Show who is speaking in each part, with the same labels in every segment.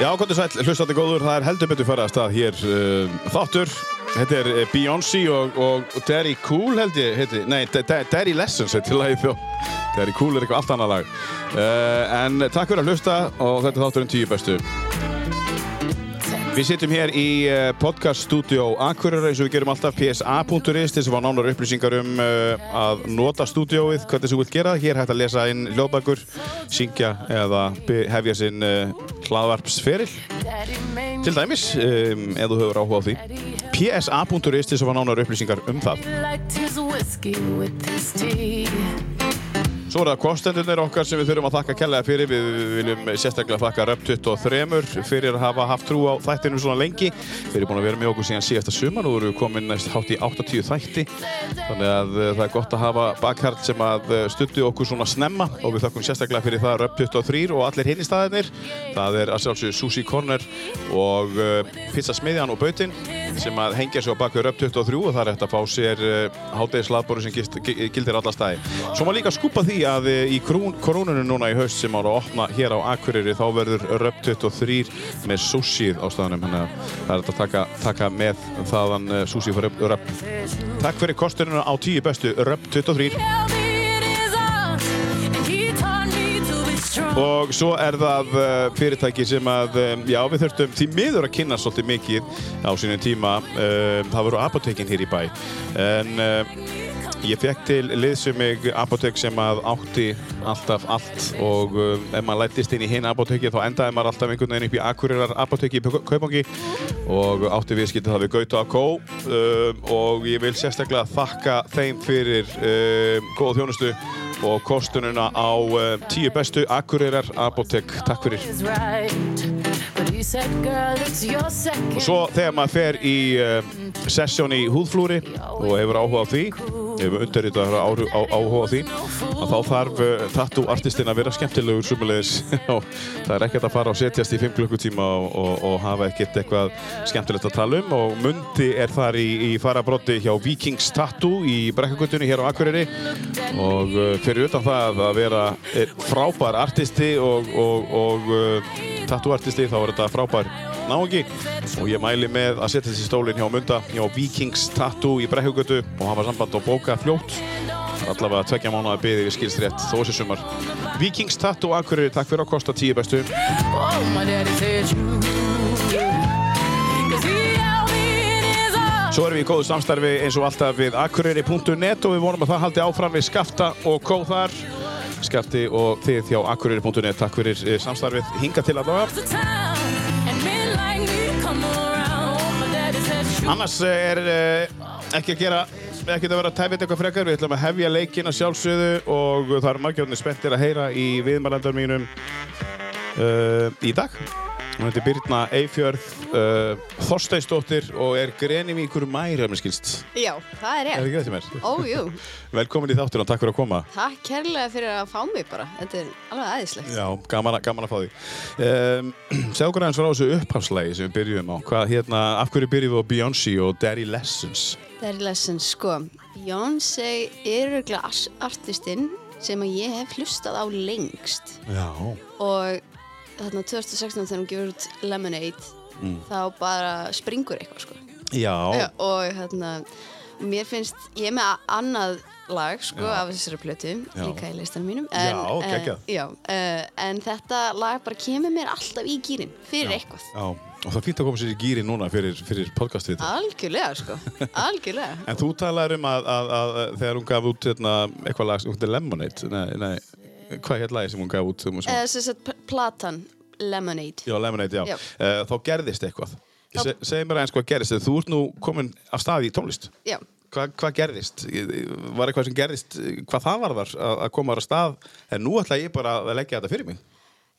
Speaker 1: Já, gott og sæl, hlustandi góður, það er heldur betur farað að stað hér uh, þáttur. Þetta er eh, Beyoncé og, og og Daddy Cool held ég, heiti, nei, Da- Da- Daddy Lessons heiti lagið þjó. Daddy Cool er eitthvað allt annað lag. Uh, en takk fyrir að hlusta og þetta er þátturinn tíu bestu. Við sittum hér í eh, podcaststúdió Akureyra eins og við gerum alltaf psa.is til þess að fá nánar upplýsingar um uh, að nota stúdióið, hvernig þú vilt gera það. Hér er hægt að lesa inn hljóðbækur, syngja eða be- hefja sinn uh, hlaðvarpsferil til dæmis, um, ef þú hefur áhuga á því psa.is til þess að fá nánar upplýsingar um það Svo er það kostendunir okkar sem við þurfum að þakka kellega fyrir við viljum sérstaklega þakka Röp 23 fyrir að hafa haft trú á þættinu svona lengi þeir eru búin að vera með okkur síðan síðasta sumar og eru komin næst hátt í 80 þætti þannig að eh, það er gott að hafa bakkarl sem að stundi okkur svona snemma og við þakkum sérstaklega fyrir það Röp 23 og allir hinn í staðinir það er að sjálfsögðu Susi Corner og uh, Pizza Smiðjan og Bautin sem að hengja sig á baku Röp 23 og það er hægt að fá sér uh, hátegislaðbóru sem gist, gi- gildir alla staði. Svo maður líka skúpa því að uh, í krún, krónunum núna í haust sem ára að opna hér á Akureyri þá verður Röp 23 með súsíð á staðanum þannig að það er hægt að taka, taka með þaðan uh, súsíð fyrir Röp. Takk fyrir kostununa á 10 bestu Röp 23 Og svo er það uh, fyrirtæki sem að, um, já, við þurftum því miður að kynna svolítið mikið á sínum tíma. Um, það voru apotekin hér í bæ. En um, ég fekk til liðsum mig apotek sem að átti alltaf allt og um, ef maður lættist inn í hinn apoteki þá endaði maður alltaf einhvern veginn upp í akkurirar apoteki í Pau- Kaupangi og átti viðskipti það við Gauta og Kó um, og ég vil sérstaklega þakka þeim fyrir um, góð þjónustu og kostununa á um, tíu bestu Akureyrar Apotek. Takk fyrir. Og svo þegar maður fer í uh, sessjón í húðflúri og hefur áhuga á því, hefur undirritað á, á, áhuga á því, að þá þarf uh, tattoo artistinn að vera skemmtilegur sumulegis og það er ekkert að fara og setjast í 5 klukkutíma og, og, og hafa ekkert eitthvað skemmtilegt að tala um og Mundi er þar í, í farabrotti hjá Vikings Tattoo í Brekkagutunni hér á Akureyri og uh, fyrir utan það að vera eh, frábær artisti og, og, og uh, tattooartisti þá er þetta frábær náungi og ég mæli með að setja þessi stólinn hjá Munda hjá Vikings Tattoo í Brekkugötu og hafa samband og bóka fljótt Það er allavega tveggja mánuða byði við skilst rétt þó þessi sumar Vikings Tattoo Akureyri, takk fyrir að kosta tíu bestu
Speaker 2: Oh,
Speaker 1: Svo erum við í góðu samstarfi eins og alltaf við akureyri.net og við vonum að það haldi áfram við Skafta og Kóðar. Skafti og þið hjá akureyri.net, takk fyrir eh, samstarfið hinga til að það.
Speaker 2: Oh,
Speaker 1: Annars er eh, ekki að gera, ekki að vera að tefja eitthvað frekar, við ætlum að hefja leikina sjálfsögðu og það eru margjörnir spenntir að heyra í viðmælandar mínum uh, í dag. Hún heitir Birna Eifjörð, uh, Þorsteinsdóttir og er grenivíkur mæri, ef mér skilst.
Speaker 3: Já, það er
Speaker 1: Er það
Speaker 3: ég.
Speaker 1: ekki rétt í mér?
Speaker 3: Ójú,
Speaker 1: Velkomin í þáttina, takk fyrir að koma.
Speaker 3: takk kærlega fyrir að fá mig bara. Þetta er alveg aðeinslegt.
Speaker 1: Já, gaman, að- gaman að fá því. Um, Segð okkur aðeins frá þessu upphafslægi sem við byrjum á. Hvað, hérna, af hverju byrjum við á Beyoncé og Daddy Lessons?
Speaker 3: Það er lessons, sko. Beyoncé er örgulega artistinn sem að ég hef hlustað á lengst.
Speaker 1: Já.
Speaker 3: Og þarna 2016 þegar hún gefur út Lemonade,
Speaker 1: Mm.
Speaker 3: þá bara springur eitthvað, sko.
Speaker 1: Já,
Speaker 3: Já, og hérna, mér finnst, ég er með annað lag sko af þessari plötu
Speaker 1: Já.
Speaker 3: líka í listanum mínum
Speaker 1: Já,
Speaker 3: eh,
Speaker 1: geggjað.
Speaker 3: já, eh, en þetta lag bara kemur mér alltaf í gýrin fyrir eitthvað
Speaker 1: já. Og það er fínt að koma sér í gýri núna fyrir, fyrir podcastið þetta.
Speaker 3: algjörlega sko, algjörlega
Speaker 1: En þú talaður um að, að, að, að þegar hún gaf út hérna, eitthvað lag, hún heitir Lemonade, nei, nei, hvað hér lagi sem hún gaf út? Sem, sem,
Speaker 3: eða sem sagt pl- platan Lemonade
Speaker 1: já, Lemonade, Eh, já.
Speaker 3: Já.
Speaker 1: Uh, þá gerðist eitthvað.
Speaker 3: Þá-
Speaker 1: Se, segð mér aðeins hvað gerðist, þú ert nú komin af stað í tónlist.
Speaker 3: já,
Speaker 1: Hva, hvað gerðist? Var eitthvað sem gerðist, hvað það var þar að, að koma þar að stað? En nú ætla ég bara að leggja þetta fyrir mig.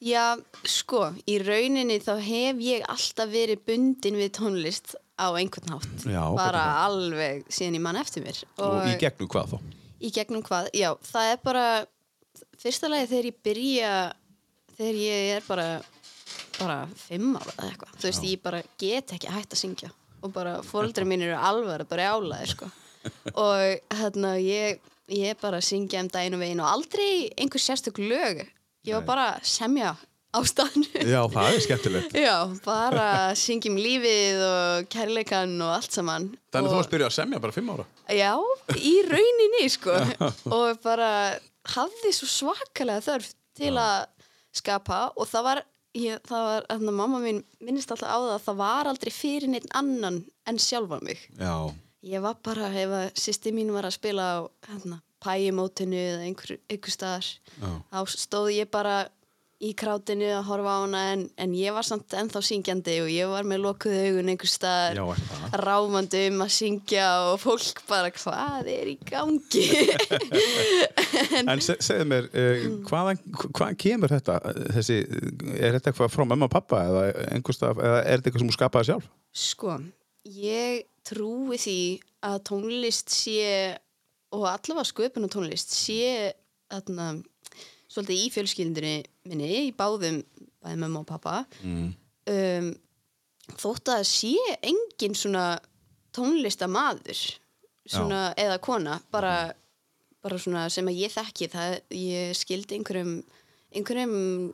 Speaker 3: já, sko í rauninni þá hef ég alltaf verið bundin við tónlist á einhvern hátt,
Speaker 1: Já,
Speaker 3: bara
Speaker 1: hvernig
Speaker 3: alveg síðan ég man eftir mér
Speaker 1: Og, í gegnum hvað þá?
Speaker 3: í gegnum hvað, já, það er bara fyrsta lagi þegar ég byrja þegar ég er bara bara fimm ára eða eitthvað þú veist, ég bara get ekki hægt að syngja og bara fóreldri mín eru alvar bara álaði, sko og hérna, ég, ég bara syngja um daginn og veginn og aldrei einhver sérstök lög ég var bara að semja á staðnum.
Speaker 1: Já, það er skemmtilegt.
Speaker 3: Já, bara syngjum lífið og kærleikan og allt saman.
Speaker 1: Þannig þú
Speaker 3: og,
Speaker 1: varst byrjuð að semja bara fimm ára.
Speaker 3: Já, í rauninni, sko. og bara hafði svo svakalega þörf til að skapa og það var, ég, það var, þannig að mamma mín minnist alltaf á það að það var aldrei fyrir neitt annan en sjálfa mig.
Speaker 1: Já,
Speaker 3: Ég var bara, ef að sýsti mín var að spila á hérna, pæjumótinu eða einhver, einhver staðar
Speaker 1: já.
Speaker 3: þá stóð ég bara í krátinu að horfa á hana en, en ég var samt ennþá syngjandi og ég var með lokuð augun einhver staðar
Speaker 1: Já, er það.
Speaker 3: rámandi um að syngja og fólk bara hvað er í gangi
Speaker 1: En se- segðu mér, uh, hvaðan, hvaðan kemur þetta? Þessi, er þetta eitthvað frá mamma og pappa eða, einhverstað, eða er þetta eitthvað sem hún skapaði sjálf?
Speaker 3: Sko, ég trúi því að tónlist sé og allavega sköpun og tónlist sé þarna, svolítið í fjölskyldunni minni í báðum, bæði mamma og pappa
Speaker 1: Mm.
Speaker 3: um, þótt að sé engin svona tónlistamaður svona, eða kona bara, bara svona sem að ég þekki það, ég skildi einhverjum einhverjum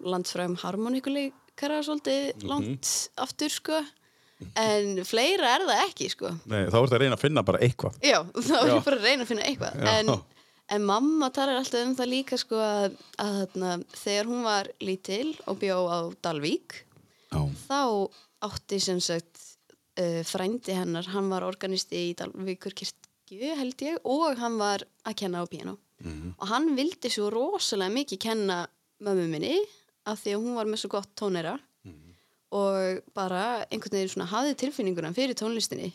Speaker 3: landfræðum harmoníkuleikara svolítið langt aftur sko en fleira er það ekki sko
Speaker 1: Nei, þá er þetta að reyna að finna bara eitthvað.
Speaker 3: Já, þá er
Speaker 1: Já.
Speaker 3: ég bara að reyna að finna eitthvað
Speaker 1: Já.
Speaker 3: en, en mamma talar alltaf um það líka sko að, að þarna, þegar hún var lítil og bjó á Dalvík
Speaker 1: Já.
Speaker 3: þá átti sem sagt uh, frændi hennar, hann var organisti í Dalvíkur kirkju held ég og hann var að kenna á piano og hann vildi svo rosalega mikið kenna mömmu minni af því að hún var með svo gott tónera og bara einhvern veginn svona hafði tilfinninguna fyrir tónlistinni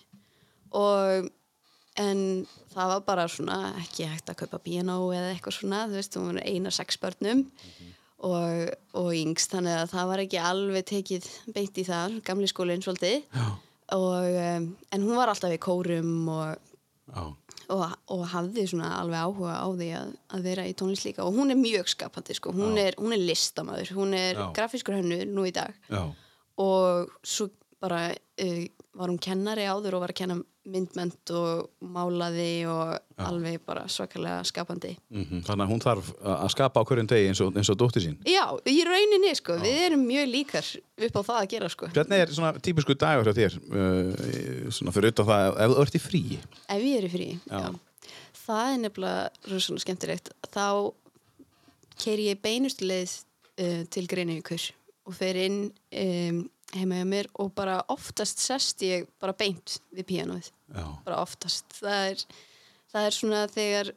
Speaker 3: og en það var bara svona ekki hægt að kaupa piano eða eitthvað svona þú veist, hún var eina sex börnum og, og yngst þannig að það var ekki alveg tekið beint í það, gamli skólinn svolítið
Speaker 1: Já.
Speaker 3: og, um, en hún var alltaf í kórum og
Speaker 1: Já.
Speaker 3: og, og hafði svona alveg áhuga á því að, að vera í tónlist líka og hún er mjög skapandi sko, hún, er, hún er listamaður hún er
Speaker 1: Já.
Speaker 3: grafískur hönnu nú í dag
Speaker 1: Já.
Speaker 3: og svo bara uh, var hún kennari áður og var að kenna myndmönd og málaði og alveg bara svakalega skapandi
Speaker 1: Mhm. Þannig að hún þarf að- að skapa á hverjum degi eins og, eins og dóttir sín.
Speaker 3: Já, í rauninni sko, við erum mjög líkar upp á það að gera sko
Speaker 1: Hvernig er svona típisku dagur hjá þér? Uh, svona fyrir utan það, ef þú ert í fríi.
Speaker 3: Ef ég er í frí,
Speaker 1: Já.
Speaker 3: já. Það er nefnilega rosalega skemmtilegt. Þá keiri ég beinustu leið uh, til Greinivíkur og fer inn um, heima hjá mér og bara oftast sest ég bara beint við píanóið.
Speaker 1: Já.
Speaker 3: Bara oftast. Það er, það er svona þegar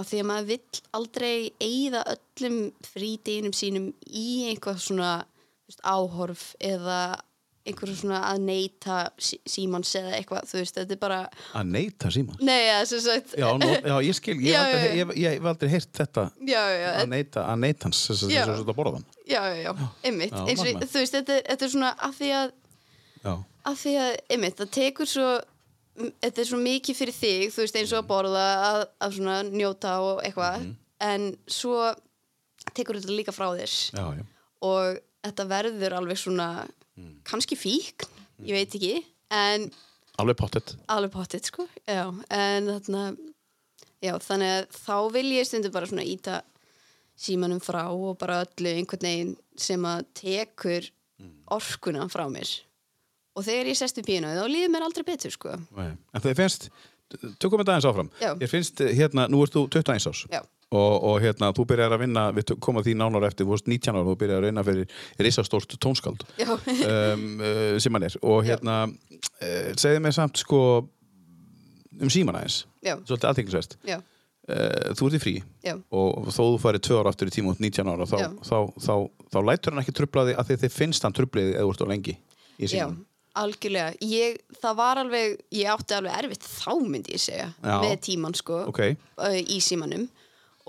Speaker 3: að því að maður vill aldrei eyða öllum frídeginum sínum í einhvað svona þú veist, áhorf eða einhverjum svona að neyta sí símans eða eitthvað, þú veist, þetta er bara
Speaker 1: Að neita síma.
Speaker 3: Nei, já, sem sagt
Speaker 1: Já, nú, já, ég skil, ég
Speaker 3: Já,
Speaker 1: hef aldrei,
Speaker 3: já, já.
Speaker 1: ég, ég, hef aldrei heyrt þetta
Speaker 3: já, já,
Speaker 1: að neita, að neita hans, þess að
Speaker 3: Já.
Speaker 1: þú ert að borða þann.
Speaker 3: já, já, já, einmitt
Speaker 1: Já,
Speaker 3: eins og,
Speaker 1: magnað.
Speaker 3: þú veist, þetta, þetta er svona af því að,
Speaker 1: Já.
Speaker 3: af því að einmitt, það tekur svo m- þetta er svo mikið fyrir þig, þú veist, eins
Speaker 1: Mhm.
Speaker 3: og að borða að, að svona njóta og eitthvað en svo tekur þetta líka frá þér
Speaker 1: Já, já.
Speaker 3: og þetta verður alveg svona
Speaker 1: Mhm.
Speaker 3: kannski fíkn, ég veit ekki en
Speaker 1: Alveg pottet.
Speaker 3: alveg pottitt sko já, en þarna já, þannig að þá vil ég stundu bara svona íta símanum frá og bara öllu einhvern veginn sem að tekur
Speaker 1: Mm.
Speaker 3: orkuna frá mér og þegar ég sest við pínu þá líður mér aldrei betur sko
Speaker 1: Nei. En þegar finnst, tökum við aðeins áfram
Speaker 3: Já.
Speaker 1: Ég finnst, eh, hérna, nú ert þú 21 árs
Speaker 3: Já.
Speaker 1: og, og hérna, þú byrjar að vinna við tök- komum að því nánar eftir, þú veist 19 ára þú byrjar að reyna fyrir risastórt tónskáld
Speaker 3: já,
Speaker 1: um, uh, sem hann er og hérna, uh, segðu mér samt sko um síman aðeins
Speaker 3: já,
Speaker 1: svolítið aðtenglisvert,
Speaker 3: já,
Speaker 1: uh, þú ert í frí
Speaker 3: já
Speaker 1: og þó þú farið tvö ára aftur í tíma út 19 ára, þá,
Speaker 3: Já.
Speaker 1: þá, þá, þá, lætur hann ekki trublaði að þið, þið finnst hann trublaði eða þú ert á lengi í
Speaker 3: já,
Speaker 1: síman
Speaker 3: algjörlega ég, það var alveg, ég átti alveg erfitt þá myndi ég segja,
Speaker 1: Já.
Speaker 3: með tíman sko
Speaker 1: ok,
Speaker 3: uh, í símanum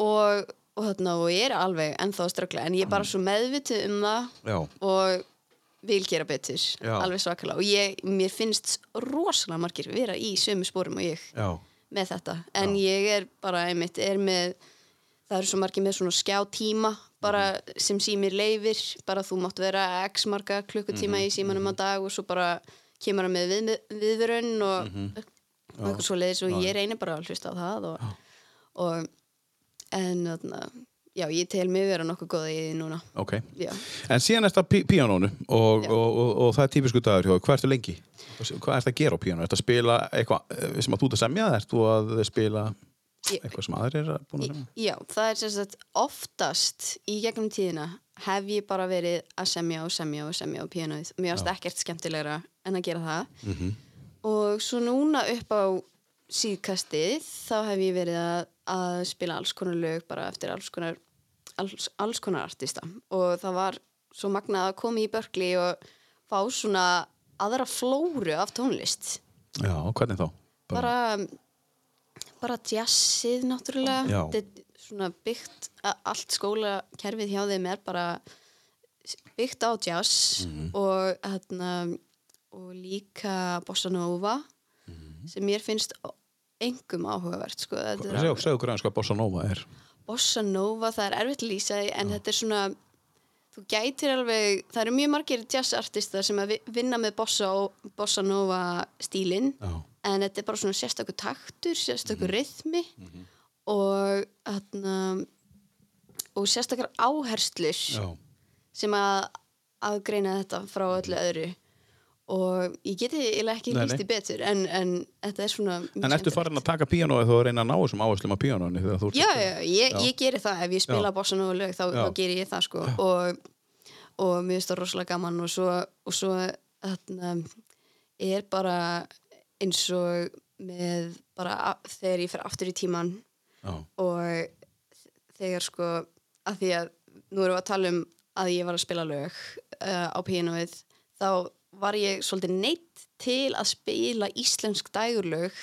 Speaker 3: og, og þarna og ég er alveg ennþá að ströggla en ég er bara svo meðvitið um það
Speaker 1: Mm. já,
Speaker 3: og vil gera betur
Speaker 1: Já.
Speaker 3: alveg svakalega og ég, mér finnst rosalega margir vera í sömu spórum og ég
Speaker 1: já,
Speaker 3: með þetta en ég er bara einmitt er með, það eru svo margir með svona skjátíma bara sem símir leifir, bara þú mátt vera x marga klukkutíma í símanum á dag og svo bara kemur hann með við, viðvörun og og eitthvað svo leiðis og ég reynir bara að hlusta á það og, og en þarna, já, ég tel mig vera nokkuð góða í því núna
Speaker 1: Ok.
Speaker 3: já.
Speaker 1: En síðan er þetta pí píanónu og, og,
Speaker 3: Já.
Speaker 1: og, og það er típisku dagur hjá, þér. hvað ertu lengi? Hvað ertu að gera á píanónu? Ertu að spila eitthvað eh, sem að þú ert að semja? Ertu að spila
Speaker 3: Ég-
Speaker 1: eitthvað sem aðrir er að búin að semja?
Speaker 3: já, það er sem sagt oftast í gegnum tíðina hef ég bara verið að semja og semja og semja á píanóið mér varst ekkert skemmtilegra en að gera það og svo núna upp á síðkastið þá hef ég verið að, að spila alls konar lög bara eftir alls konar alls, alls konar artista og það var svo magnað að koma í börgli og fá svona aðra flóru af tónlist
Speaker 1: Já, hvernig þá?
Speaker 3: bara bara jazzið náttúrulega
Speaker 1: Já.
Speaker 3: þetta er svona byggt a- allt skólakerfið hjá þeim er bara s- byggt á jazz og, hérna, og líka bossa nova sem mér finnst o- engum áhugavert sko. Þetta er
Speaker 1: Segðu segðu okkur aðeins hvað Bossa Nova er.
Speaker 3: bossa nova, það er erfitt að lýsa því, en þetta er svona þú gætir alveg, það eru mjög margir jazzartista sem að vi- vinna með bossa, og- bossa nova stílinn
Speaker 1: Já.
Speaker 3: en þetta er bara svona sérstakur taktur sérstakur
Speaker 1: Mhm.
Speaker 3: rytmi og þarna og sérstakar áherslur
Speaker 1: Já.
Speaker 3: sem að aðgreina þetta frá öllu öðru og ég geti eiginlega
Speaker 1: Mhm. Nei,
Speaker 3: ekki
Speaker 1: nei.
Speaker 3: lýst því betur en, en þetta er svona mjög
Speaker 1: En ertu
Speaker 3: skemmtilegt.
Speaker 1: farin að taka píanóið þú að reyna að ná þessum áherslum á píanóinu þegar þú ert
Speaker 3: já,
Speaker 1: að spila?
Speaker 3: já, ég,
Speaker 1: Já.
Speaker 3: ég geri það ef ég spila
Speaker 1: Já.
Speaker 3: bossa nova lög þá,
Speaker 1: Já.
Speaker 3: þá geri ég það sko og, og mér finnst það rosalega gaman og svo, og svo þarna, er bara eins og með bara a- þegar ég fer aftur í tíman
Speaker 1: Já.
Speaker 3: og þegar sko að því að nú erum við að tala um að ég var að spila lög uh, á píanóið þá var ég svolítið neitt til að spila íslensk dægurlög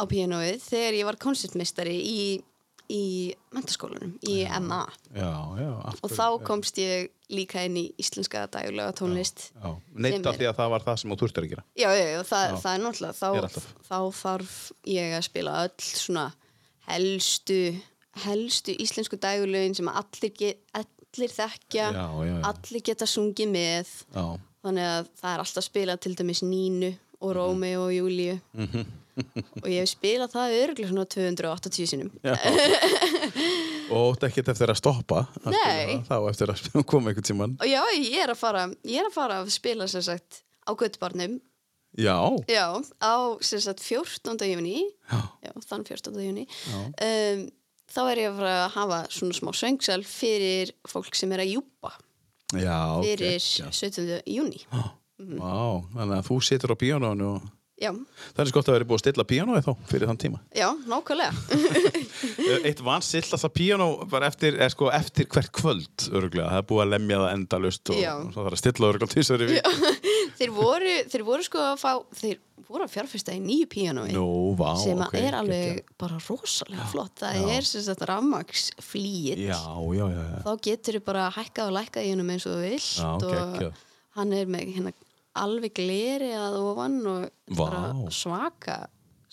Speaker 3: á píanóið þegar ég var koncertmeistari í, í mentaskólanum, í MA
Speaker 1: Já, já. af
Speaker 3: og
Speaker 1: hverju-
Speaker 3: þá komst ég líka inn í íslenska dægurlög tónlist
Speaker 1: Já. Neitt
Speaker 3: Sem
Speaker 1: af
Speaker 3: er-
Speaker 1: því að það var það sem þú þurftir að gera.
Speaker 3: Já, já, já, það,
Speaker 1: Já.
Speaker 3: það er
Speaker 1: Er
Speaker 3: náttúrulega
Speaker 1: alltaf.
Speaker 3: þá, þá þarf ég að spila öll svona helstu helstu íslensku dægulögin sem allir, get, allir
Speaker 1: Já,
Speaker 3: þekkja
Speaker 1: já, já.
Speaker 3: allir geta sungið með
Speaker 1: Já.
Speaker 3: þannig að það er alltaf spilað til dæmis Nínu og
Speaker 1: Mhm.
Speaker 3: Rómeo og Júlíu og ég hef spilað það örgulega svona 280 sinum
Speaker 1: Og ótt ekkert eftir að stoppa. að
Speaker 3: Nei.
Speaker 1: spila það, Þá eftir að koma einhvern tíman.
Speaker 3: og já, ég er að fara ég er að fara að spila sem sagt á Götubarnum
Speaker 1: Já.
Speaker 3: já, á sem sagt 14. júni
Speaker 1: Já.
Speaker 3: já, þann 14. júni
Speaker 1: Já.
Speaker 3: um, þá er ég að fara að hafa svona smá söngsal fyrir fólk sem er að júpa
Speaker 1: Já, ok.
Speaker 3: fyrir
Speaker 1: Já.
Speaker 3: 17. júni
Speaker 1: Vá, þannig að þú situr á píanónu og
Speaker 3: já,
Speaker 1: það er svo gott að vera búið að stilla píanói þá fyrir þann tíma.
Speaker 3: já, nákvæmlega
Speaker 1: Eh, Eitt vansillasta píanó var eftir, er, sko, eftir hvert kvöld öruglega, það er búið að lemja það endalust og,
Speaker 3: Já.
Speaker 1: og það þarf að stilla öruglega til þessari við.
Speaker 3: þeir voru, þeir voru sko að fá þeir voru að fjárfesta í nýju píanói
Speaker 1: Nú, vá,
Speaker 3: sem að
Speaker 1: ok.
Speaker 3: er alveg
Speaker 1: geggjað.
Speaker 3: bara rosalega flott það er sem sagt rafmaks flýið
Speaker 1: Já, já, já, já.
Speaker 3: þá getur þið bara að hækka og lækka í hennum eins og þú vilt
Speaker 1: Já,
Speaker 3: og
Speaker 1: geggjað.
Speaker 3: hann er með hérna alveg gleri að ofan og
Speaker 1: Vá.
Speaker 3: bara svaka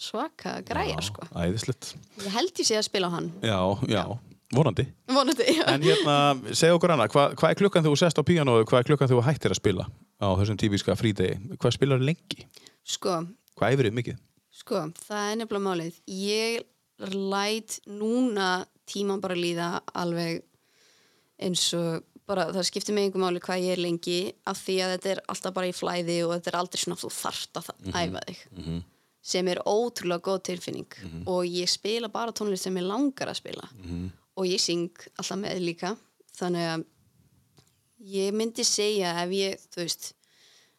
Speaker 3: svaka græja
Speaker 1: Já,
Speaker 3: sko
Speaker 1: Æðislegt.
Speaker 3: Ég held ég sé að spila á hann
Speaker 1: Já, já, vonandi.
Speaker 3: Vonandi, já
Speaker 1: En hérna, segja okkur annað, hva, hvað er klukkan þegar þú sest á píanói, hvað er klukkan þegar þú hættir að spila á þessum típiska frídegi? Hvað spilar lengi?
Speaker 3: Sko,
Speaker 1: Hvað æfrið mikið?
Speaker 3: sko, það er nefnilega málið Ég læt núna tíman bara líða alveg eins og bara það skiptir mig einhver máli hvað ég er lengi af því að þetta er alltaf bara í flæði og þetta er aldrei svona þú þarft að
Speaker 1: Mhm.
Speaker 3: mm æfa þig -hmm. sem er ótrúlega góð tilfinning og ég spila bara tónlist sem ég langar að spila -hmm. og ég syng alltaf með líka þannig að ég myndi segja ef ég, þú veist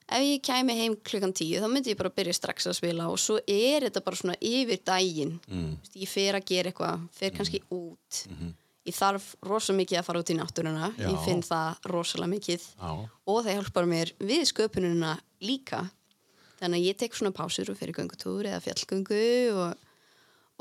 Speaker 3: ef ég kæmi heim klukkan tíu þá myndi ég bara byrja strax að spila og svo er þetta bara svona yfir daginn mm. ég fer að gera eitthvað, fer kannski út ég þarf rosa mikið að fara út í náttúruna
Speaker 1: Já.
Speaker 3: ég finn það rosalega mikið
Speaker 1: Já.
Speaker 3: og það hjálpar mér við sköpununa líka þannig að ég tek svona pásur og fyrir göngutúr eða fjallgöngu og,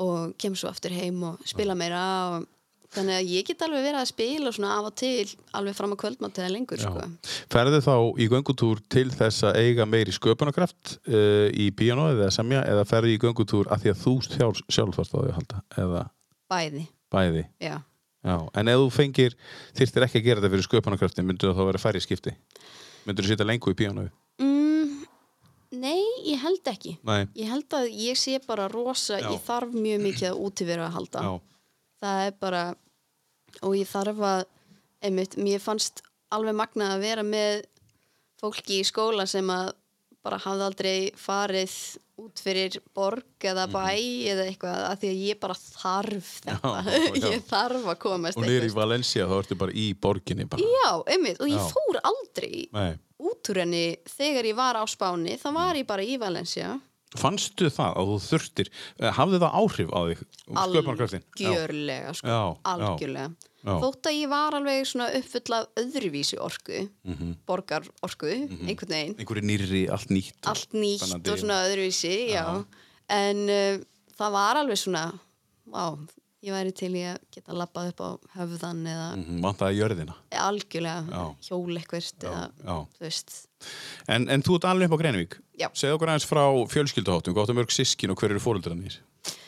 Speaker 3: og kem svo aftur heim og spila meira og, þannig að ég get alveg verið að spila svona af og til alveg fram að kvöldmátt eða lengur sko.
Speaker 1: Ferðu þá í göngutúr til þess að eiga meiri sköpunarkraft uh, í píanóið eða semja eða ferðu í göngutúr að því að þú sjálf, sjálf þarst á því að halda eða
Speaker 3: bæði,
Speaker 1: bæði
Speaker 3: já
Speaker 1: Já. En ef þú fengir, þyrftir ekki að gera þetta fyrir sköpunarkraftin, myndur það þá vera færri skipti? Myndur þú sitja lengur í píanóið?
Speaker 3: mm, Nei, ég held ekki
Speaker 1: Nei,
Speaker 3: Ég held að ég sé bara rosa,
Speaker 1: Já.
Speaker 3: ég þarf mjög mikið að útivera að halda.
Speaker 1: já,
Speaker 3: Það er bara, og ég þarf að einmitt, mér fannst alveg magna að vera með fólki í skóla sem að bara hafði aldrei farið út fyrir borg eða bæ eða eitthvað að því að ég bara þarf þetta
Speaker 1: Mhm. Já, já.
Speaker 3: ég þarf að komast
Speaker 1: Og niður í
Speaker 3: eitthvert.
Speaker 1: Valencia þá ertu bara í borginni bara.
Speaker 3: já, einmitt, og ég
Speaker 1: Já.
Speaker 3: fór aldrei
Speaker 1: Nei. Mhm.
Speaker 3: út úr henni þegar ég var á Spáni þá var ég bara í Valencia
Speaker 1: Fannstu það að þú þurftir, eh, hafði það áhrif á þig? Sköpunarkraftin? Já.
Speaker 3: algjörlega sko,
Speaker 1: Já, já.
Speaker 3: algjörlega
Speaker 1: Já.
Speaker 3: þótt að ég var alveg svona uppfull af öðruvísi orku
Speaker 1: Mhm.
Speaker 3: borgar orku, einhvern veginn
Speaker 1: Einhverju nýrri, allt nýtt. og
Speaker 3: allt nýtt
Speaker 1: Mhm. spennandi.
Speaker 3: og svona öðruvísi já. en uh, það var alveg svona á, ég væri til í að geta labbað upp á höfðan eða
Speaker 1: Mhm, Vantaði jörðina.
Speaker 3: algjörlega
Speaker 1: Já.
Speaker 3: hjól eitthvert eða,
Speaker 1: já.
Speaker 3: þú veist
Speaker 1: En, en þú ert alveg upp á Greinvík.
Speaker 3: Já.
Speaker 1: Segð okkur aðeins frá fjölskylduháttum, hvað áttu mörg sískin og hver eru fóröldrarnir?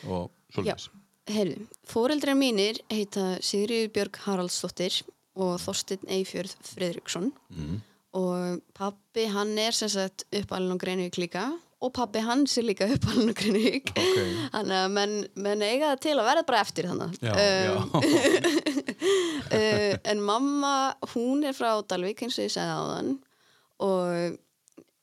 Speaker 1: Og svolítið.
Speaker 3: Heyrðu, fóreldrar mínir heita Sigriður Björg Haraldsdóttir og Þorsteinn Eifjörð Friðriksson
Speaker 1: Mhm.
Speaker 3: og pabbi hann er sem sagt uppalinn á Greinvík líka og pabbi hans er líka uppalinn á Greinvík
Speaker 1: Ok.
Speaker 3: þannig að menn, menn eiga það til að verða bara eftir þannig
Speaker 1: Já,
Speaker 3: um,
Speaker 1: já.
Speaker 3: uh, en mamma, hún er frá Dalvík eins og ég segði á þann og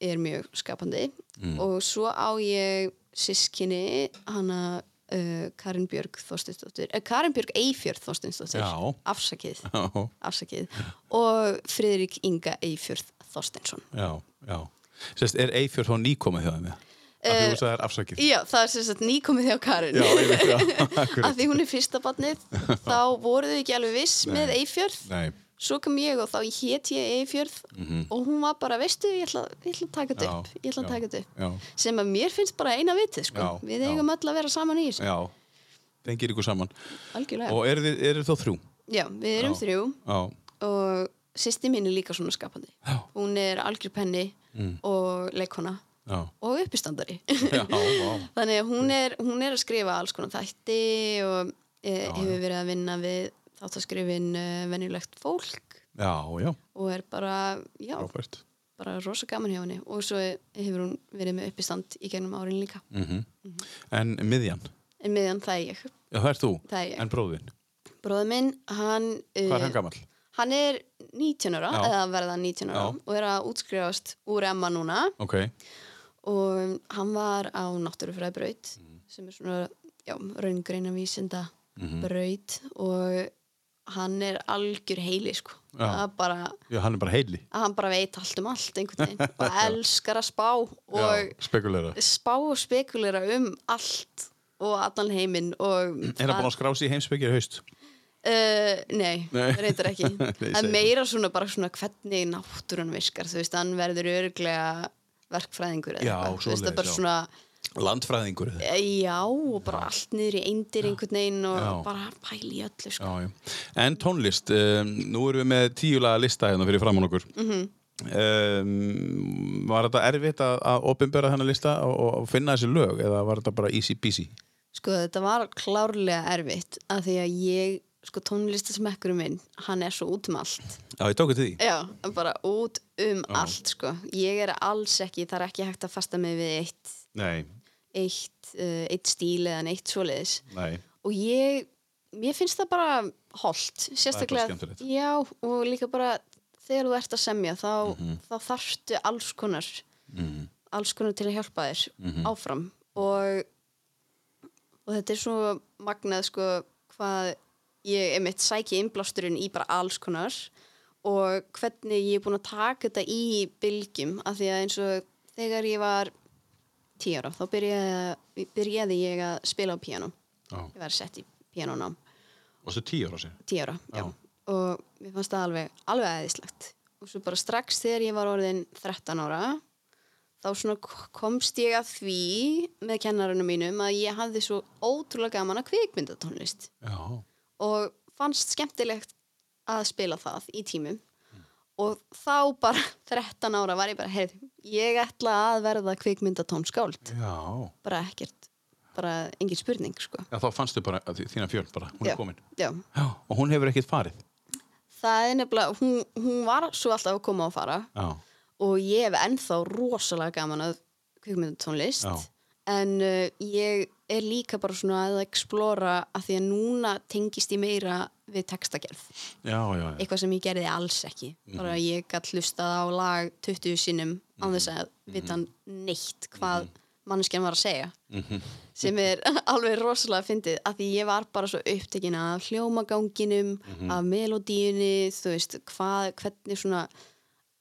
Speaker 3: er mjög skapandi
Speaker 1: Mm.
Speaker 3: og svo á ég sískinni hana uh, Karin Björg Þorstinsdóttir uh, Karin Björg Eifjörð Þorstinsdóttir
Speaker 1: Já.
Speaker 3: afsakið,
Speaker 1: já.
Speaker 3: afsakið og Friðrik Inga Eifjörð Þorstinsson
Speaker 1: Já, já. Sérst, er Eifjörð þá nýkomið hjá þeim? eða?
Speaker 3: Uh,
Speaker 1: Af því þú sagði það er afsakið.
Speaker 3: Já, það er sem sagt nýkomið hjá Karin
Speaker 1: Já, einmitt, já,
Speaker 3: að
Speaker 1: akkurat.
Speaker 3: því hún er fyrsta barnið þá voru þau ekki alveg viss með Eifjörð
Speaker 1: Nei,
Speaker 3: svo kom ég og þá hét ég Eifjörð og hún var bara, veistu, ég ætla, ég ætla að taka
Speaker 1: Mhm. Já,
Speaker 3: þetta upp ég ætla að
Speaker 1: já,
Speaker 3: taka þetta upp
Speaker 1: já.
Speaker 3: sem að mér finnst bara eina vitið sko.
Speaker 1: Já,
Speaker 3: við
Speaker 1: já.
Speaker 3: eigum öll að vera saman í þessu
Speaker 1: já. Tengir ykkur saman.
Speaker 3: algjörlega,
Speaker 1: Og eru þið er þá þrjú?
Speaker 3: já, við erum
Speaker 1: Já.
Speaker 3: þrjú
Speaker 1: Já.
Speaker 3: og sýsti mín er líka svona skapandi
Speaker 1: Já.
Speaker 3: hún er algjör penni
Speaker 1: Mm.
Speaker 3: og leikona
Speaker 1: Já.
Speaker 3: og uppistandari
Speaker 1: Já, vá.
Speaker 3: þannig að hún
Speaker 1: Mm.
Speaker 3: er, hún er að skrifa alls konar þætti og e,
Speaker 1: Já,
Speaker 3: hefur verið að vinna við þáttaskrifin e, venjulegt fólk
Speaker 1: Já, já.
Speaker 3: og er bara, já,
Speaker 1: Robert.
Speaker 3: bara rosa gaman hjá henni og svo hefur hún verið með uppistand í gennum árin líka
Speaker 1: Mm
Speaker 3: Mhm.
Speaker 1: En miðjan?
Speaker 3: en meðan það er ég,
Speaker 1: Já, það er þú.
Speaker 3: það er ég Uh,
Speaker 1: En bróðin?
Speaker 3: bróður minn, hann,
Speaker 1: Hvað
Speaker 3: eh,
Speaker 1: er hann gamall?
Speaker 3: hann er 19 ára,
Speaker 1: Já.
Speaker 3: eða verða 19 ára
Speaker 1: Já.
Speaker 3: og er að útskrifast úr Emma núna
Speaker 1: Ok.
Speaker 3: og hann var á náttúrufræðbraut
Speaker 1: Mm.
Speaker 3: sem er svona, já, raungreina vísinda
Speaker 1: Mhm.
Speaker 3: braut og hann er algjör heili sko,
Speaker 1: Já.
Speaker 3: það er bara
Speaker 1: Já, hann er bara heili.
Speaker 3: að hann bara veit allt um allt einhvern veginn og elskar að spá og
Speaker 1: já, spekulera.
Speaker 3: spá og spekulera um allt og allan heiminn og
Speaker 1: Er hann búin að skrá sig í heimsbyggir í haust?
Speaker 3: Uh, nei,
Speaker 1: Nei.
Speaker 3: reyndar ekki það er
Speaker 1: segir
Speaker 3: meira svona bara svona hvernig náttúrun virkar, þú veist, hann verður örglega verkfræðingur eða
Speaker 1: Já,
Speaker 3: eitthvað, þú veist, það
Speaker 1: svoleiðis,
Speaker 3: er bara
Speaker 1: já.
Speaker 3: svona
Speaker 1: Landfræðingur. Já,
Speaker 3: eh, já, og bara allt niður í eindir einhvern veginn og
Speaker 1: Já.
Speaker 3: bara pæli í öllu sko.
Speaker 1: já. En tónlist, um, nú erum við með tíulaga lista hérna fyrir framann okkur.
Speaker 3: Mhm.
Speaker 1: um, var þetta erfitt að, að opinbera þennan lista og, og- og finna þessi lög eða var þetta bara easy peasy?
Speaker 3: sko, þetta var klárlega erfitt af því að ég, sko, tónlistasmekkurum minn hann er svo út um allt
Speaker 1: Já, ég tók til því.
Speaker 3: Já, bara út um allt sko. Ég er alls ekki, það er ekki hægt að fasta mig við eitt,
Speaker 1: Nei,
Speaker 3: eitt, uh, eitt stíl eða neitt svoleiðis.
Speaker 1: nei.
Speaker 3: Og ég, mér finnst það bara holdt, sérstaklega.
Speaker 1: skemmtilegt.
Speaker 3: Já, og líka bara þegar þú ert að semja, þá, þá þarftu alls konar, alls konar til að hjálpa þér áfram. Og, og þetta er svo magnað sko hvað ég einmitt sæki innblásturinn í bara alls konar og hvernig ég er búin að taka þetta í bylgjum af því að eins og þegar ég var tíu ára þá byrjaði, byrjaði ég að spila á píanum
Speaker 1: Já.
Speaker 3: ég var sett í píanónám
Speaker 1: Og svo tíu ára sér.
Speaker 3: tíu ára já.
Speaker 1: Já.
Speaker 3: og mér fannst það alveg, alveg aðeinslegt og svo bara strax þegar ég var orðin 13 ára þá svona k- komst ég að því með kennarunum mínum að ég hafði svo ótrúlega gaman að kvikmyndatónlist
Speaker 1: Já,
Speaker 3: og fannst skemmtilegt að spila það í tímum og þá bara 13 ára var ég bara, heyrðu, ég ætla að verða kvikmyndatónskáld
Speaker 1: já.
Speaker 3: bara ekkert, bara engin spurning sko.
Speaker 1: Já, þá fannstu bara að þi- þína fjörn bara, hún
Speaker 3: Já,
Speaker 1: er komin.
Speaker 3: já.
Speaker 1: Já, og hún hefur ekkert farið.
Speaker 3: það er nefnilega, hún, hún var svo alltaf að koma og fara
Speaker 1: Já,
Speaker 3: og ég hef ennþá rosalega gaman að kvikmyndatónlist
Speaker 1: Já.
Speaker 3: en uh, ég er líka bara svona að explora að því að núna tengist ég meira við textagerð
Speaker 1: já, já, Mhm. já.
Speaker 3: eitthvað sem ég gerði alls ekki bara ég gætt hlustað á lag 20 sinnum
Speaker 1: Mhm.
Speaker 3: án þess að vita neitt hvað manneskjan var að segja
Speaker 1: Mhm.
Speaker 3: sem er alveg rosalega fyndið af því ég var bara svo upptekin af hljómaganginum
Speaker 1: Mhm.
Speaker 3: af melodíunni þú veist, hvað, hvernig svona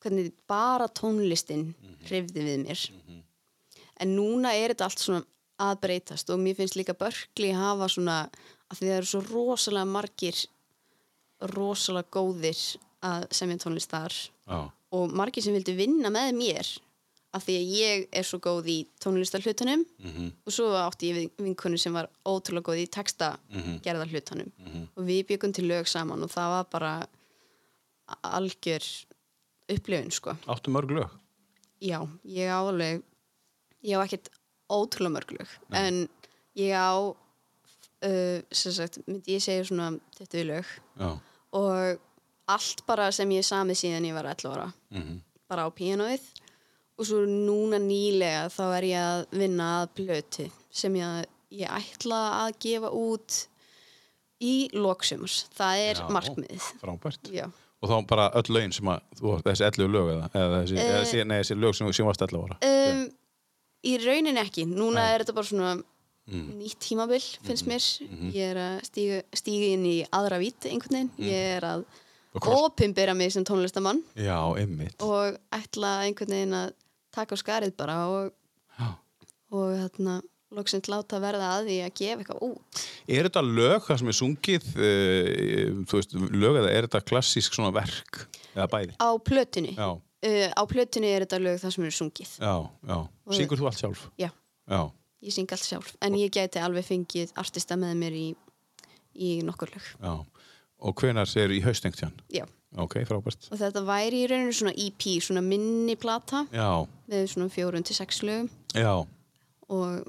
Speaker 3: hvernig bara tónlistin
Speaker 1: Mhm.
Speaker 3: hrifði við mér en núna er þetta allt svona að breytast og mér finnst líka börkli hafa svona af því það eru svo rosalega margir rosalega góðir að semja um tónlist þar
Speaker 1: já.
Speaker 3: og margir sem vildu vinna með mér af því að ég er svo góð í tónlistarhlutunum -hmm. og svo átti ég við vinkonu sem var ótrúlega góð í texta gerðarhlutunum -hmm. og við byggum til lög saman og það var bara a- algjör upplifun sko
Speaker 1: Áttu mörg lög?
Speaker 3: já, ég á alveg ég á ekkert ótrúlega mörg lög en ég á uh, sem sagt, myndi ég segja svona 20 lög
Speaker 1: Já.
Speaker 3: og allt bara sem ég samið síðan ég var 11 ára
Speaker 1: Mhm.
Speaker 3: bara á píanóið og svo núna nýlega þá er ég að vinna að blötu sem ég, ég ætla að gefa út í loksumars, það er
Speaker 1: Já,
Speaker 3: markmiðið
Speaker 1: Frábært.
Speaker 3: já,
Speaker 1: Og þá bara öll lögin sem að, þú, þessi 11 lög eða, eða þessi,
Speaker 3: Eh.
Speaker 1: þessi, nei, þessi lög sem þú varst 11 ára.
Speaker 3: um, í raunin ekki núna
Speaker 1: Nei. Mm. Mhm.
Speaker 3: er þetta bara svona nýtt tímabil finnst mér ég er að stíga, stíga inn í aðra vít einhvern veginn, ég er að
Speaker 1: Mhm. Og hvort-
Speaker 3: opimbera mig sem tónlistamann
Speaker 1: Já, ymmit.
Speaker 3: og ætla einhvern veginn að taka á skarið bara og,
Speaker 1: Já.
Speaker 3: og hérna, loksins láta verða að því að gefa eitthvað út.
Speaker 1: Er þetta lög það sem er sungið, uh, þú veist, lög eða er þetta klassísk svona verk? Eða bæði?
Speaker 3: Á plötunni,
Speaker 1: Já,
Speaker 3: uh, á plötunni er þetta lög það sem eru sungið.
Speaker 1: já, já. Syngur þú allt sjálf?
Speaker 3: Já,
Speaker 1: Já.
Speaker 3: ég syng allt sjálf, en ég gæti alveg fengið artista með mér í, í nokkur lög.
Speaker 1: Já. Og hvenar er í haustengt hann?
Speaker 3: Já,
Speaker 1: Ok, frábært.
Speaker 3: og þetta væri í rauninu svona EP, svona minni plata
Speaker 1: Já,
Speaker 3: með svona fjórun til sex lögum
Speaker 1: já,
Speaker 3: og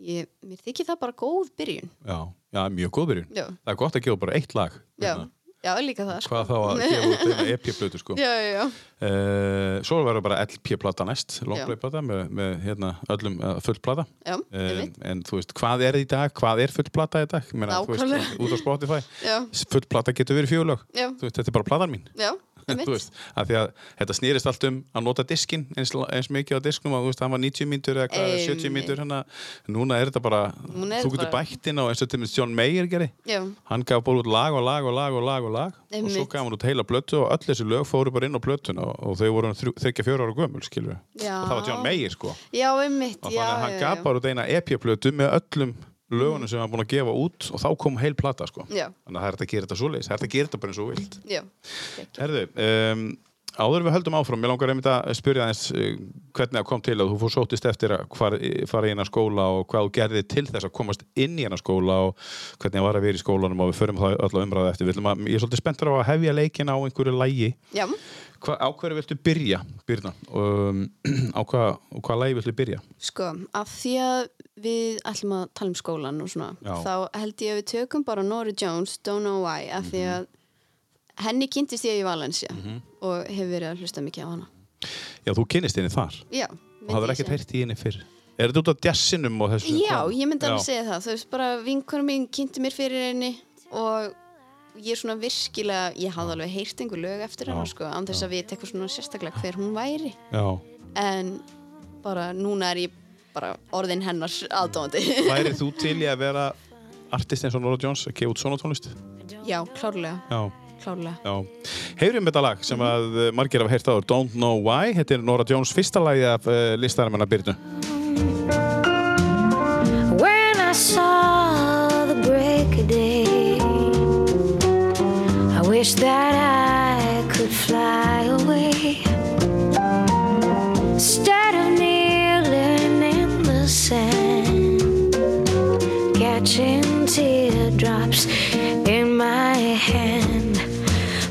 Speaker 3: ég, mér þykir það bara góð byrjun.
Speaker 1: já. Já, mjög góð byrjun.
Speaker 3: Já,
Speaker 1: Það er gott að gefa bara eitt lag.
Speaker 3: já,
Speaker 1: Hérna.
Speaker 3: já, líka það. sko.
Speaker 1: Hvað þá að gefa út eina EP-plötu, sko.
Speaker 3: Já, já, já.
Speaker 1: Uh, svo verður bara LP-plata næst, longplay-plata með, með hérna, öllum uh, fullplata.
Speaker 3: Já,
Speaker 1: Uh,
Speaker 3: einmitt.
Speaker 1: en þú veist, hvað er í dag? Hvað er fullplata í dag? Ég Meina, þú veist,
Speaker 3: Nákvæmlega.
Speaker 1: út á Spotify.
Speaker 3: Já.
Speaker 1: Fullplata getur verið fjólög.
Speaker 3: Já.
Speaker 1: Þú veist, þetta er bara platan mín.
Speaker 3: Já, einmitt.
Speaker 1: þú veist, af því að þetta snýrist allt um að nota diskin eins, eins mikið á disknum að þú veist, hann var 90 mínútur eða hvað, 70
Speaker 3: Einmitt.
Speaker 1: mínútur hérna, núna er þetta bara,
Speaker 3: Núna er
Speaker 1: þú
Speaker 3: þetta
Speaker 1: getur
Speaker 3: bara-
Speaker 1: bætt inn á eins og til minnst John Mayer gerði,
Speaker 3: Já,
Speaker 1: hann gaf bara út lag og lag og lag og lag og lag og svo
Speaker 3: Einmitt.
Speaker 1: gaf hann út heila blötu og öll þessi lög fóru bara inn á blötuna og, og þau voru þryggja fjóra ára gömul, skilur
Speaker 3: Já.
Speaker 1: og það var John Mayer sko og
Speaker 3: já, einmitt.
Speaker 1: þannig
Speaker 3: já,
Speaker 1: að hann
Speaker 3: já,
Speaker 1: gaf
Speaker 3: já. Mm.
Speaker 1: bara út eina EP-blötu með öllum lögunum sem hann var búin að gefa út og þá kom heil plata sko
Speaker 3: Já.
Speaker 1: þannig að það er hægt að gera þetta svoleiðis, það er hægt að gera þetta bara eins og þú vilt
Speaker 3: Já,
Speaker 1: Herðu, um, áður en við höldum áfram, ég langar einmitt að spyrja aðeins eh, hvernig það kom til að þú fór sóttist eftir að hvar, fara í hennar skóla og hvað þú gerði til þess að komast inn í hennar skóla og hvernig það var að vera í skólanum og við förum það öll á umræðu eftir. Við ætlum Að, ég er svolítið spenntur á að hefja leikin á einhverju lægi.
Speaker 3: já.
Speaker 1: Hva, á hverju viltu byrja, Byrna? Um, á hvað hva lægi viltu byrja?
Speaker 3: Sko, af því að við ætlum að tala um skólan og svona,
Speaker 1: Já.
Speaker 3: þá held ég að við tökum bara Nora Jones, Don't Know Why, af því
Speaker 1: Mhm.
Speaker 3: að henni kynntist ég í Valencia og hefur verið að hlusta mikið á hana.
Speaker 1: Já, þú kynnist henni þar.
Speaker 3: Já,
Speaker 1: Og hafður ekkert heyrt í henni fyrr. Er þetta út af jazzinum og þessu? sem
Speaker 3: Já,
Speaker 1: kom?
Speaker 3: ég myndi alveg
Speaker 1: Já.
Speaker 3: segja það, þú veist, bara vinkunum mín kynnti mér fyrir henni og ég svona virkilega, ég hafði alveg heyrt einhver lög eftir hana, sko, án þess að vita eitthvað svona sérstaklega hver hún væri.
Speaker 1: Já.
Speaker 3: en bara núna er ég bara orðin hennar aðdóndi
Speaker 1: Værið þú til í að vera artist eins og Nora Jones að gefa út svona tónlist?
Speaker 3: já, klárlega,
Speaker 1: Já,
Speaker 3: klárlega
Speaker 1: já. Heyrum þetta lag sem að uh, margir hafa heyrt áður, Don't Know Why. Þetta er Nora Jones fyrsta lagi af uh, listanum hennar Byrnu.
Speaker 4: When I saw the break of day, I wish that I could fly away. Instead of kneeling in the sand, catching teardrops in my hand,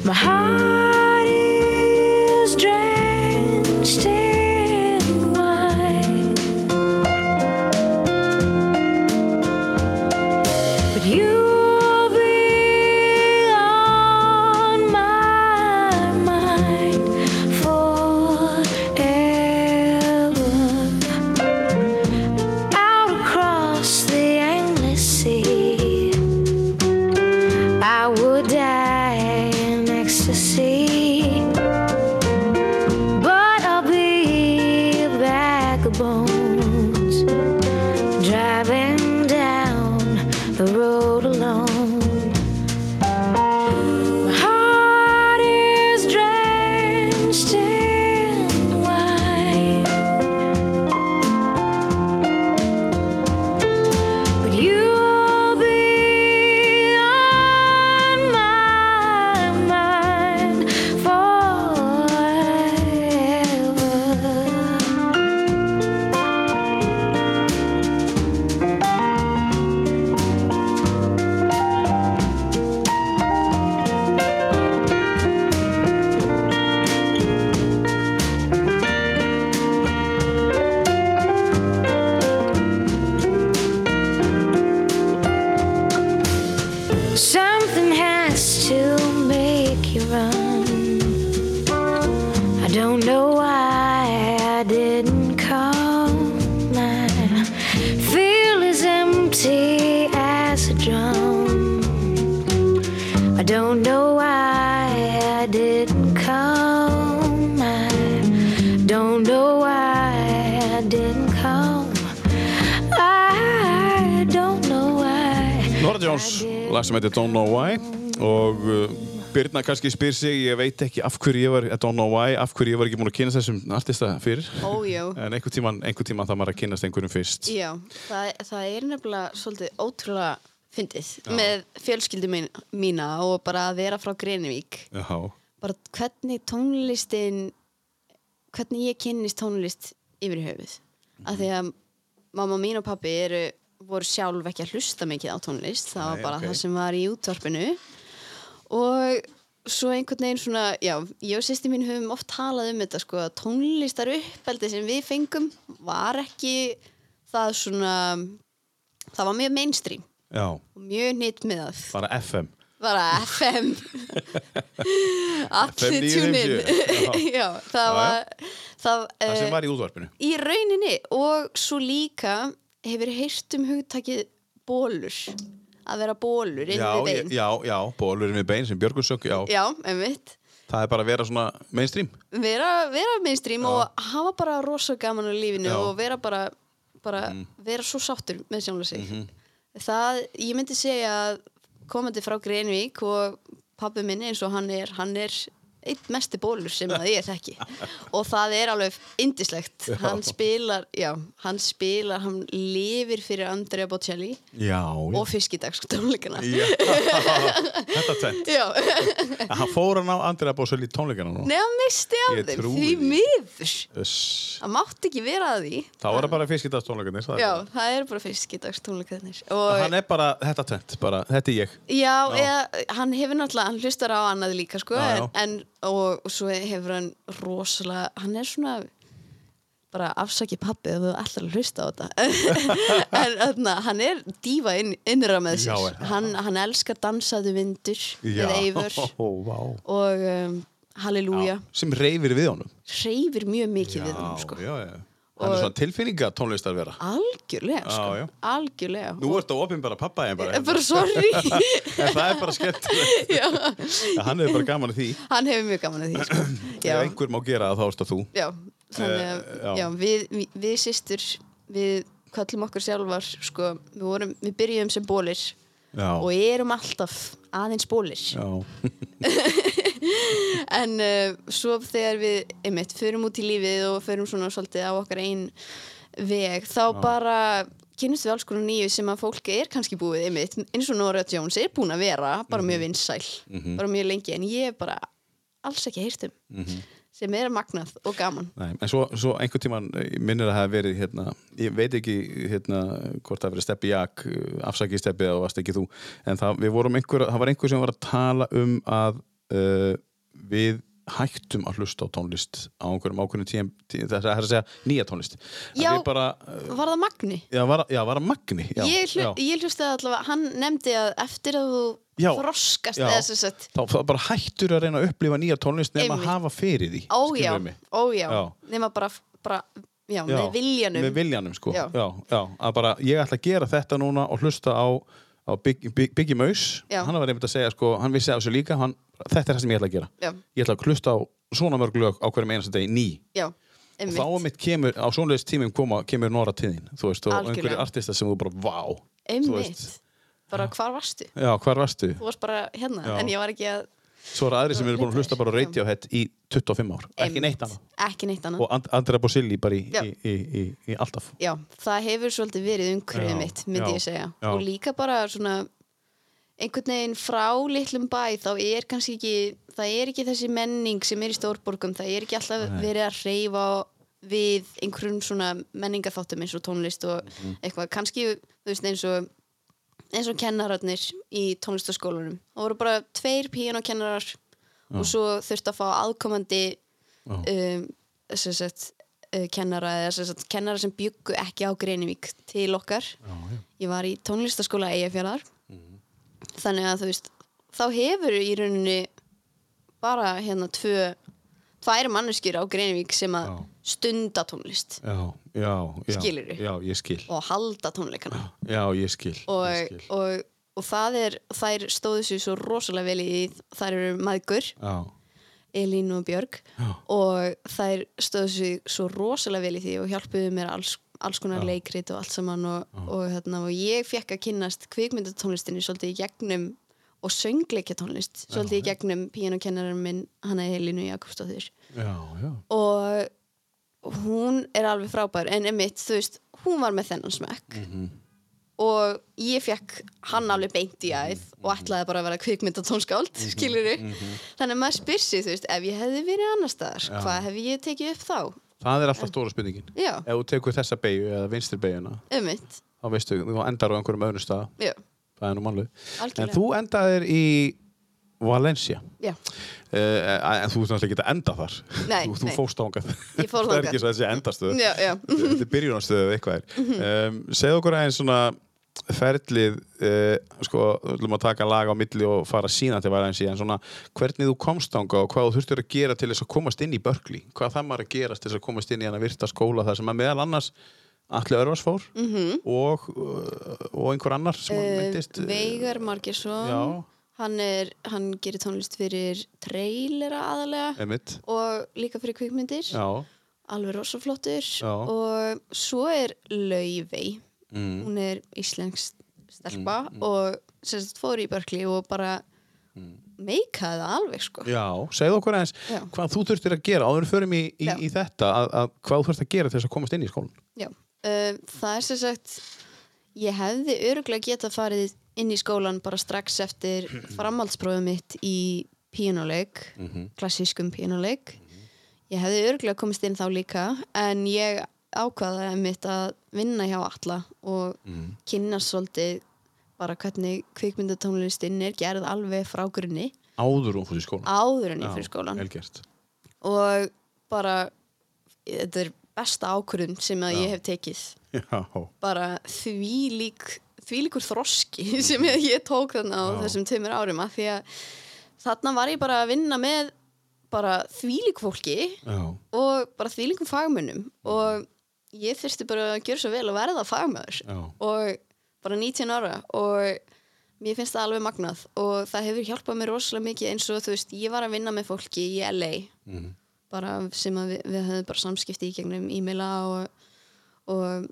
Speaker 4: my heart is drenched in wine. But you'll be on my mind forever. Out across the endless sea,
Speaker 1: Norah Jones, lag sem heitir Don't Know Why og uh, Birna kannski spyr sig, ég veit ekki af hverju ég var I Don't Know Why, af hverju ég var ekki múin að kynast þessum artista fyrir
Speaker 3: Ójó.
Speaker 1: en einhver tíman, einhver tíman það maður að kynast einhverjum fyrst
Speaker 3: Já, það, það er nefnilega svolítið ótrúlega fyndið með fjölskyldu mín, mína og bara að vera frá Greinivík
Speaker 1: Já,
Speaker 3: bara hvernig tónlistin hvernig ég kynnist tónlist yfir í höfuð af því að mamma mín og pappi eru, voru sjálf ekki að hlusta mikið á tónlist það
Speaker 1: Nei,
Speaker 3: var bara
Speaker 1: ok.
Speaker 3: það sem var í útvarpinu og svo einhvern veginn svona já, ég og sýsti mín höfum oft talað um þetta sko að tónlistar uppeldi sem við fengum var ekki það svona það var mjög mainstream
Speaker 1: já,
Speaker 3: og mjög nýtt með það
Speaker 1: bara FM
Speaker 3: bara FM allir tjúnin
Speaker 1: 950,
Speaker 3: já, það
Speaker 1: já.
Speaker 3: var það,
Speaker 1: það
Speaker 3: eh,
Speaker 1: sem var í útvarpinu
Speaker 3: í rauninni og svo líka hefur heyrt um hugtakið bólur að vera bólur inn
Speaker 1: Já,
Speaker 3: við
Speaker 1: ég-
Speaker 3: bein
Speaker 1: já, já, bólurinn við bein sem Björgun söng, já,
Speaker 3: já, einmitt
Speaker 1: það er bara að vera svona mainstream
Speaker 3: vera, vera mainstream og hafa bara rosa gaman á lífinu
Speaker 1: Já. Mm.
Speaker 3: og vera bara, bara vera svo sáttur með sjálfur sig
Speaker 1: Mhm.
Speaker 3: það, ég myndi segja að komandi frá Greinvík og pabbi minn eins og hann er hann er eitt mesti bólur sem að ég þekki og það er alveg indislegt, hann spilar já, hann spilar, hann lifir fyrir Andrea Bocelli
Speaker 1: Já,
Speaker 3: og fiskidagstónleikana
Speaker 1: já. Þetta tvennt
Speaker 3: já,
Speaker 1: Hann fór hann á Andrea Bósöli tónleikana nú
Speaker 3: neðan misti
Speaker 1: Ég
Speaker 3: af þeim
Speaker 1: trúi
Speaker 3: því
Speaker 1: því.
Speaker 3: miður
Speaker 1: Uss.
Speaker 3: það mátti ekki vera að því
Speaker 1: Þá er það bara fiskidagstónleikarnir það er
Speaker 3: Já,
Speaker 1: bara-
Speaker 3: það eru bara fiskidagstónleikarnir
Speaker 1: Og
Speaker 3: og
Speaker 1: Hann er bara, þetta tvennt, bara, þetta er ég
Speaker 3: já, Eða, hann hefur náttúrulega hann hlustar á annað líka sko
Speaker 1: Já, já.
Speaker 3: En, en, og, og svo hefur hann rosalega hann er svona bara afsaki pappi ef þú ætlar að hlusta á þetta en öðna, hann er dífa inn, innra
Speaker 1: Já, er
Speaker 3: með sér
Speaker 1: það?
Speaker 3: hann, hann elskar dansaðu vindur með Eivör
Speaker 1: Ó, vá.
Speaker 3: og um, Halleluja
Speaker 1: Sem reyfir við honum
Speaker 3: hreyfir mjög mikið við hann sko.
Speaker 1: já, já Hann er
Speaker 3: Og-
Speaker 1: svona tilfinninga tónlistar vera
Speaker 3: algjörlega sko.
Speaker 1: Já, já.
Speaker 3: algjörlega
Speaker 1: Nú ertu á opinn bara pappa en bara, hérna.
Speaker 3: og, bara sorry
Speaker 1: en það er bara skemmtilegt
Speaker 3: Já.
Speaker 1: Hann hefur bara gaman af því
Speaker 3: hann hefur mjög gaman að því sko. já,
Speaker 1: Ef einhver má gera það, þá ertu þú
Speaker 3: já, þannig að
Speaker 1: Eh, já.
Speaker 3: já. við, við, við sýstur við kallum okkur sjálfar sko, við, vorum, við byrjum sem bólir
Speaker 1: Já,
Speaker 3: og erum alltaf aðeins bólir
Speaker 1: já.
Speaker 3: en uh, svo þegar við einmitt, förum út í lífið og förum svona svolítið á okkar einn veg þá bara kynnumst við alls konar nýju sem að fólk er kannski búið einmitt, eins og Nora Jones er búin að vera bara
Speaker 1: Mhm.
Speaker 3: mjög vinsæl, bara mjög lengi en ég er bara alls ekki heyrt um
Speaker 1: Mhm.
Speaker 3: sem er magnað og gaman
Speaker 1: Nei, en svo, svo einhvern tíman minnir að það hafi verið hérna, ég veit ekki hérna, hvort það hafi verið steppi jak afsaki steppi eða varst ekki þú en það, við vorum einhver, það var einhver sem var að tala um að uh, við hættum að hlusta á tónlist á einhverjum ákveðnum tíum, tí, það er að segja nýja tónlist Að
Speaker 3: Já.
Speaker 1: við bara, uh,
Speaker 3: Var það magni?
Speaker 1: já, var, já, var að magni já,
Speaker 3: ég, hlu,
Speaker 1: já,
Speaker 3: ég hlustaði allavega, hann nefndi að eftir að þú
Speaker 1: Já.
Speaker 3: þroskast
Speaker 1: Já.
Speaker 3: eða sem sagt
Speaker 1: þá, þá bara hættur að reyna að upplifa nýja tónlist nema
Speaker 3: Einmitt.
Speaker 1: að hafa fyrir því skilurðu
Speaker 3: ójá,
Speaker 1: mig?
Speaker 3: ójá,
Speaker 1: Já.
Speaker 3: nema bara, bara
Speaker 1: Já,
Speaker 3: já, með viljanum
Speaker 1: með viljanum sko. já.
Speaker 3: Já.
Speaker 1: Já, að bara ég ætla að gera þetta núna og hlusta á, á Big- Big- Biggie Maus
Speaker 3: Já.
Speaker 1: hann var einmitt að segja, sko, hann vissi af þessu líka hann, þetta er það sem ég ætla að gera
Speaker 3: Já.
Speaker 1: ég ætla að hlusta á svona mörg lög á hverjum einasta degi ný
Speaker 3: já,
Speaker 1: og
Speaker 3: einmitt,
Speaker 1: þá mitt kemur, á svoleiðis tímum koma, kemur Nora til þín, þú veist, og
Speaker 3: Algjörlega.
Speaker 1: einhverju artista sem þú bara, vá, þú
Speaker 3: einmitt.
Speaker 1: veist
Speaker 3: bara hvar varstu?
Speaker 1: já, hvar varstu?
Speaker 3: þú varst bara hérna,
Speaker 1: Já.
Speaker 3: en ég var ekki að
Speaker 1: Svo eru aðri sem eru búin að hlusta bara á
Speaker 3: Já.
Speaker 1: Radiohead í 25 ár, ekki neitt annað
Speaker 3: ekki neitt annað
Speaker 1: og And- Andrea Bosilli bara í,
Speaker 3: Já.
Speaker 1: í, í, í, í alltaf
Speaker 3: já, það hefur svolítið verið umhverfið
Speaker 1: Já,
Speaker 3: mitt, myndi
Speaker 1: já,
Speaker 3: ég segja
Speaker 1: já.
Speaker 3: og líka bara svona einhvern veginn frá litlum bæ þá er kannski ekki, það er ekki þessi menning sem er í stórborgum, það er ekki alltaf verið að hreyfa við einhverjum svona menningarþáttum eins og tónlist og
Speaker 1: Mhm.
Speaker 3: eitthvað, kannski þú veist eins og eins og kennararnir í tónlistaskólanum það voru bara tveir píanokennarar og svo þurfti að fá aðkomandi um, sem sagt uh, kennara eða sem sagt kennara sem byggu ekki á Greinivík til okkar ég var í tónlistaskóla Eyjafjallar
Speaker 1: Mhm.
Speaker 3: þannig að þú veist þá hefur í rauninni bara hérna tvö tvær manneskjur á Greinivík sem að
Speaker 1: Já.
Speaker 3: stunda tónlist
Speaker 1: Já, já, já.
Speaker 3: Skilurðu?
Speaker 1: Já, ég skil.
Speaker 3: og halda tónleikana
Speaker 1: Já, ég skil. ég
Speaker 3: og,
Speaker 1: skil.
Speaker 3: og, og það er þær stóðu sér svo rosalega vel í því. þær eru maðgur,
Speaker 1: Já,
Speaker 3: Elín og Björg
Speaker 1: Já.
Speaker 3: og þær stóðu sér svo rosalega vel í því og hjálpuðu mér alls alls konar leikrit og allt saman og, og, hérna, og ég fekk að kynnast kvikmyndatónlistinni svolítið í gegnum og söngleikjatónlist svolítið í gegnum píanokennarinn minn hann er Helinu Jakobsdóttir
Speaker 1: Já, já.
Speaker 3: og hún er alveg frábær en emitt, þú veist, hún var með þennan smekk og ég fekk hann alveg beint í æð og ætlaði bara að vera kvikmyndatónskáld mm -hmm. skilur þannig að maður spyr sig, þú veist, ef ég hefði verið annar staðar hvað hefði ég tekið upp þá
Speaker 1: Það er alltaf stóra spurningin.
Speaker 3: já,
Speaker 1: Ef þú tekur þessa beigju eða vinstri beigjuna,
Speaker 3: emitt,
Speaker 1: þá veistu, þú endar á einhverjum öðrum stað.
Speaker 3: já,
Speaker 1: Það er nú mannleg. En
Speaker 3: Algjörlega.
Speaker 1: þú endaðir í Valencia.
Speaker 3: já
Speaker 1: Uh, en þú ert náttúrulega ekki að enda þar.
Speaker 3: Nei,
Speaker 1: þú, þú
Speaker 3: nei.
Speaker 1: fóst ángað.
Speaker 3: Ég fór
Speaker 1: það er
Speaker 3: þangað.
Speaker 1: ekki svo þessi endastöð. Eh,
Speaker 3: já, já Mhm.
Speaker 1: þetta er byrjunarstöðu eða eitthvað er um, segð okkur aðeins svona ferlið uh, sko, við ætlum að taka lag á milli og fara sína til aðeins í en svona, hvernig þú komst ánga og hvað þú þurftir að gera til þess að komast inn í börkli, hvað það maður að gerast til þess að komast inn í hana virta skóla þar sem að meðal annars Alli Örvars fór -hmm. og, uh, og einhver annar sem hann
Speaker 3: Mhm. Eh,
Speaker 1: myndist
Speaker 3: Veigar Margersson
Speaker 1: Já.
Speaker 3: hann, er, hann gerir tónlist fyrir trailera aðalega
Speaker 1: Emmitt
Speaker 3: og líka fyrir kvikmyndir
Speaker 1: Já,
Speaker 3: alveg rosaflottur
Speaker 1: Já.
Speaker 3: og svo er Laufey hún er íslensk stelpa og sem sagt fór í Berkli og bara meikaði það alveg sko
Speaker 1: já, segð okkur aðeins
Speaker 3: Já.
Speaker 1: hvað þú þurftir að gera, áður en við förum í, í,
Speaker 3: Já.
Speaker 1: í þetta að, að hvað þú þurftir að gera til þess að komast inn í skólan
Speaker 3: Já, uh, það er sem sagt ég hefði öruglega getað farið inn í skólan bara strax eftir framhaldsprófið mitt í píanuleik,
Speaker 1: Mhm.
Speaker 3: klassískum píanuleik ég hefði öruglega komist inn þá líka en ég ákvaða mitt að vinna hjá alla og
Speaker 1: Mhm.
Speaker 3: kynnast svolítið bara hvernig kvikmyndatónlistinn er gerð alveg frá grunni
Speaker 1: áður og fyrir skólan
Speaker 3: áður en ég
Speaker 1: Já,
Speaker 3: fyrir skólan
Speaker 1: vel gert.
Speaker 3: og bara þetta er besta ákvörðum sem að ég hef tekið
Speaker 1: Já,
Speaker 3: bara þvílík þvílíkur þroski sem ég, ég tók þarna á
Speaker 1: Já.
Speaker 3: þessum tveimur árum af því að þarna var ég bara að vinna með bara þvílík fólki
Speaker 1: já,
Speaker 3: og bara þvílíkum fagmönnum og ég þurfti bara að gjöra svo vel að verða fagmöður
Speaker 1: já.
Speaker 3: og bara 19 ára og mér finnst það alveg magnað og það hefur hjálpað mér rosalega mikið eins og þú veist, ég var að vinna með fólki í LA
Speaker 1: Mm.
Speaker 3: bara sem að við, við höfum bara samskipti í gegnum e-maila og, og,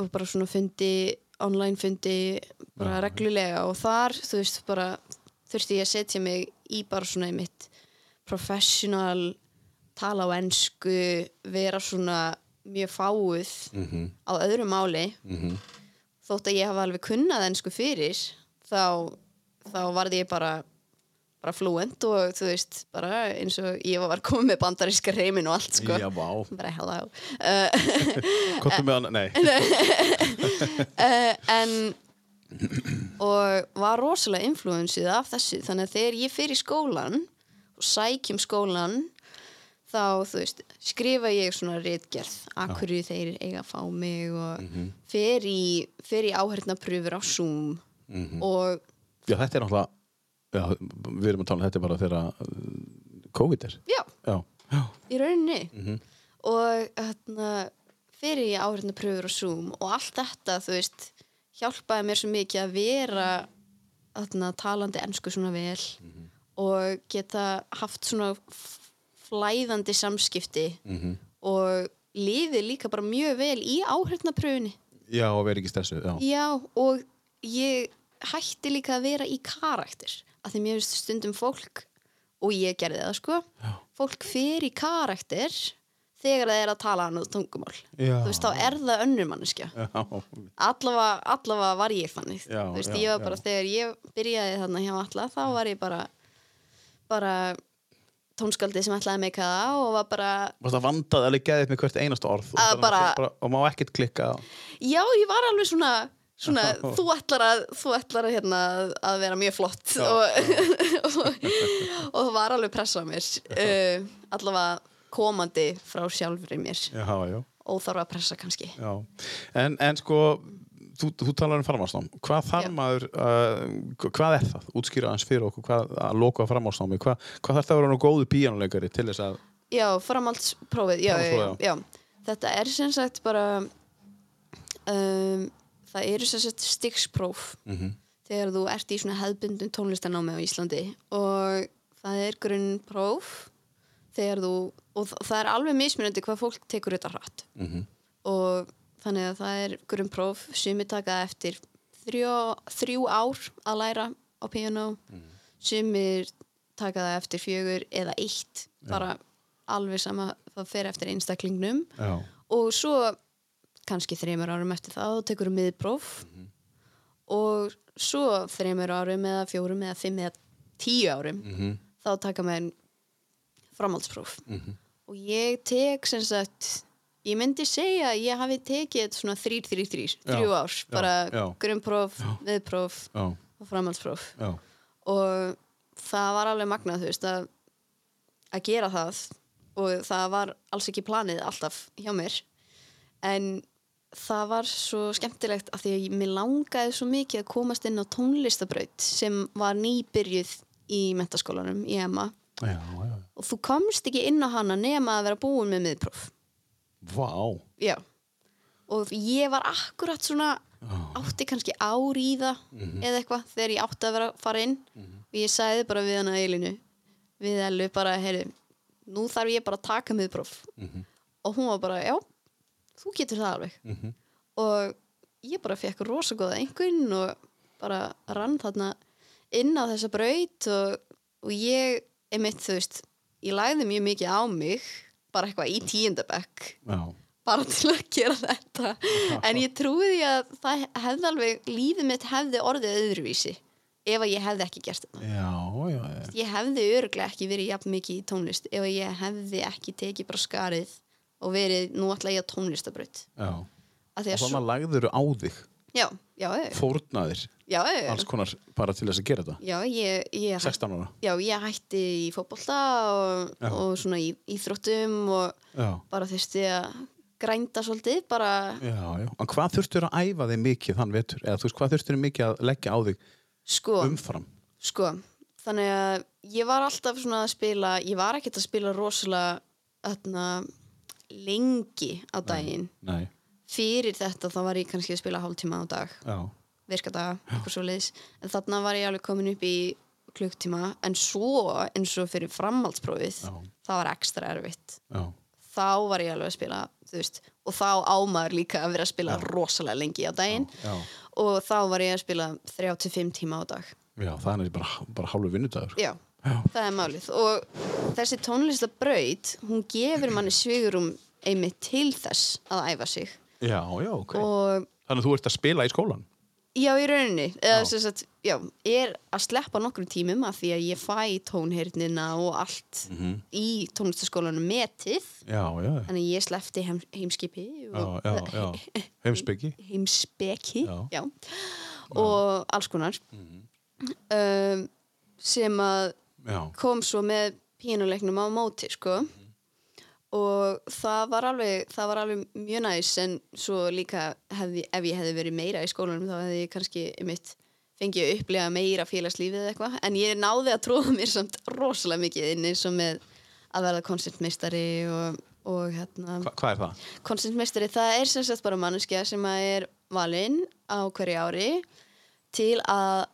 Speaker 3: og bara svona fundi online fundi bara reglulega og þar þú veist bara þurfti ég að setja mig í bara svona í mitt professional tala á ensku vera svona mjög fáuð á öðru máli þótt að ég hafa alveg kunnað ensku fyrir þá, þá varði ég bara bara fluent og þú veist bara eins og ég var komið með bandaríska reymin og allt sko
Speaker 1: Já, vá.
Speaker 3: bara hello
Speaker 1: Kottum við hann, nei.
Speaker 3: Eh, en og var rosalega influensið af þessu þannig að þegar ég fer í skólan og sækjum skólan þá þú veist, skrifa ég svona rétgerð, að hverju þeir eiga að fá mig og fer í, fer í áhörnapröfur á Zoom og
Speaker 1: Já, þetta er náttúrulega, já, við erum að tala um þetta bara þegar uh, COVID er.
Speaker 3: já,
Speaker 1: Já, já,
Speaker 3: í rauninni og hérna fyrir ég áhrifna pröfur og Zoom og allt þetta, þú veist hjálpaði mér svo mikið að vera þarna, talandi ennsku svona vel og geta haft svona f- flæðandi samskipti og lífið líka bara mjög vel í áhrifna pröfunni
Speaker 1: já, og verið ekki stressuð, já.
Speaker 3: Já, og ég hætti líka að vera í karakter að því mér finnst stundum fólk og ég gerði það sko fólk fer í karakter þegar það er að tala annað tungumál
Speaker 1: Já.
Speaker 3: þú veist, þá er það önnur manneskja
Speaker 1: Já,
Speaker 3: allavega, allavega var ég þannig
Speaker 1: Já,
Speaker 3: þú veist,
Speaker 1: já,
Speaker 3: ég var bara,
Speaker 1: já.
Speaker 3: þegar ég byrjaði þarna hjá alla, þá var ég bara bara tónskaldið sem ætlaði að meika það og var bara,
Speaker 1: Varst það vandað alveg geðið með hvert einasta orð og,
Speaker 3: Að
Speaker 1: þannig
Speaker 3: bara-
Speaker 1: bara, og má ekkert klikka á.
Speaker 3: já, ég var alveg svona svona, þú ætlar að þú ætlar að, hérna, að vera mjög flott og, og, og það var alveg pressa á mér uh, allavega komandi frá sjálfri mér
Speaker 1: Já, já,
Speaker 3: óþarfa pressa kannski
Speaker 1: já. En, en sko, þú, þú talar um framhásnám. Hvað þarf
Speaker 3: Já.
Speaker 1: maður, uh, hvað er það? Útskýra aðeins fyrir okkur, hvað að loka framhásnámi, hvað, hvað þarf það að vera nú góðu píanuleikari til þess að,
Speaker 3: Já, framhaldsprófið já, já, já,
Speaker 1: Framhaldsprófið,
Speaker 3: já. Þetta er sem sagt bara um, það eru sem sagt stigspróf -hmm. þegar þú ert í svona hefðbundum tónlistanámi á Íslandi og það er grunnpróf þegar þú og þa- það er alveg mismunandi hvað fólk tekur þetta hratt -hmm. og þannig að það er grunmpróf sumi taka eftir þrjó, þrjú ár að læra á piano sumir taka það eftir fjögur eða eitt bara alveg sama það fer eftir einstaklingnum
Speaker 1: Já.
Speaker 3: og svo kannski þreymur árum eftir það þá tekur þú miðpróf
Speaker 1: Mhm.
Speaker 3: og svo þreymur árum eða fjórum eða fimm eða tíu árum
Speaker 1: Mhm.
Speaker 3: þá taka maður framhaldspróf og ég tek sem sagt ég myndi segja að ég hafi tekið svona þrýr, þrýr, þrýr,
Speaker 1: Já,
Speaker 3: þrjú ár
Speaker 1: já,
Speaker 3: bara
Speaker 1: já.
Speaker 3: grunnpróf, miðpróf
Speaker 1: Já.
Speaker 3: og framhaldspróf
Speaker 1: Já.
Speaker 3: og það var alveg magnað þú veist að, að gera það og það var alls ekki planið alltaf hjá mér en það var svo skemmtilegt að því að ég- mér langaði svo mikið að komast inn á tónlistabraut sem var nýbyrjuð í mentaskólanum í EMA
Speaker 1: Já, já.
Speaker 3: og þú komst ekki inn á hana nema að vera búin með miðpróf
Speaker 1: Vá.
Speaker 3: já og ég var akkurat svona átti kannski ár í það eða eitthvað þegar ég átti að vera að fara inn og ég sagði bara við hana Eilinu við Ellu bara, heyrðu nú þarf ég bara að taka miðpróf og hún var bara, já þú getur það alveg
Speaker 1: Mhm.
Speaker 3: og ég bara fekk rosa góða einhvern og bara rann þarna inn á þessa braut og, og ég, einmitt þú veist ég lagði mjög mikið á mig bara eitthvað í tíundabekk
Speaker 1: Já.
Speaker 3: bara til að gera þetta en ég trúi því að það hefði alveg lífið mitt hefði orðið öðruvísi ef að ég hefði ekki gert þetta
Speaker 1: Já, já, já.
Speaker 3: ég hefði öruglega ekki verið jafn mikið í tónlist ef að ég hefði ekki tekið bara skarið og verið nú ætla ég að tónlistabraut
Speaker 1: já.
Speaker 3: að því
Speaker 1: Og
Speaker 3: að svo, Eh,
Speaker 1: þannig lagður á þig,
Speaker 3: já, já, já,
Speaker 1: fórnaðir,
Speaker 3: já, já,
Speaker 1: alls konar bara til þess að gera þetta.
Speaker 3: eh. já ég, ég,
Speaker 1: 16 ára.
Speaker 3: já, ég hætti í fótbolta og,
Speaker 1: Já.
Speaker 3: og svona í íþróttum og
Speaker 1: Já.
Speaker 3: bara þurfti að grænda svolítið, bara
Speaker 1: Já, já. En hvað þurftur að æfa þig mikið þann vetur? Eða þú veist, hvað þurftur mikið að leggja á þig
Speaker 3: sko
Speaker 1: umfram?
Speaker 3: Sko, þannig að ég var alltaf svona að spila, ég var ekkert að spila rosalega öðna, lengi á daginn.
Speaker 1: Nei.
Speaker 3: Fyrir þetta þá var ég kannski að spila hálftíma á dag,
Speaker 1: Já.
Speaker 3: virka dag, eitthvað svo leiðis. En þarna var ég alveg komin upp í klukktíma, en svo eins og fyrir framhaldsprófið,
Speaker 1: Já.
Speaker 3: það var ekstra erfitt.
Speaker 1: Já.
Speaker 3: Þá var ég alveg að spila, þú veist, og þá ámaður líka að vera að spila rosalega lengi á daginn.
Speaker 1: Já.
Speaker 3: Og þá var ég að spila 3-5 tíma á dag.
Speaker 1: Já, það er bara, bara hálfu vinnudagur.
Speaker 3: Já,
Speaker 1: Já.
Speaker 3: það er málið og þessi tónlistabraut hún gefur manni svigurum einmitt til þess að æfa sig
Speaker 1: Já, já, ok.
Speaker 3: og
Speaker 1: Þannig að þú ert að spila í skólan?
Speaker 3: já í rauninni eða,
Speaker 1: Já.
Speaker 3: sem sagt, já, er að sleppa nokkrum tímum af því að ég fæ tónheyrnina og allt
Speaker 1: Mhm.
Speaker 3: í tónlistaskólanum metið
Speaker 1: Já, já, já.
Speaker 3: þannig að ég sleppti heim, heimskipi
Speaker 1: já,
Speaker 3: og
Speaker 1: já, já. heimspeki
Speaker 3: heimspeki
Speaker 1: Já. Mhm.
Speaker 3: Já. og alls konar um, sem að
Speaker 1: já,
Speaker 3: kom svo með pínuleiknum á móti sko og það var alveg það var alveg mjög næs en svo líka hefði, ef ég hefði verið meira í skólanum þá hefði ég kannski mitt fengið að upplega meira félagslífið eða eitthvað en ég náði að tróða mér samt rosalega mikið inn eins og með að verða koncertmeistari og, og hérna
Speaker 1: Hva, hvað er það?
Speaker 3: Konstantmeistari, það er sem sagt bara manneskja sem að er valinn á hverju ári til að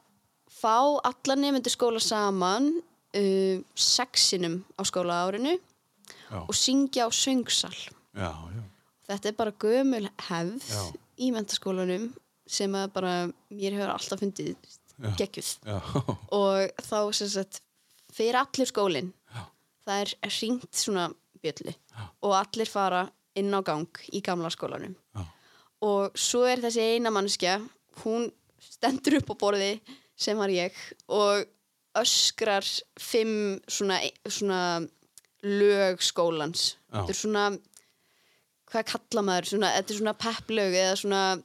Speaker 3: fá alla nefndu skóla saman uh, sexinum á skóla árinu
Speaker 1: Já,
Speaker 3: og syngja á söngsal.
Speaker 1: já, já,
Speaker 3: Þetta er bara gömul hefð
Speaker 1: Já.
Speaker 3: í mentaskólanum sem að bara mér hefur alltaf fundið
Speaker 1: Já.
Speaker 3: geggjuð
Speaker 1: já,
Speaker 3: og þá sem sagt fyrir allir skólinn
Speaker 1: Já.
Speaker 3: það er hringt svona bjöllu og allir fara inn á gang í gamla skólanum
Speaker 1: Já.
Speaker 3: og svo er þessi eina mannskja hún stendur upp á borði sem var ég og öskrar fimm svona, svona lög skólans
Speaker 1: Já.
Speaker 3: þetta er svona hvað kalla maður, svona, þetta er svona pepplög eða svona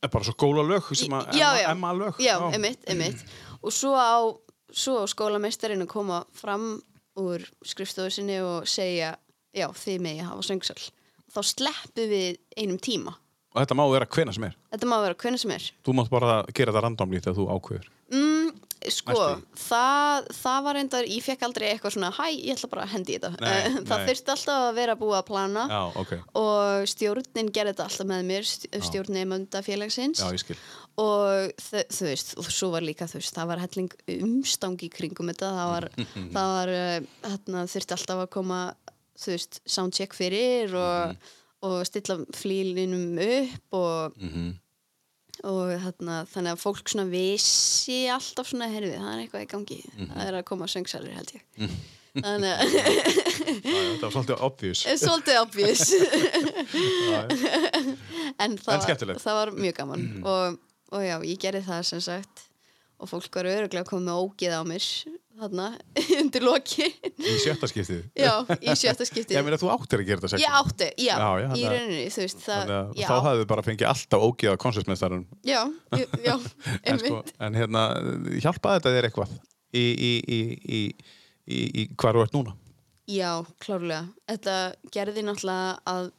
Speaker 1: Er bara svo góla lög sem að
Speaker 3: Já, já.
Speaker 1: emma Mm. lög
Speaker 3: já, emitt, emitt og svo á, svo á skólameistarinn að koma fram úr skrifstofu sinni og segja já, þið megi hafa söngsal þá sleppu við einum tíma
Speaker 1: Og þetta má vera hvena sem er
Speaker 3: þetta má vera hvernig sem er
Speaker 1: Þú mátt bara gera það randomlít að þú ákveður
Speaker 3: mm, sko,
Speaker 1: Næstu
Speaker 3: það, það var reyndar ég fekk aldrei eitthvað svona, hæ, ég ætla bara að hendi í þetta
Speaker 1: Nei,
Speaker 3: það
Speaker 1: nei.
Speaker 3: þurfti alltaf að vera búið að plana
Speaker 1: Já, ok,
Speaker 3: og stjórnin gerði þetta alltaf með mér stjórnin emönda félagsins
Speaker 1: já, ég skil
Speaker 3: og þau- þú veist, og svo var líka þú veist, það var helling umstangi kringum þetta, það var, eh, það var uh, þarna þurfti alltaf að koma þú veist, soundcheck fyrir og, og stilla flílinum upp og, og þarna, þannig að fólk svona vissi alltaf svona herfið, það er eitthvað í gangi það er að koma söngsalir held ég þannig að
Speaker 1: Það var svolítið obvious.
Speaker 3: er svolítið obvious en
Speaker 1: En
Speaker 3: það, var,
Speaker 1: skemmtilegt.
Speaker 3: það var mjög gaman og, og já, ég gerði það sem sagt og fólk var öruglega komið með ógið á mér þarna undir loki
Speaker 1: Í sjötta skiptið.
Speaker 3: já, í sjötta skiptið
Speaker 1: Ég meina, þú áttir að gera þetta
Speaker 3: Ég
Speaker 1: sexið.
Speaker 3: átti, já,
Speaker 1: Já, já,
Speaker 3: í
Speaker 1: þannig að-
Speaker 3: rauninni, þú veist, það,
Speaker 1: Þannig að
Speaker 3: já,
Speaker 1: þá hafðu bara fengið alltaf ógeða koncertmestarum.
Speaker 3: já, já, já,
Speaker 1: En, sko,
Speaker 3: einmitt,
Speaker 1: en hérna, hjálpaði þetta þér eitthvað í, í, í, í, í, í hvar þú ert núna?
Speaker 3: já, klárlega, þetta gerði náttúrulega að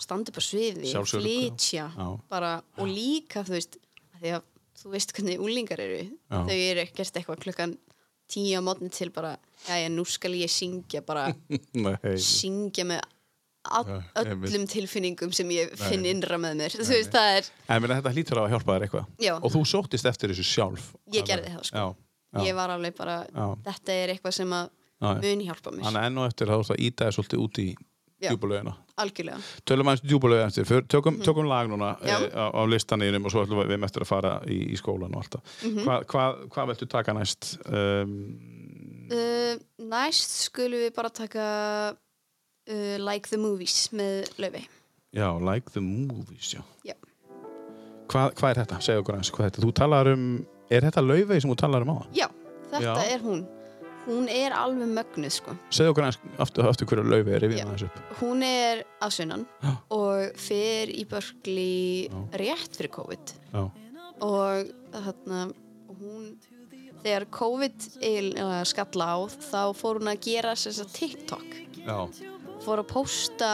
Speaker 3: standa upp á sviði,
Speaker 1: Sjálfsörugg, já.
Speaker 3: flytja,
Speaker 1: Já.
Speaker 3: bara, og líka, þú veist, að því að þú veist hvernig úlingar eru,
Speaker 1: Já.
Speaker 3: þau eru ekkert eitthvað klukkan tíu á mótni til bara, já, já, nú skal ég syngja, bara
Speaker 1: Nei.
Speaker 3: syngja með
Speaker 1: Já,
Speaker 3: all,
Speaker 1: einmitt.
Speaker 3: öllum tilfinningum sem ég finn
Speaker 1: Nei.
Speaker 3: innra með mér, þú veist, það er,
Speaker 1: En meina, þetta hlýtur á að hjálpa þér eitthvað.
Speaker 3: Já.
Speaker 1: Og þú sóttist eftir þessu sjálf.
Speaker 3: Ég gerði það, sko.
Speaker 1: Já, já.
Speaker 3: ég var alveg bara,
Speaker 1: Já.
Speaker 3: þetta er eitthvað sem að
Speaker 1: Já, já.
Speaker 3: mun hjálpa mér,
Speaker 1: Þannig að enn og eftir það þú ert að íta þér svolítið út í
Speaker 3: Já.
Speaker 1: djúbulögina.
Speaker 3: algjörlega.
Speaker 1: Tölum aðeins djúbulegu eftir, För, tökum, tökum lag núna e,
Speaker 3: Já.
Speaker 1: á, á listanýrinum og svo ætlum við við eftir að fara í, í skólan og alltaf.
Speaker 3: Mhm.
Speaker 1: Hvað hva, hva viltu taka næst? Um,
Speaker 3: Uh, næst skulum við bara taka uh, Like the Movies með Laufey.
Speaker 1: já, Like the Movies, já.
Speaker 3: Já.
Speaker 1: Hvað hva er þetta? Segðu okkur aðeins, hvað er þetta? Þú talar um, er þetta laufið sem þú talar um á það?
Speaker 3: Já, þetta
Speaker 1: Já.
Speaker 3: er hún. Hún er alveg mögnuð, sko.
Speaker 1: Segðu okkur aðeins aftur, aftur hverju laufið er, rifið
Speaker 3: Já.
Speaker 1: aðeins upp.
Speaker 3: Hún er að sunnan
Speaker 1: Já.
Speaker 3: og fer í börgli rétt fyrir COVID
Speaker 1: Já,
Speaker 3: og þarna, hún, þegar COVID eiginlega skall á þá fór hún að gera sem sagt TikTok.
Speaker 1: já,
Speaker 3: fór að pósta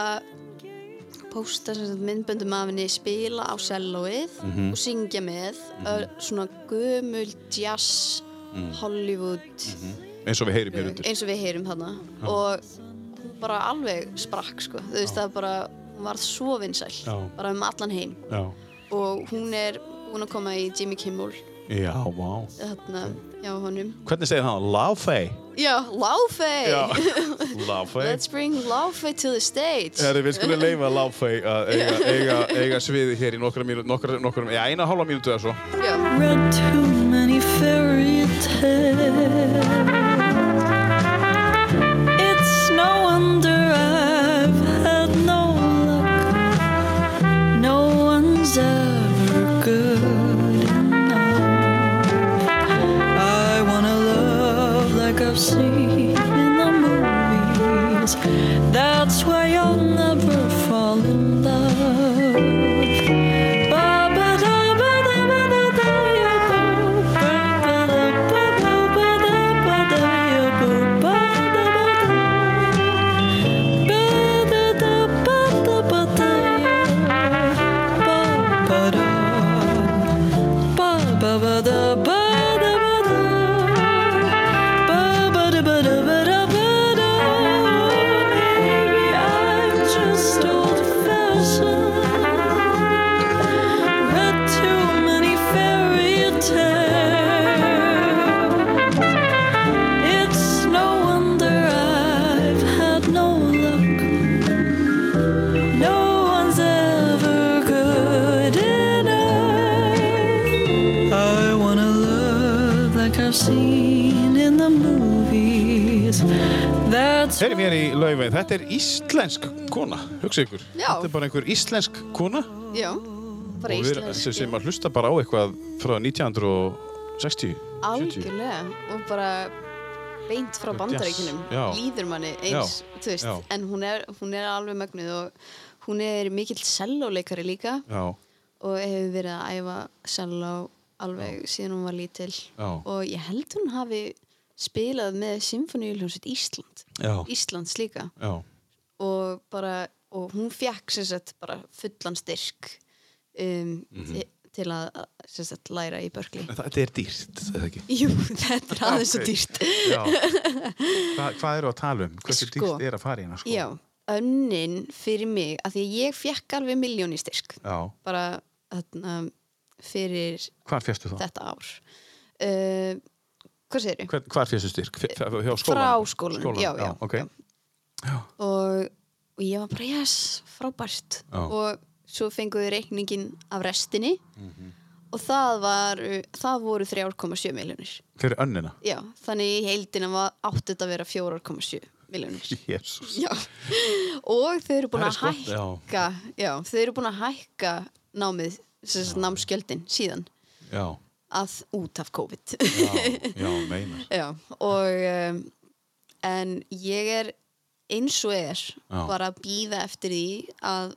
Speaker 3: pósta sem sagt myndböndum af henni spila á sellóið
Speaker 1: Mhm.
Speaker 3: og syngja með mm svona gömul jazz Hollywood
Speaker 1: eins og við heyrim hér Mhm. undir.
Speaker 3: eins og við heyrum þarna og hún bara alveg sprakk sko þú veist það bara, hún varð svo vinsæl
Speaker 1: Já.
Speaker 3: bara um allan heim
Speaker 1: Já,
Speaker 3: og hún er búin að koma í Jimmy Kimmel
Speaker 1: já, vá. Mhm.
Speaker 3: þarna, já honum
Speaker 1: Hvernig segir það? Laufey?
Speaker 3: já, Laufey
Speaker 1: Laufey.
Speaker 3: let's bring Laufey to the stage
Speaker 1: Herri, við skulum leifa Láfey að eiga, eiga, eiga sviði hér í nokkra mínútur, nokkra, nokkra, já, eina og hálfa mínútu eða svo.
Speaker 3: já
Speaker 5: read too many fairy tales. It's no wonder I've had no luck. No one's ever good enough. I wanna love like I've seen in the movies. That's why I'll never fall in love. Maybe I'm just old-fashioned read too many fairy tales. It's no wonder I've had no luck. No one's ever good enough. I wanna love like I've seen in the movies. That's
Speaker 1: Heyrim hér í Laufey, þetta er íslensk kona, hugsa ykkur.
Speaker 3: Já.
Speaker 1: Þetta er bara einhver íslensk kona
Speaker 3: Já, bara
Speaker 1: og við, sem,
Speaker 3: íslensk
Speaker 1: sem að hlusta bara á eitthvað frá 1960, 70.
Speaker 3: Algjörlega og bara beint frá bandaríkinum
Speaker 1: Yes, já.
Speaker 3: líður manni eins þú veist,
Speaker 1: já.
Speaker 3: en hún er, hún er alveg mögnuð og hún er mikill sellóleikari líka
Speaker 1: Já,
Speaker 3: og hefur verið að æfa selló alveg síðan hún var lítil
Speaker 1: Já.
Speaker 3: og ég held hún hafi spilað með Symfóniuljónsveit Ísland
Speaker 1: já,
Speaker 3: Íslands líka
Speaker 1: já,
Speaker 3: og bara og hún fekk sem sagt bara fullan styrk um,
Speaker 1: Mhm.
Speaker 3: ti- til að sem sagt læra í börgli
Speaker 1: En Þetta er dýrt, er það ekki?
Speaker 3: Jú, þetta er aðeins svo dýrt
Speaker 1: Já. Hva, hvað eru að tala um? Hversu
Speaker 3: Sko.
Speaker 1: dýrt er að fara í hana? Sko?
Speaker 3: Já, önnin fyrir mig að því að ég fekk alveg miljón í styrk
Speaker 1: já.
Speaker 3: bara þarna, fyrir
Speaker 1: Hvar fjastu það?
Speaker 3: þetta ár uh, Hvað segir
Speaker 1: Hver, hvar fjastu styrk? F- f- Hjá skólanum?
Speaker 3: Frá skólanum, já, já,
Speaker 1: já, ok.
Speaker 3: já. og og ég var bara yes, frábært
Speaker 1: Já.
Speaker 3: og svo fengum við reikningin af restinni
Speaker 1: Mhm.
Speaker 3: og það, var, það voru 3,7 miljonir
Speaker 1: Fyrir önnina.
Speaker 3: já, þannig í heildina var átti þetta að vera 4,7 miljonir
Speaker 1: Jésús.
Speaker 3: já, og þau eru
Speaker 1: Það
Speaker 3: búin
Speaker 1: er
Speaker 3: að
Speaker 1: skott, já.
Speaker 3: hækka já, þau eru búin að hækka námið, sem sagt námskjöldin síðan
Speaker 1: Já,
Speaker 3: að út af COVID
Speaker 1: já, já, meinar.
Speaker 3: Já, og um, en ég er eins og er bara að býða eftir því að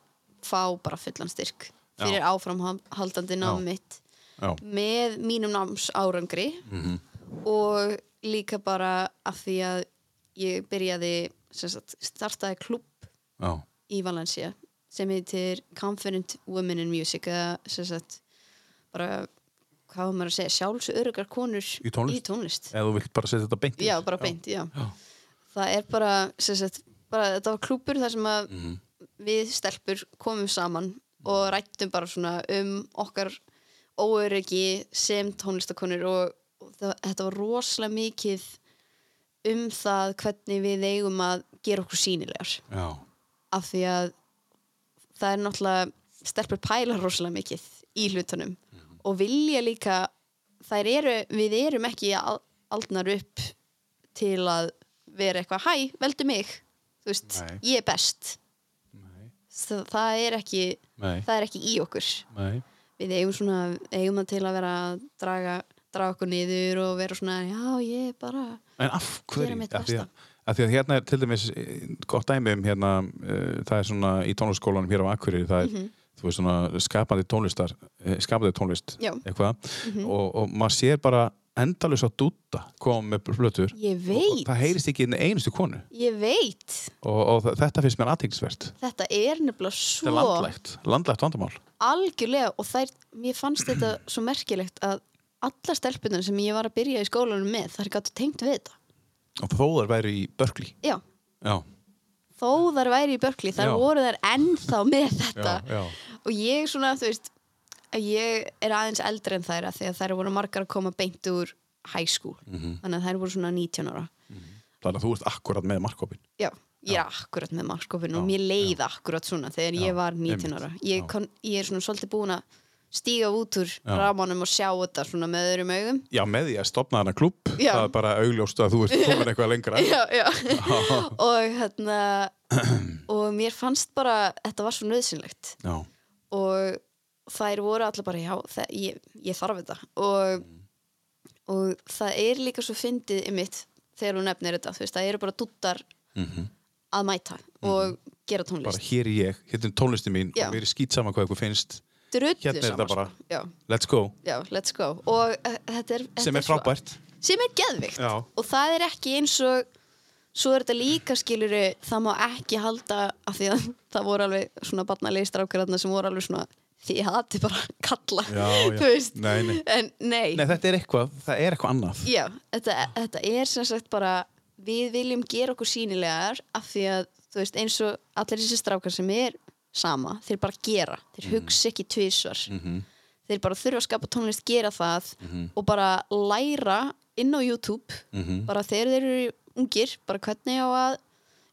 Speaker 3: fá bara fullan styrk fyrir áframhaldandi
Speaker 1: Já.
Speaker 3: nám mitt
Speaker 1: Já,
Speaker 3: með mínum náms árangri
Speaker 1: Mhm.
Speaker 3: og líka bara af því að ég byrjaði sem sagt, startaði klubb
Speaker 1: já,
Speaker 3: í Valencia sem heitir Confident Women in Music eða sem sagt bara hvað á maður að segja, sjálfsörugar konur
Speaker 1: Í tónlist?
Speaker 3: í tónlist
Speaker 1: eða þú vilt bara setja þetta beint í.
Speaker 3: já, bara beint, já,
Speaker 1: Já.
Speaker 3: það er bara, sem sagt, bara þetta var klúpur þar sem að
Speaker 1: Mhm.
Speaker 3: við stelpur komum saman og rættum bara svona um okkar óöryggi sem tónlistakonur og, og það, þetta var rosalega mikið um það hvernig við eigum að gera okkur sýnilegar
Speaker 1: Já,
Speaker 3: af því að það er náttúrulega stelpur pæla rosalega mikið í hlutunum
Speaker 1: Mhm.
Speaker 3: og vilja líka þær eru, við erum ekki al- aldnar upp til að vera eitthvað, hæ, veldu mig þú veist,
Speaker 1: Nei.
Speaker 3: ég er best
Speaker 1: nei,
Speaker 3: það, það er ekki
Speaker 1: nei,
Speaker 3: það er ekki í okkur
Speaker 1: nei,
Speaker 3: við eigum svona, eigum að til að vera að draga, draga okkur niður og vera svona, já, ég er bara
Speaker 1: En af hverju?
Speaker 3: Gera mitt
Speaker 1: Af því að- af því að hérna er til dæmis eh, gott dæmi um hérna, uh, það er svona í tónlistskólanum hér á Akureyri, það er,
Speaker 3: Mhm.
Speaker 1: þú veist svona skapandi tónlistar, eh, skapandi tónlist,
Speaker 3: Já. Mhm.
Speaker 1: eitthvað, og, og maður sér bara endalus að dúta koma með flötur
Speaker 3: ég
Speaker 1: og
Speaker 3: veit,
Speaker 1: það heyrist ekki inn einustu konu
Speaker 3: ég veit
Speaker 1: og, og þa- þetta finnst mér aðtýngsvert.
Speaker 3: þetta er nefnilega svo
Speaker 1: Þetta er landlægt, landlægt vandamál.
Speaker 3: algjörlega og þær, mér fannst þetta svo merkilegt að alla stelpunar sem ég var að byrja í skólanum með þær gáttu tengt við þetta
Speaker 1: Og þó þær væri í börkli.
Speaker 3: já,
Speaker 1: Já,
Speaker 3: þó þær væri í börkli þær
Speaker 1: Já.
Speaker 3: voru þær ennþá með þetta
Speaker 1: já.
Speaker 3: og ég svona, þú veist að ég er aðeins eldri en þær af því að þær voru margar að koma beint úr high school,
Speaker 1: Mhm.
Speaker 3: þannig að þær voru svona 19 ára
Speaker 1: Þannig að þú ert akkurat með markkopin.
Speaker 3: já, ég er akkurat með markskopin og mér leið akkurat svona þegar
Speaker 1: Já,
Speaker 3: ég var 19
Speaker 1: einmitt.
Speaker 3: ára ég,
Speaker 1: Já.
Speaker 3: kon, ég er svona svolítið búin að stíga út úr ramanum og sjá þetta svona með öðrum augum
Speaker 1: Já, með því að stopna hana klubb,
Speaker 3: Já.
Speaker 1: það er bara augljóst að þú ert komin eitthvað lengra.
Speaker 3: já, já. og hérna og mér fannst bara þetta var svo nöðsynlegt
Speaker 1: Já,
Speaker 3: og þær voru allar bara já, það, ég, ég þarf þetta og, og það er líka svo fyndið ymitt þegar hún nefnir þetta þú veist, það eru bara dúttar
Speaker 1: Mhm.
Speaker 3: að mæta og gera
Speaker 1: bara
Speaker 3: tónlist
Speaker 1: hér er ég, hérna er tónlistin mín
Speaker 3: Já.
Speaker 1: og mér er skýt saman hvað eitthvað finnst.
Speaker 3: drullu
Speaker 1: Hérna er
Speaker 3: saman
Speaker 1: þetta bara.
Speaker 3: sko. já,
Speaker 1: Let's go.
Speaker 3: já, let's go og uh, þetta er þetta
Speaker 1: Sem er
Speaker 3: svo-
Speaker 1: frábært.
Speaker 3: sem er geðvikt
Speaker 1: Já.
Speaker 3: og það er ekki eins og svo er þetta líka skiluru það má ekki halda af því að það voru alveg svona barnalegi strákjörðarna sem voru alveg svona því að þetta er bara kalla
Speaker 1: Já, já.
Speaker 3: þú veist
Speaker 1: Nei, nei.
Speaker 3: en nei,
Speaker 1: Nei, þetta er eitthvað, það er eitthvað annað.
Speaker 3: Já, þetta, þetta er sem sagt bara við viljum gera okkur sínilegar af því að þú veist eins og allir þessi strákar sem er sama þeir bara gera, þeir
Speaker 1: Mhm.
Speaker 3: hugsa ekki tvísvar þeir bara þurfa að skapa tónlist gera það
Speaker 1: Mhm.
Speaker 3: og bara læra inn á YouTube bara þegar þeir eru ungir bara hvernig á að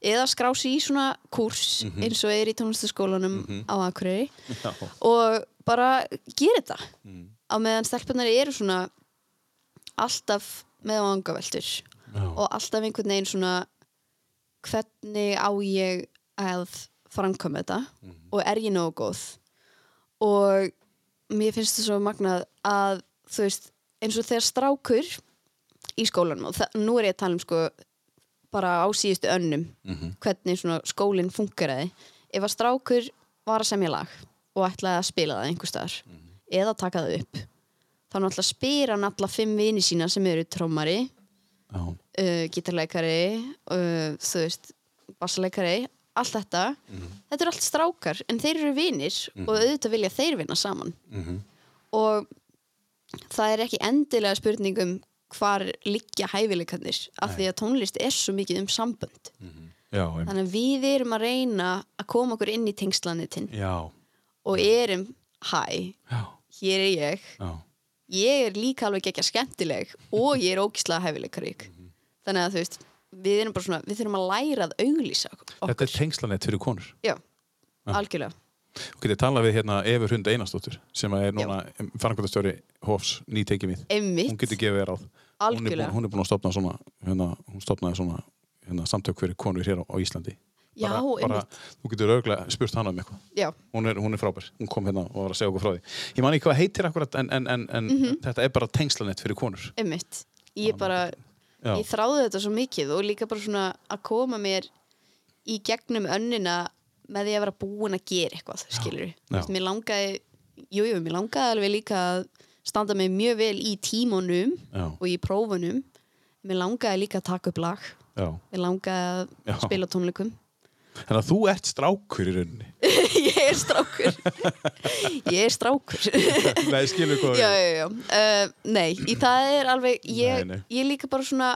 Speaker 3: eða skrá sig í svona kurs eins og er í tónlistaskólanum á Akureyri og bara gera þetta á meðan stelpunar eru svona alltaf með vangaveltur og alltaf einhvern veginn svona hvernig á ég að framkoma þetta og er ég nógu góð og mér finnst það svo magnað að þú veist eins og þegar strákur í skólanum og það- nú er ég að tala um sko bara á síðustu önnum hvernig svona skólinn fungeraði ef að strákur var að semja lag og ætlaði að spila það einhver staðar eða taka það upp þá náttúrulega spyr hann alla fimm vini sína sem eru trómari,
Speaker 1: Já,
Speaker 3: uh, gítarleikari uh, þú veist, bassleikari allt þetta þetta eru allt strákar en þeir eru vinir og auðvitað vilja þeir vinna saman og það er ekki endilega spurning um hvar liggja hæfileikarnir af því að tónlist er svo mikið um sambönd
Speaker 1: já, em-
Speaker 3: þannig að við erum að reyna að koma okkur inn í tengslanitin
Speaker 1: já,
Speaker 3: og erum hæ,
Speaker 1: já,
Speaker 3: hér er ég
Speaker 1: já.
Speaker 3: ég er líka alveg ekki skemmtileg og ég er ógislega hefileikarík þannig að þú veist, við erum bara svona, við þurfum að læra að auglýsa okkur.
Speaker 1: Þetta er tengslanett fyrir konur.
Speaker 3: Já,
Speaker 1: Ah.
Speaker 3: algjörlega.
Speaker 1: Þú getur talað við hérna Efi Hund Einarsdóttur sem er núna fangvöldastjóri Hofs nýtekið mitt.
Speaker 3: Einmitt.
Speaker 1: Hún getur gefið þér ráð. Hún er, búin,
Speaker 3: Algjörlega.
Speaker 1: hún er búin að stopna svona, hérna, hún stopnaði svona hérna, samtök fyrir konur hér á, á Íslandi.
Speaker 3: Já, einmitt.
Speaker 1: Þú getur örgulega spurt hana um eitthvað.
Speaker 3: Já,
Speaker 1: Hún er, hún er frábær. Hún kom hérna og var að segja okkur frá því. Ég man ekki hvað heitir akkurat en, en, en, en
Speaker 3: Mhm.
Speaker 1: þetta er bara tengslanett fyrir konur.
Speaker 3: einmitt. Ég bara,
Speaker 1: Já.
Speaker 3: ég þráði þetta svo mikið og líka bara svona að koma mér í gegnum önnina með því að vera búin að gera eitthvað, skilur
Speaker 1: Já.
Speaker 3: við. Mér langaði, jú, jú, mér langaði alveg líka að standa mig mjög vel í tímunum
Speaker 1: Já.
Speaker 3: og í prófunum. Mér langaði líka að taka upp lag.
Speaker 1: Já.
Speaker 3: Mér langaði að
Speaker 1: Já.
Speaker 3: spila á tónleikum.
Speaker 1: Þannig að þú ert strákur í rauninni.
Speaker 3: ég er strákur. ég er strákur.
Speaker 1: Nei, skilur hvað.
Speaker 3: já, já, já. Uh, nei, í það er alveg ég,
Speaker 1: Nei, nei.
Speaker 3: ég líka bara svona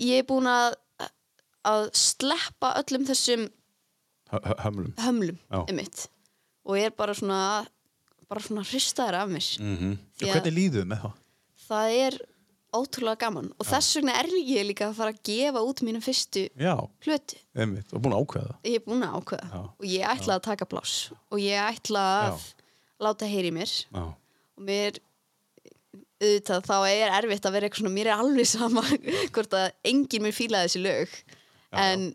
Speaker 3: ég er búin að að sleppa öllum þessum
Speaker 1: Hömlum.
Speaker 3: hömlum
Speaker 1: Já.
Speaker 3: einmitt og ég er bara svona bara svona hristaður af mér
Speaker 1: Mm
Speaker 3: Því að-
Speaker 1: Hvernig líðum með það?
Speaker 3: það er ótrúlega gaman og þess vegna er ég líka að fara að gefa út mínum fyrstu
Speaker 1: Já,
Speaker 3: hluti
Speaker 1: einmitt, og búin að ákveða það.
Speaker 3: ég er búin að ákveða
Speaker 1: Já.
Speaker 3: og ég ætla að taka blás og ég ætla að
Speaker 1: Já.
Speaker 3: láta heyri mér
Speaker 1: Já.
Speaker 3: og mér auðvitað þá er erfitt að vera eitthvað svona mér er alveg sama hvort að enginn mér fílaði þessi lög en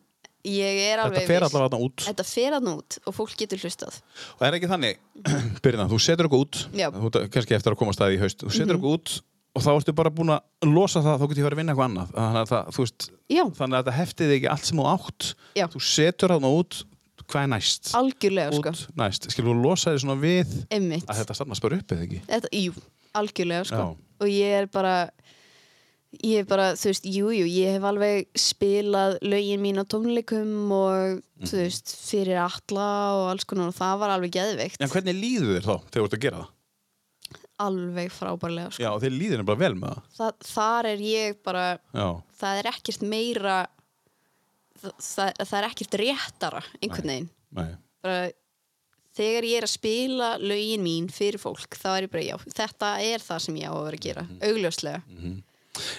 Speaker 3: ég er alveg
Speaker 1: Þetta fer
Speaker 3: viss-
Speaker 1: allavega þarna út.
Speaker 3: þetta fer allan út og fólk getur hlustað
Speaker 1: Og er ekki þannig, Byrna, þú setur okkur út,
Speaker 3: Já. Mhm.
Speaker 1: þú ert kannski eftir að koma staði í haust, þú setur okkur út og þá ertu bara búin að losa það, þá getur ég verið að vinna eitthvað annað. Þannig að, það, þú veist,
Speaker 3: já,
Speaker 1: þannig að þetta heftið ekki allt sem þú átt.
Speaker 3: Já.
Speaker 1: Þú setur þarna út, hvað er næst? út,
Speaker 3: algjörlega sko,
Speaker 1: næst. Skilur þú losa þér svona við
Speaker 3: einmitt
Speaker 1: að þetta stannast bara upp eða ekki?
Speaker 3: þetta, jú, algjörlega sko
Speaker 1: Já.
Speaker 3: og ég er bara ég er bara, þú veist, jú, jú ég hef alveg spilað lögin mín á tónleikum og
Speaker 1: Mhm.
Speaker 3: þú veist, fyrir alla og alls konar og það var alveg geðveikt
Speaker 1: En hvernig líður þér þá þegar þú ert að gera það?
Speaker 3: alveg frábærlega sko.
Speaker 1: Já, og þér líður þér bara vel með það.
Speaker 3: Þa, þar er ég bara
Speaker 1: Já,
Speaker 3: það er ekkert meira það, það, það er ekkert réttara einhvern veginn
Speaker 1: nei.
Speaker 3: bara, þegar ég er að spila lögin mín fyrir fólk þá er ég bara já, þetta er það sem ég á að vera að
Speaker 1: Mhm.
Speaker 3: gera augljóslega,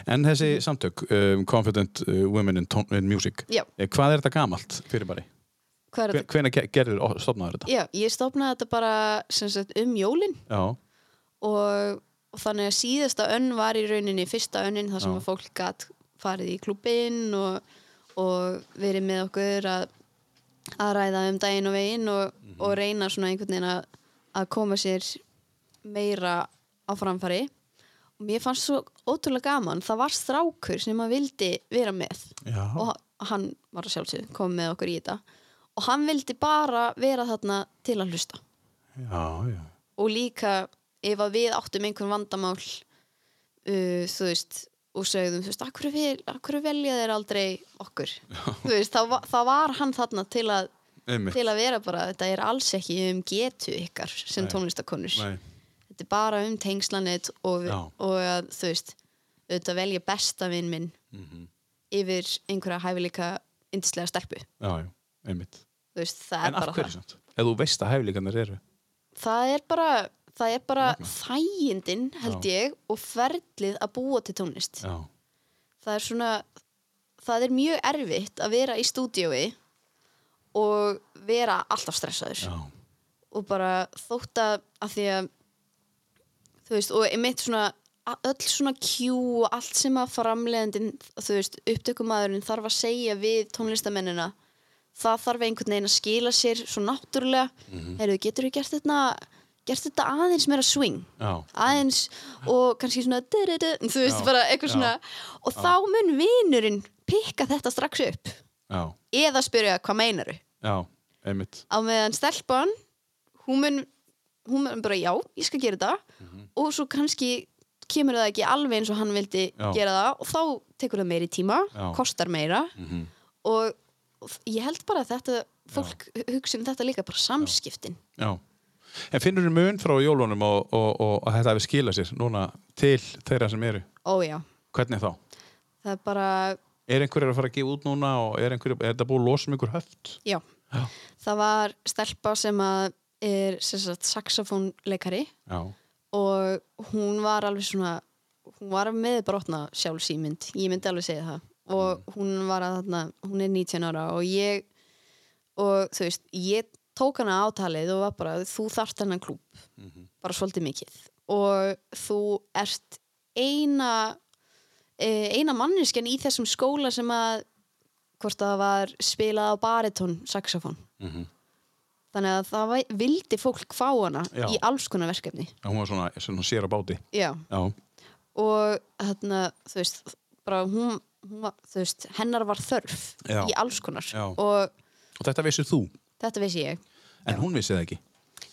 Speaker 1: En
Speaker 3: Mhm.
Speaker 1: þessi samtök, um, Confident uh, Women in, Ton- in Music,
Speaker 3: Já.
Speaker 1: Eh, hvað er þetta gamalt fyrir bara?
Speaker 3: hvað er þetta?
Speaker 1: Hvenær ge- gerður og stopnaður þetta?
Speaker 3: Já, ég stopnaði þetta bara sem sagt, um jólin
Speaker 1: Já,
Speaker 3: og, og þannig að síðasta önn var í rauninni fyrsta önnin þar sem
Speaker 1: Já.
Speaker 3: að fólk gætt farið í klubbinn og, og verið með okkur að, að ræða um daginn og veginn og, og reyna svona einhvern veginn að, að koma sér meira á framfari og mér fannst svo ótrúlega gaman það var strákur sem að vildi vera með
Speaker 1: já.
Speaker 3: og ha- hann var að sjálfsög kom með okkur í þetta og hann vildi bara vera þarna til að hlusta
Speaker 1: já, já.
Speaker 3: og líka ef að við áttum einhvern vandamál uh, þú veist og sögðum, þú veist, akkur, vel, akkur velja þeir aldrei okkur þú veist, þá, va- þá var hann þarna til að
Speaker 1: Einmitt.
Speaker 3: til að vera bara, þetta er alls ekki um getu ykkar sem
Speaker 1: Nei.
Speaker 3: tónlistakonur
Speaker 1: Nei.
Speaker 3: þetta er bara um tengslanit og,
Speaker 1: Já.
Speaker 3: og að, þú veist auðvitað velja besta vinn minn
Speaker 1: Mhm.
Speaker 3: yfir einhverja hæfileika yndislega stelpu,
Speaker 1: Já, já, einmitt.
Speaker 3: þú veist, það
Speaker 1: En
Speaker 3: er
Speaker 1: af
Speaker 3: bara
Speaker 1: hverju
Speaker 3: það
Speaker 1: samt? Ef þú veist að hæflíkarnir eru.
Speaker 3: það er bara það er bara þægindin held ég og ferlið að búa til tónlist
Speaker 1: Já,
Speaker 3: það er svona það er mjög erfitt að vera í stúdíói og vera alltaf stressaður
Speaker 1: já,
Speaker 3: og bara þótt að, að því að þú veist, og einmitt svona a- öll svona kjú og allt sem að framleiðandinn, þú veist, upptökumæðurinn þarf að segja við tónlistamennina það þarf einhvern veginn að skila sér svo náttúrulega, mm
Speaker 1: Mhm.
Speaker 3: -hmm. heyrðu, getur við gert þetta gert þetta aðeins meira swing
Speaker 1: já.
Speaker 3: aðeins og kannski svona du-du-du, þú veist,
Speaker 1: Já,
Speaker 3: bara eitthvað
Speaker 1: já,
Speaker 3: svona og þá mun vinurinn pikka þetta strax upp
Speaker 1: Já,
Speaker 3: eða spyrja hvað meinaru
Speaker 1: já, einmitt.
Speaker 3: á meðan stelpan hún mun, hún mun bara já, ég skal gera það
Speaker 1: Mhm.
Speaker 3: og svo kannski kemur það ekki alveg eins og hann vildi
Speaker 1: Já.
Speaker 3: gera það og þá tekur það meiri tíma
Speaker 1: Já.
Speaker 3: kostar meira
Speaker 1: Mhm.
Speaker 3: og og ég held bara að þetta fólk hugsi um þetta líka bara samskiptin
Speaker 1: Já. En finnur þú mun frá jólunum og, og, og að þetta hefur skilað sér núna til þeirra sem eru?
Speaker 3: ó já,
Speaker 1: Hvernig þá?
Speaker 3: það er bara
Speaker 1: Er einhverjir að fara að gefa út núna og er, einhverjir, er þetta búið að losa um einhver höft?
Speaker 3: já,
Speaker 1: Já.
Speaker 3: það var stelpa sem að er sem sagt saxofónleikari
Speaker 1: Já,
Speaker 3: og hún var alveg svona hún var með brotna sjálfsýmynd ég myndi alveg segja það og hún var að þarna, hún er 19 ára og ég og þú veist, ég tók hana átalið og var bara, þú þarft hennan klúb bara svolítið mikið og þú ert eina eh, eina manneskjan í þessum skóla sem að hvort það var spilað á baritón saxofón þannig að það væ- vildi fólk fá hana
Speaker 1: Já.
Speaker 3: í alls konar verkefni
Speaker 1: Já, hún var svona, svona sér á báti.
Speaker 3: já,
Speaker 1: Já,
Speaker 3: og þarna, þú veist bara hún, hún var, þú veist, hennar var þörf
Speaker 1: Já.
Speaker 3: í alls konar
Speaker 1: Já.
Speaker 3: og
Speaker 1: og þetta vissir þú,
Speaker 3: þetta vissi ég
Speaker 1: en hún vissi það ekki.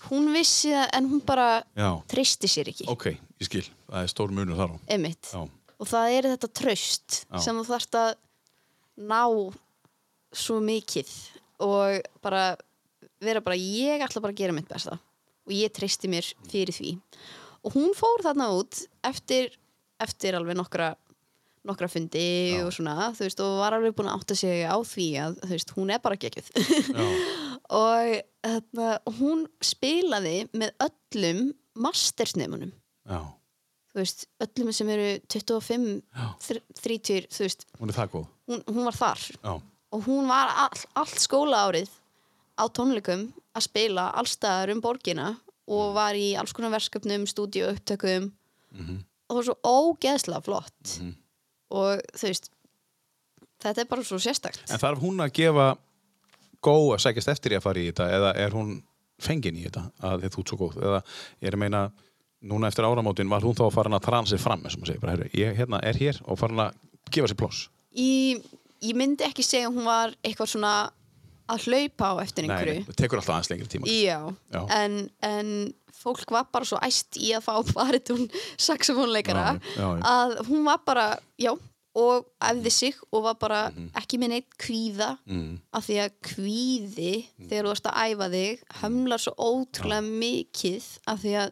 Speaker 3: hún vissi það en hún bara
Speaker 1: Já,
Speaker 3: treysti sér ekki
Speaker 1: ok, ég skil, það er stór munur þar á.
Speaker 3: einmitt
Speaker 1: Já,
Speaker 3: og það er þetta tröst
Speaker 1: Já.
Speaker 3: sem þú þarft að ná svo mikið og bara vera bara ég ætla bara að gera mitt besta og ég treysti mér fyrir því og hún fór þarna út eftir, eftir alveg nokkra nokkra fundi og svona þú veist, og var alveg búin að átta sig á því að þú veist, hún er bara gekkjöð
Speaker 1: já,
Speaker 3: og þarna, hún spilaði með öllum mastersneimunum
Speaker 1: já,
Speaker 3: þú veist, öllum sem eru 25,
Speaker 1: Já.
Speaker 3: þr- 30, þú veist,
Speaker 1: hún er það góð.
Speaker 3: hún, hún var þar
Speaker 1: Já,
Speaker 3: og hún var all, allt skóla árið á tónleikum að spila allstaðar um borgina
Speaker 1: Mm.
Speaker 3: og var í alls konar verkefnum, stúdíu upptökum
Speaker 1: Mhm.
Speaker 3: og það var svo ógeðslega flott og þú veist, þetta er bara svo sérstakt.
Speaker 1: en þarf hún að gefa góð að sækjast eftir í að fara í þetta eða er hún fengin í þetta að þið þú ert svo góð? Eða ég er að meina, núna eftir áramótin var hún þá að fara að trana sig fram, eins og maður segir, bara, herru, ég hérna er hér og fara að gefa sér pláss.
Speaker 3: Ég, ég myndi ekki segja að hún var eitthvað svona að hlaupa á eftir
Speaker 1: Nei,
Speaker 3: einhverju.
Speaker 1: nei, það tekur alltaf aðeins lengri tíma.
Speaker 3: Já,
Speaker 1: Já.
Speaker 3: En, en fólk var bara svo æst í að fá baritún saxofónleikara
Speaker 1: Já, já, já.
Speaker 3: að hún var bara, já og æfði sig og var bara
Speaker 1: Mhm.
Speaker 3: ekki með neitt kvíða
Speaker 1: Mm.
Speaker 3: af því að kvíði
Speaker 1: Mhm.
Speaker 3: þegar þú ert að æfa þig hömlar svo ótrúlega mikið af því að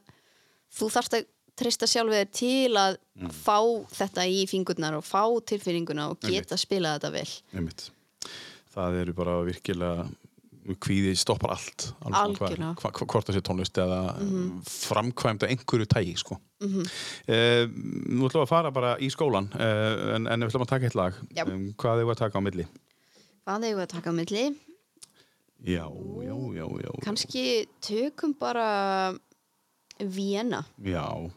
Speaker 3: þú þarft að treysta sjálfið þér til að
Speaker 1: Mhm.
Speaker 3: fá þetta í fingurnar og fá tilfinninguna og geta að spila þetta vel
Speaker 1: Einmitt. Það eru bara virkilega kvíði stoppar allt alveg sama
Speaker 3: Algjörlega. Mhm.
Speaker 1: hvað- hva- hvort það sé tónlist eða mm. framkvæmd að einhverju tægi sko. mm nú ætlum við að fara bara í skólan uh, en, en við ætlum að taka eitt lag
Speaker 3: Já.
Speaker 1: um, hvað þau var að taka á milli
Speaker 3: Hvað eigum við að taka á milli?
Speaker 1: já, já, já, já,
Speaker 3: Kanski tökum bara Vienna.
Speaker 1: já.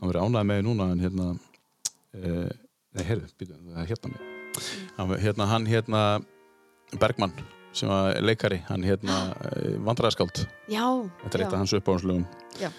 Speaker 1: hann verið ánægð með núna en hérna uh, nei, heyrðu, býtum, það er hérna mig hann, ver- hérna, hann hérna Bergmann sem var leikari hann hérna uh, vandræðaskáld
Speaker 3: Já.
Speaker 1: Þetta er eitt
Speaker 3: já.
Speaker 1: af hans uppáhanslögum
Speaker 3: Já.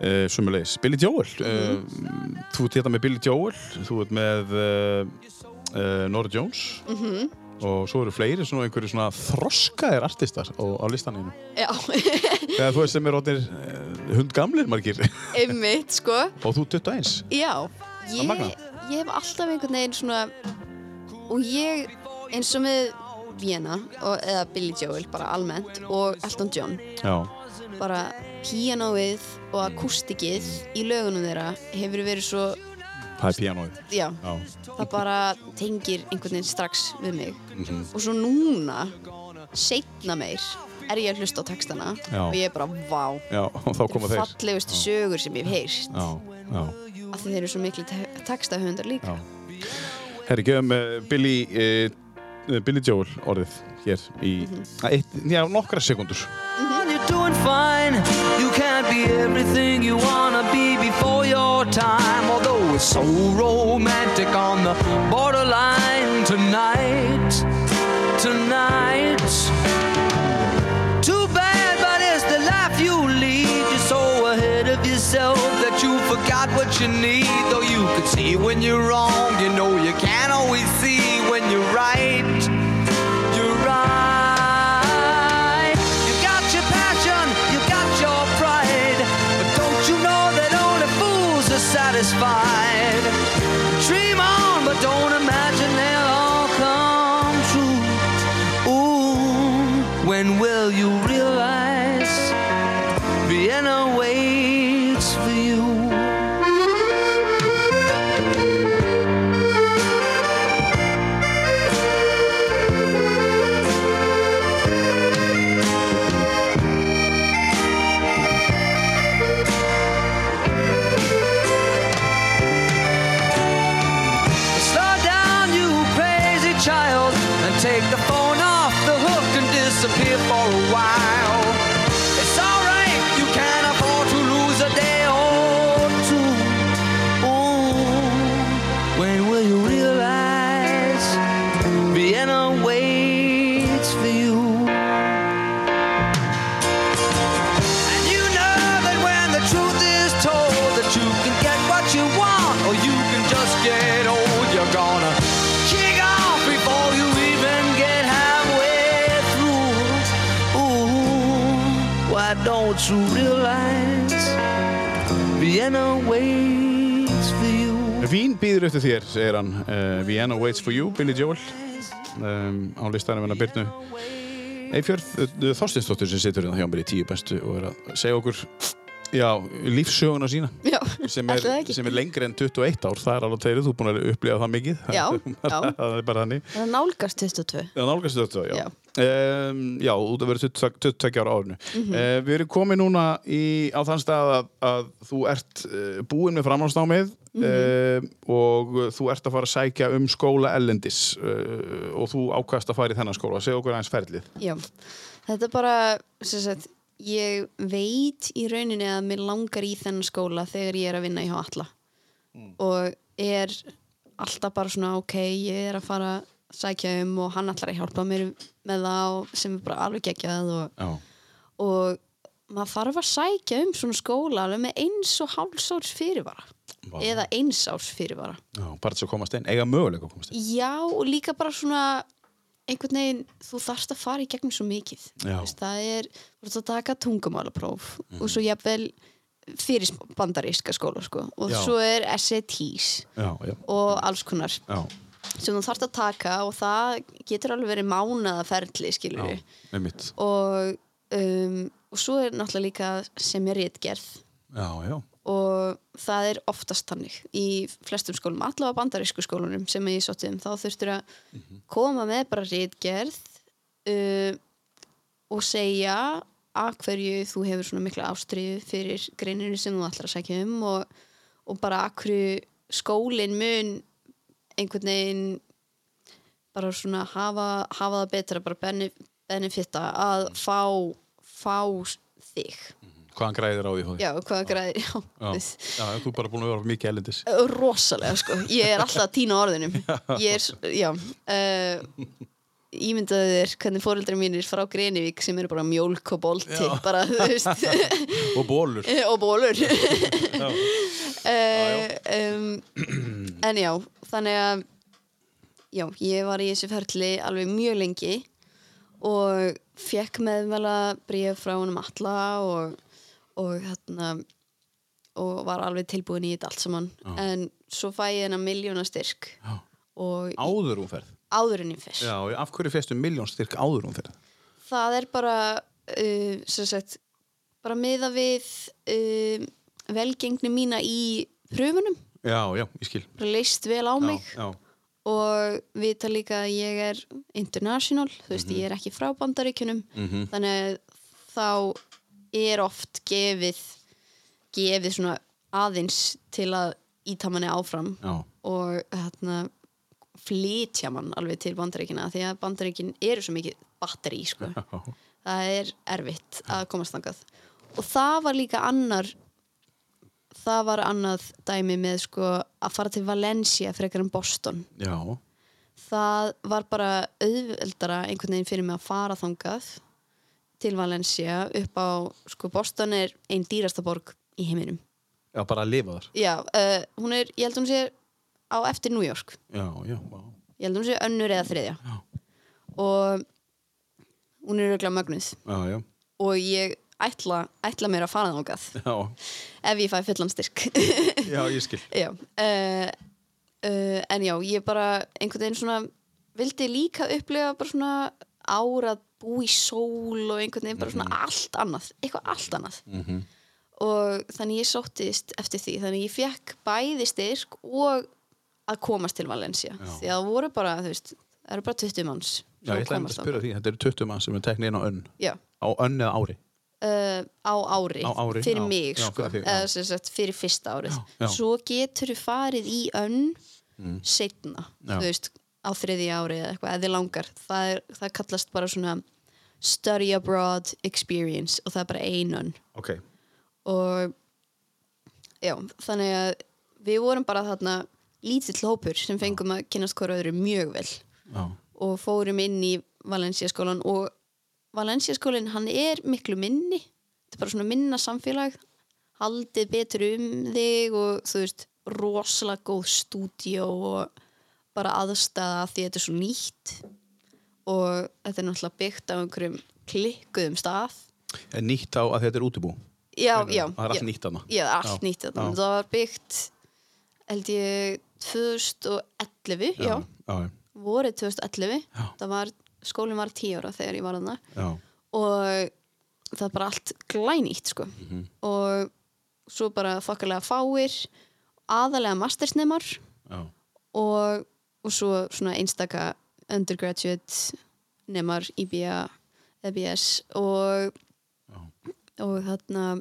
Speaker 1: uh, Sumulegis, Billy Joel
Speaker 3: Mhm.
Speaker 1: uh, Þú ert hérna með Billy Joel Þú ert með uh, uh, Nora Jones
Speaker 3: Mhm.
Speaker 1: Og svo eru fleiri svona einhverju svona þroskaðir artistar á, á listaninu
Speaker 3: Já,
Speaker 1: Þegar þú veist sem er rótnir uh, hundgamlir margir
Speaker 3: einmitt, sko.
Speaker 1: Og þú 21
Speaker 3: Já. Ég,
Speaker 1: magnað.
Speaker 3: ég hef alltaf einhvern veginn svona, og ég, eins og með Vienna, og, eða Billy Joel, bara almennt, og Elton John,
Speaker 1: Já,
Speaker 3: bara píanóið og akústikið í lögunum þeirra hefur verið svo,
Speaker 1: það er pianoið
Speaker 3: já,
Speaker 1: Já,
Speaker 3: það bara tengir einhvern veginn strax við mig.
Speaker 1: mm
Speaker 3: og svo núna seinna meir er ég að hlusta á textana
Speaker 1: Já.
Speaker 3: og ég er bara vá
Speaker 1: Já og þá koma þeir
Speaker 3: fallegustu sögur sem ég hef heyrst
Speaker 1: Já, já,
Speaker 3: af því þeir eru svo miklu te textahöndar líka
Speaker 1: já Herri, gefum uh, Billy uh, Billy Joel orðið hér í
Speaker 3: Mhm.
Speaker 1: eitt, já, nokkra sekundur
Speaker 6: And you're doing fine. You can't be everything you wanna be before your time. Although it's so romantic on the borderline tonight. Tonight. Too bad, but it's the life you lead. You're so ahead of yourself that you forgot what you need. Though you could see when you're wrong, you know you can't always see when you're right. You're right. You got your passion, you got your pride. But don't you know that only fools are satisfied? Dream on, but don't imagine they'll all come true. Ooh, when will you realize Vienna waits for you? Slow down
Speaker 7: to realize Vienna waits for you.
Speaker 1: Vín býður eftir þér, segir hann uh, Vienna waits for you, Billy Joel um, á listanum hennar Byrnu Eifjörð Þorstinsdóttir eh, sem situr hérna hjá mér í tíu bestu og er að segja okkur já, lífsöguna sína
Speaker 3: Já,
Speaker 1: sem
Speaker 3: ætli
Speaker 1: er,
Speaker 3: það ekki.
Speaker 1: sem er lengri en 21 ár það er alveg tegri, þú er búin að upplifa það mikið
Speaker 3: Já, já.
Speaker 1: það er bara þannig
Speaker 3: Það er nálgast 22.
Speaker 1: Það nálgast 22, já.
Speaker 3: Já.
Speaker 1: Um, já, þú verður 22 22 ára á árinu. Mm við erum komið núna í, á þann stað að, að þú ert uh, búinn með framhámsnámið uh, og þú ert að fara að sækja um skóla ellendis uh, og þú ákvæmst að fara í þennan skóla. Segð okkur aðeins ferlið.
Speaker 3: Já, þetta er bara, sem sagt, ég veit í rauninni að mér langar í þennan skóla þegar ég er að vinna í hjá alla og er alltaf bara svona, ok, ég er að fara að sækja um og hann ætlar að hjálpa mér með það og sem er bara alveg geggjað og,
Speaker 1: Já.
Speaker 3: og maður þarf að sækja um svona skóla alveg með eins og hálfs árs fyrirvara
Speaker 1: Vá.
Speaker 3: eða eins árs fyrirvara
Speaker 1: Já, bara þess að komast inn, eiga möguleika að komast inn.
Speaker 3: Já, og líka bara svona einhvern veginn, þú þarfst að fara í gegnum svo mikið
Speaker 1: Já. Mhm.
Speaker 3: Veist, það er, þú ert að taka tungumálapróf og svo jafnvel fyrir bandaríska skóla sko. og
Speaker 1: Já.
Speaker 3: svo er SATs
Speaker 1: Já, já.
Speaker 3: og alls konar
Speaker 1: Já,
Speaker 3: sem þú þarfst að taka og það getur alveg verið mánaðaferli skilur
Speaker 1: já,
Speaker 3: við
Speaker 1: með mitt.
Speaker 3: og, um, og svo er náttúrulega líka sem er réttgerð
Speaker 1: Já, já.
Speaker 3: og það er oftast þannig í flestum skólum, allavega bandarísku skólunum sem ég sótti um, þá þurftur að koma með bara rítgerð uh, og segja að hverju þú hefur svona mikla ástriðu fyrir greininu sem þú ætlar að sækja um og, og bara að hverju skólin mun einhvern veginn bara svona hafa, hafa það betra bara benef- benefitta að fá, fá þig
Speaker 1: Hvaðan græðir á því? Hóði?
Speaker 3: Mhm. já, hvaða græðir já,
Speaker 1: Já.
Speaker 3: já
Speaker 1: já, þú er bara búin að vera mikið ellendis.
Speaker 3: rosalega sko, ég er alltaf að týna orðinum ég er, s- já uh, ímyndaðu þér hvernig fóreldrar mínir frá Grenivík sem eru bara mjólk og bolti bara, þú veist,
Speaker 1: Og bólur.
Speaker 3: og bólur uh, um, en já, þannig að já, ég var í þessu ferli alveg mjög lengi og fekk meðmæla bríð frá honum alla og, og hérna og var alveg tilbúin í þetta allt saman en svo fæ ég hennar miljóna styrk
Speaker 1: Já.
Speaker 3: og í-
Speaker 1: Áður hún ferð.
Speaker 3: áður en ég fyrst
Speaker 1: Já, af hverju fyrstu miljón styrk áður hún fyrir það?
Speaker 3: það er bara uh, sem sagt bara miða við uh, velgengni mína í prufunum,
Speaker 1: Já, já, ég skil.
Speaker 3: bara leist vel á mig
Speaker 1: Já, já,
Speaker 3: og vita líka að ég er international, þú veist,
Speaker 1: Mhm.
Speaker 3: ég er ekki frá bandaríkjunum, þannig að þá er oft gefið gefið svona aðeins til að íta manni áfram
Speaker 1: já,
Speaker 3: og hérna flytja mann alveg til bandaríkina því að bandaríkin eru svo mikið batteri sko.
Speaker 1: já,
Speaker 3: það er erfitt að komast þangað og það var líka annar það var annað dæmi með sko að fara til Valencia frekar en Boston
Speaker 1: já,
Speaker 3: það var bara auðveldara einhvern veginn fyrir mig að fara þangað til Valencia upp á sko Boston er einn dýrasta borg í heiminum
Speaker 1: já, bara að lifa þar.
Speaker 3: já, uh, hún er, ég held hún sé á eftir New York
Speaker 1: Já, já, já,
Speaker 3: ég held hún sé önnur eða þriðja
Speaker 1: Já.
Speaker 3: og hún er auðvitað mögnuð
Speaker 1: já, já,
Speaker 3: og ég ætla, ætla mér að fara þángað
Speaker 1: já,
Speaker 3: ef ég fæ fullan styrk
Speaker 1: já, ég skil.
Speaker 3: já, uh, uh, en já, ég bara einhvern veginn svona vildi líka upplega bara svona ára að búa í sól og einhvern veginn bara svona allt annað eitthvað allt annað
Speaker 1: Mhm.
Speaker 3: og þannig ég sóttist eftir því þannig ég fekk bæði styrk og að komast til Valencia því að það voru bara, þú veist, það eru bara 20 manns
Speaker 1: Já, ég ætla einmitt að spyrja því, þetta eru 20 mann sem er teknið inn á önn.
Speaker 3: já
Speaker 1: Á önn eða ári.
Speaker 3: uh, á ári,
Speaker 1: Á ári,
Speaker 3: fyrir
Speaker 1: já.
Speaker 3: mig
Speaker 1: Já,
Speaker 3: sko,
Speaker 1: fyrir þig, já.
Speaker 3: eða sem sagt fyrir fyrsta árið
Speaker 1: Já, já.
Speaker 3: svo getur þú farið í önn mm. setna,
Speaker 1: Já.
Speaker 3: þú veist á þriðja ári eða eitthvað, eða þið langar það, er, það kallast bara svona study abroad experience og það er bara einun
Speaker 1: Ok.
Speaker 3: og já, þannig að við vorum bara þarna lítill hópur sem fengum að kynast hvora öðru mjög vel
Speaker 1: Já,
Speaker 3: og fórum inn í Valencia skólan og Valencia skólinn hann er miklu minni þetta er bara svona minna samfélag haldið betur um þig og þú veist, rosalega góð stúdíó og bara aðstæða af því þetta er svo nýtt og þetta er náttúrulega byggt á einhverjum klikkuðum stað
Speaker 1: En nýtt á að þetta er útibú.
Speaker 3: já,
Speaker 1: Meinarðu?
Speaker 3: já
Speaker 1: Það er allt
Speaker 3: já.
Speaker 1: nýtt þarna.
Speaker 3: já, allt
Speaker 1: Já,
Speaker 3: nýtt þarna.
Speaker 1: já.
Speaker 3: það var byggt held ég 2011 já,
Speaker 1: Já,
Speaker 3: vorið 2011
Speaker 1: Já.
Speaker 3: það var, skólinn var 10 ára þegar ég var þarna
Speaker 1: já,
Speaker 3: og það er bara allt glænýtt sko. og svo bara þokkalega fáir aðalega mastersnemar
Speaker 1: já.
Speaker 3: og, og svo svona einstaka undergraduate nemar IBA, EBS E og og þarna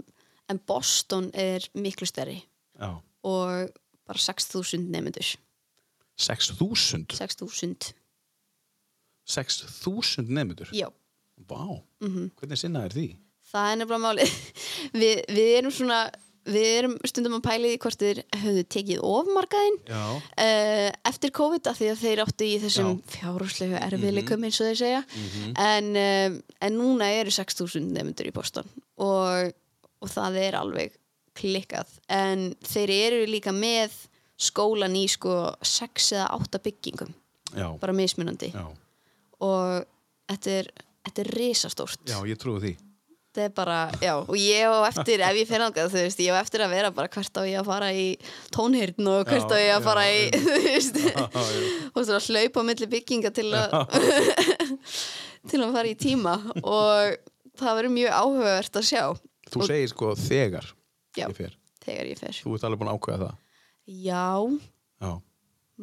Speaker 3: en Boston er miklu stærri
Speaker 1: já.
Speaker 3: og bara 6.000 nemendur
Speaker 1: 6.000?
Speaker 3: 6.000,
Speaker 1: 6.000 nefndur?
Speaker 3: já Mhm.
Speaker 1: Vá, hvernig sinna er því?
Speaker 3: Það er nefnilega málið. Við, við erum svona, við erum stundum að pæla í því hvort þeir höfðu tekið ofmarkaðinn
Speaker 1: Já.
Speaker 3: uh, eftir COVID af því að þeir áttu í þessum
Speaker 1: Já. Mhm.
Speaker 3: fjárhúslegu erfiðleikum eins og þeir segja. en, um, en núna eru 6.000 nefndur í Boston og, og það er alveg klikkað. En þeir eru líka með skólan í sko 6 eða 8 byggingum,
Speaker 1: Já,
Speaker 3: bara mismunandi.
Speaker 1: já,
Speaker 3: Og þetta er, þetta er risastórt
Speaker 1: já, ég trúi því.
Speaker 3: þetta er bara, já, og ég á eftir ef ég fer þangað, þú veist, ég á eftir að vera bara hvert á ég að fara í tónhyrn og hvert
Speaker 1: Já,
Speaker 3: á ég
Speaker 1: já,
Speaker 3: að fara í,
Speaker 1: já.
Speaker 3: þú veist
Speaker 1: Já, já.
Speaker 3: og svo að hlaupa á milli bygginga til að til að fara í tíma og það verður mjög áhugavert að sjá
Speaker 1: Þú segir sko þegar
Speaker 3: Já.
Speaker 1: ég fer.
Speaker 3: þegar ég fer
Speaker 1: Þú ert alveg búin að ákveða það.
Speaker 3: Já,
Speaker 1: Já,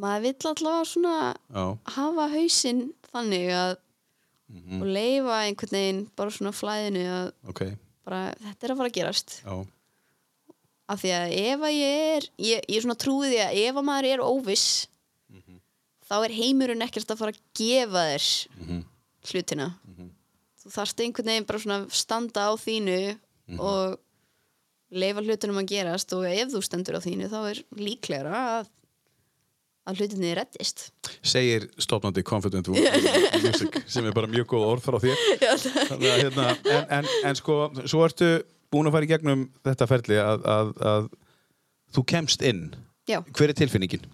Speaker 3: maður vill allavega svona
Speaker 1: já,
Speaker 3: hafa hausinn þannig að
Speaker 1: Mhm.
Speaker 3: og leifa einhvern veginn bara svona flæðinu að
Speaker 1: ok,
Speaker 3: bara, þetta er að fara að gerast
Speaker 1: já,
Speaker 3: af því að ef að ég er ég, ég svona trúi því að ef að maður er óviss
Speaker 1: Mhm.
Speaker 3: þá er heimurinn ekkert að fara að gefa þér
Speaker 1: Mhm.
Speaker 3: hlutina þú þarft einhvern veginn bara svona að standa á þínu
Speaker 1: Mhm.
Speaker 3: og leifa hlutunum að gerast og ef þú stendur á þínu þá er líklegra að, að hlutinni reddist
Speaker 1: segir stopnandi Confident Woman Music sem er bara mjög góð orð frá þér Þannig að, hérna, en, en, en sko svo ertu búin að fara í gegnum þetta ferli að, að, að þú kemst inn
Speaker 3: já,
Speaker 1: hver er tilfinningin?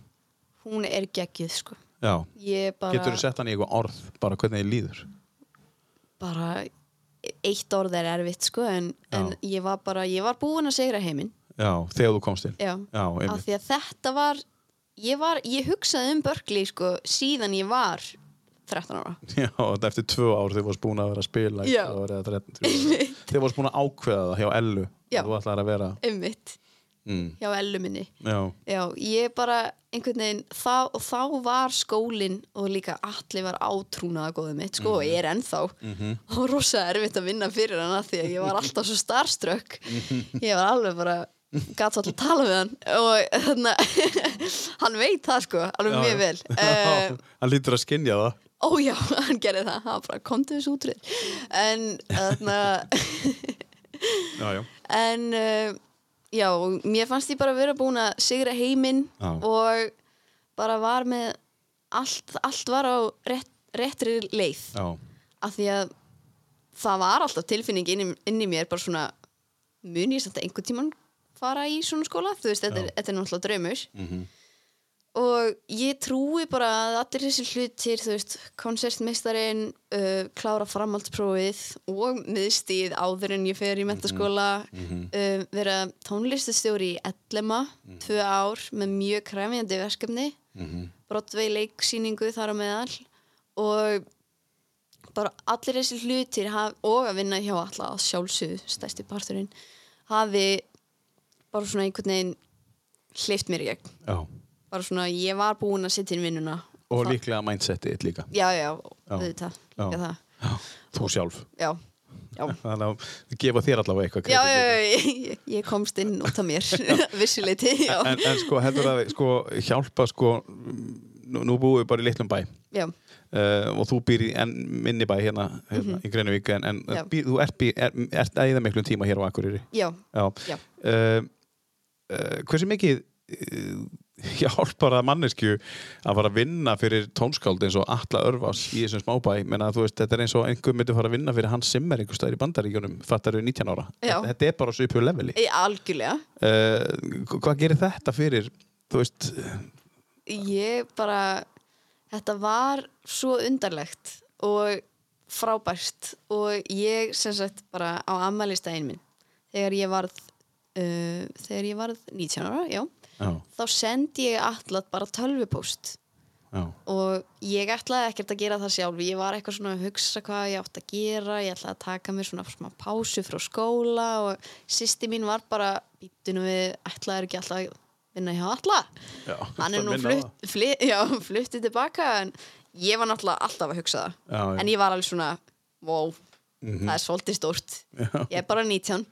Speaker 3: hún er geggjuð sko
Speaker 1: Já,
Speaker 3: ég bara,
Speaker 1: getur þú sett hann í eitthvað orð bara hvernig þið líður?
Speaker 3: bara eitt orð er erfitt sko en,
Speaker 1: Já.
Speaker 3: en ég var bara, ég var búin að segra heiminn
Speaker 1: Já, þegar þú komst inn
Speaker 3: Já,
Speaker 1: Já,
Speaker 3: af
Speaker 1: einmitt.
Speaker 3: því að þetta var ég, var, ég hugsaði um Berkeley sko, síðan ég var 13 ára.
Speaker 1: Já, þetta eftir tvö ár þið varst búin að vera að spila í
Speaker 3: Já.
Speaker 1: tvö ár eða þrettán, þrjú ár. þið varst búin að ákveða það hjá Ellu
Speaker 3: Já.
Speaker 1: að þú ætlar að vera
Speaker 3: Ummitt,
Speaker 1: mm,
Speaker 3: hjá ellu minni.
Speaker 1: Já,
Speaker 3: Já, ég bara einhvern veginn, þá, og þá var skólinn og líka allir var átrúnaða góðið mitt, sko,
Speaker 1: Mhm.
Speaker 3: og ég er ennþá og rosa erfitt að vinna fyrir hann af því að ég var alltaf svo starstruck
Speaker 1: Mhm.
Speaker 3: ég var alveg bara gat alltaf að tala við hann og þannig hann veit það sko alveg
Speaker 1: Já,
Speaker 3: mjög
Speaker 1: já.
Speaker 3: vel
Speaker 1: Já,
Speaker 3: Eh,
Speaker 1: Hann lítur að skinja það
Speaker 3: Ó já, hann gerði það, hann bara kom til þessu útrið En, þarna,
Speaker 1: Já, já
Speaker 3: en uh, já, og mér fannst ég bara vera búin að sigra heiminn
Speaker 1: Já.
Speaker 3: og bara var með allt, allt var á rétt, réttri leið
Speaker 1: Já,
Speaker 3: af því að það var alltaf tilfinning inn í, inn í mér bara svona mun ég samt að einhvern tímann fara í svona skóla þú veist, þetta er,
Speaker 1: Já.
Speaker 3: þetta er náttúrulega draumur og ég trúi bara að allir þessi hlutir, þú veist konsertmeistarin, uh, klára framhaldsprófið og miðstíð áður en ég fer í mentaskóla uh, vera tónlistastjóri í Ellema, tvö ár með mjög kræfjandi verkefni Broadway leiksýningu þar á meðal og bara allir þessi hlutir haf, og að vinna hjá alla að sjálfsögðu stærsti parturinn hafi bara svona einhvern veginn hleyft mér í gegn
Speaker 1: já
Speaker 3: bara svona, ég var búin að sitta inn vinnuna
Speaker 1: Og líklega mindsetið þitt líka
Speaker 3: já, já,
Speaker 1: Já.
Speaker 3: auðvitað, líka
Speaker 1: Já.
Speaker 3: það
Speaker 1: já. Þú sjálf
Speaker 3: já, já
Speaker 1: Þannig að þau gefa þér allavega eitthvað
Speaker 3: Já,
Speaker 1: kredit
Speaker 3: já,
Speaker 1: líka.
Speaker 3: já, ég, ég komst inn út af mér vissuleiti, já,
Speaker 1: En, en sko heldur að sko, hjálpa sko Nú, nú búum við bara í litlum bæ
Speaker 3: já,
Speaker 1: uh, og þú býr í enn minni bæ hérna, hérna í Greinavík en, en
Speaker 3: Mhm. Já.
Speaker 1: býr, þú ert, býr, er, ert að eða miklum tíma hér á Akureyri
Speaker 3: já,
Speaker 1: Já.
Speaker 3: Já.
Speaker 1: Uh, uh, hversu mikið uh, hjálpar að mannesku að fara að vinna fyrir tónskáld eins og Alla Örvas í þessum smábæ menna þú veist, þetta er eins og einhver myndi fara að vinna fyrir hans simmer einhver staðar í bandaríkjunum fattar við 19 ára,
Speaker 3: Já.
Speaker 1: þetta, þetta er bara svo upphjóð leveli
Speaker 3: Ég- e, algjörlega
Speaker 1: uh, hvað gerir þetta fyrir þú veist,
Speaker 3: ég bara þetta var svo undarlegt og frábært og ég sem sagt bara á ammælistæðin minn þegar ég varð uh, þegar ég varð 19 ára, já
Speaker 1: Já,
Speaker 3: þá sendi ég allat bara tölvupóst
Speaker 1: já,
Speaker 3: og ég ætlaði ekkert að gera það sjálf ég var eitthvað svona að hugsa hvað ég átt að gera ég ætlaði að taka mér svona smá pásu frá skóla og sýsti mín var bara býtunum við ætlaði ekki alltaf að vinna hjá alla
Speaker 1: já.
Speaker 3: hann er nú
Speaker 1: Minna á
Speaker 3: flutt,
Speaker 1: það.
Speaker 3: flutt, já, fluttið tilbaka en ég var náttúrulega alltaf að hugsa
Speaker 1: Já,
Speaker 3: það
Speaker 1: Mhm. já.
Speaker 3: en ég var alveg svona wow, það er svolítið stórt ég er bara 19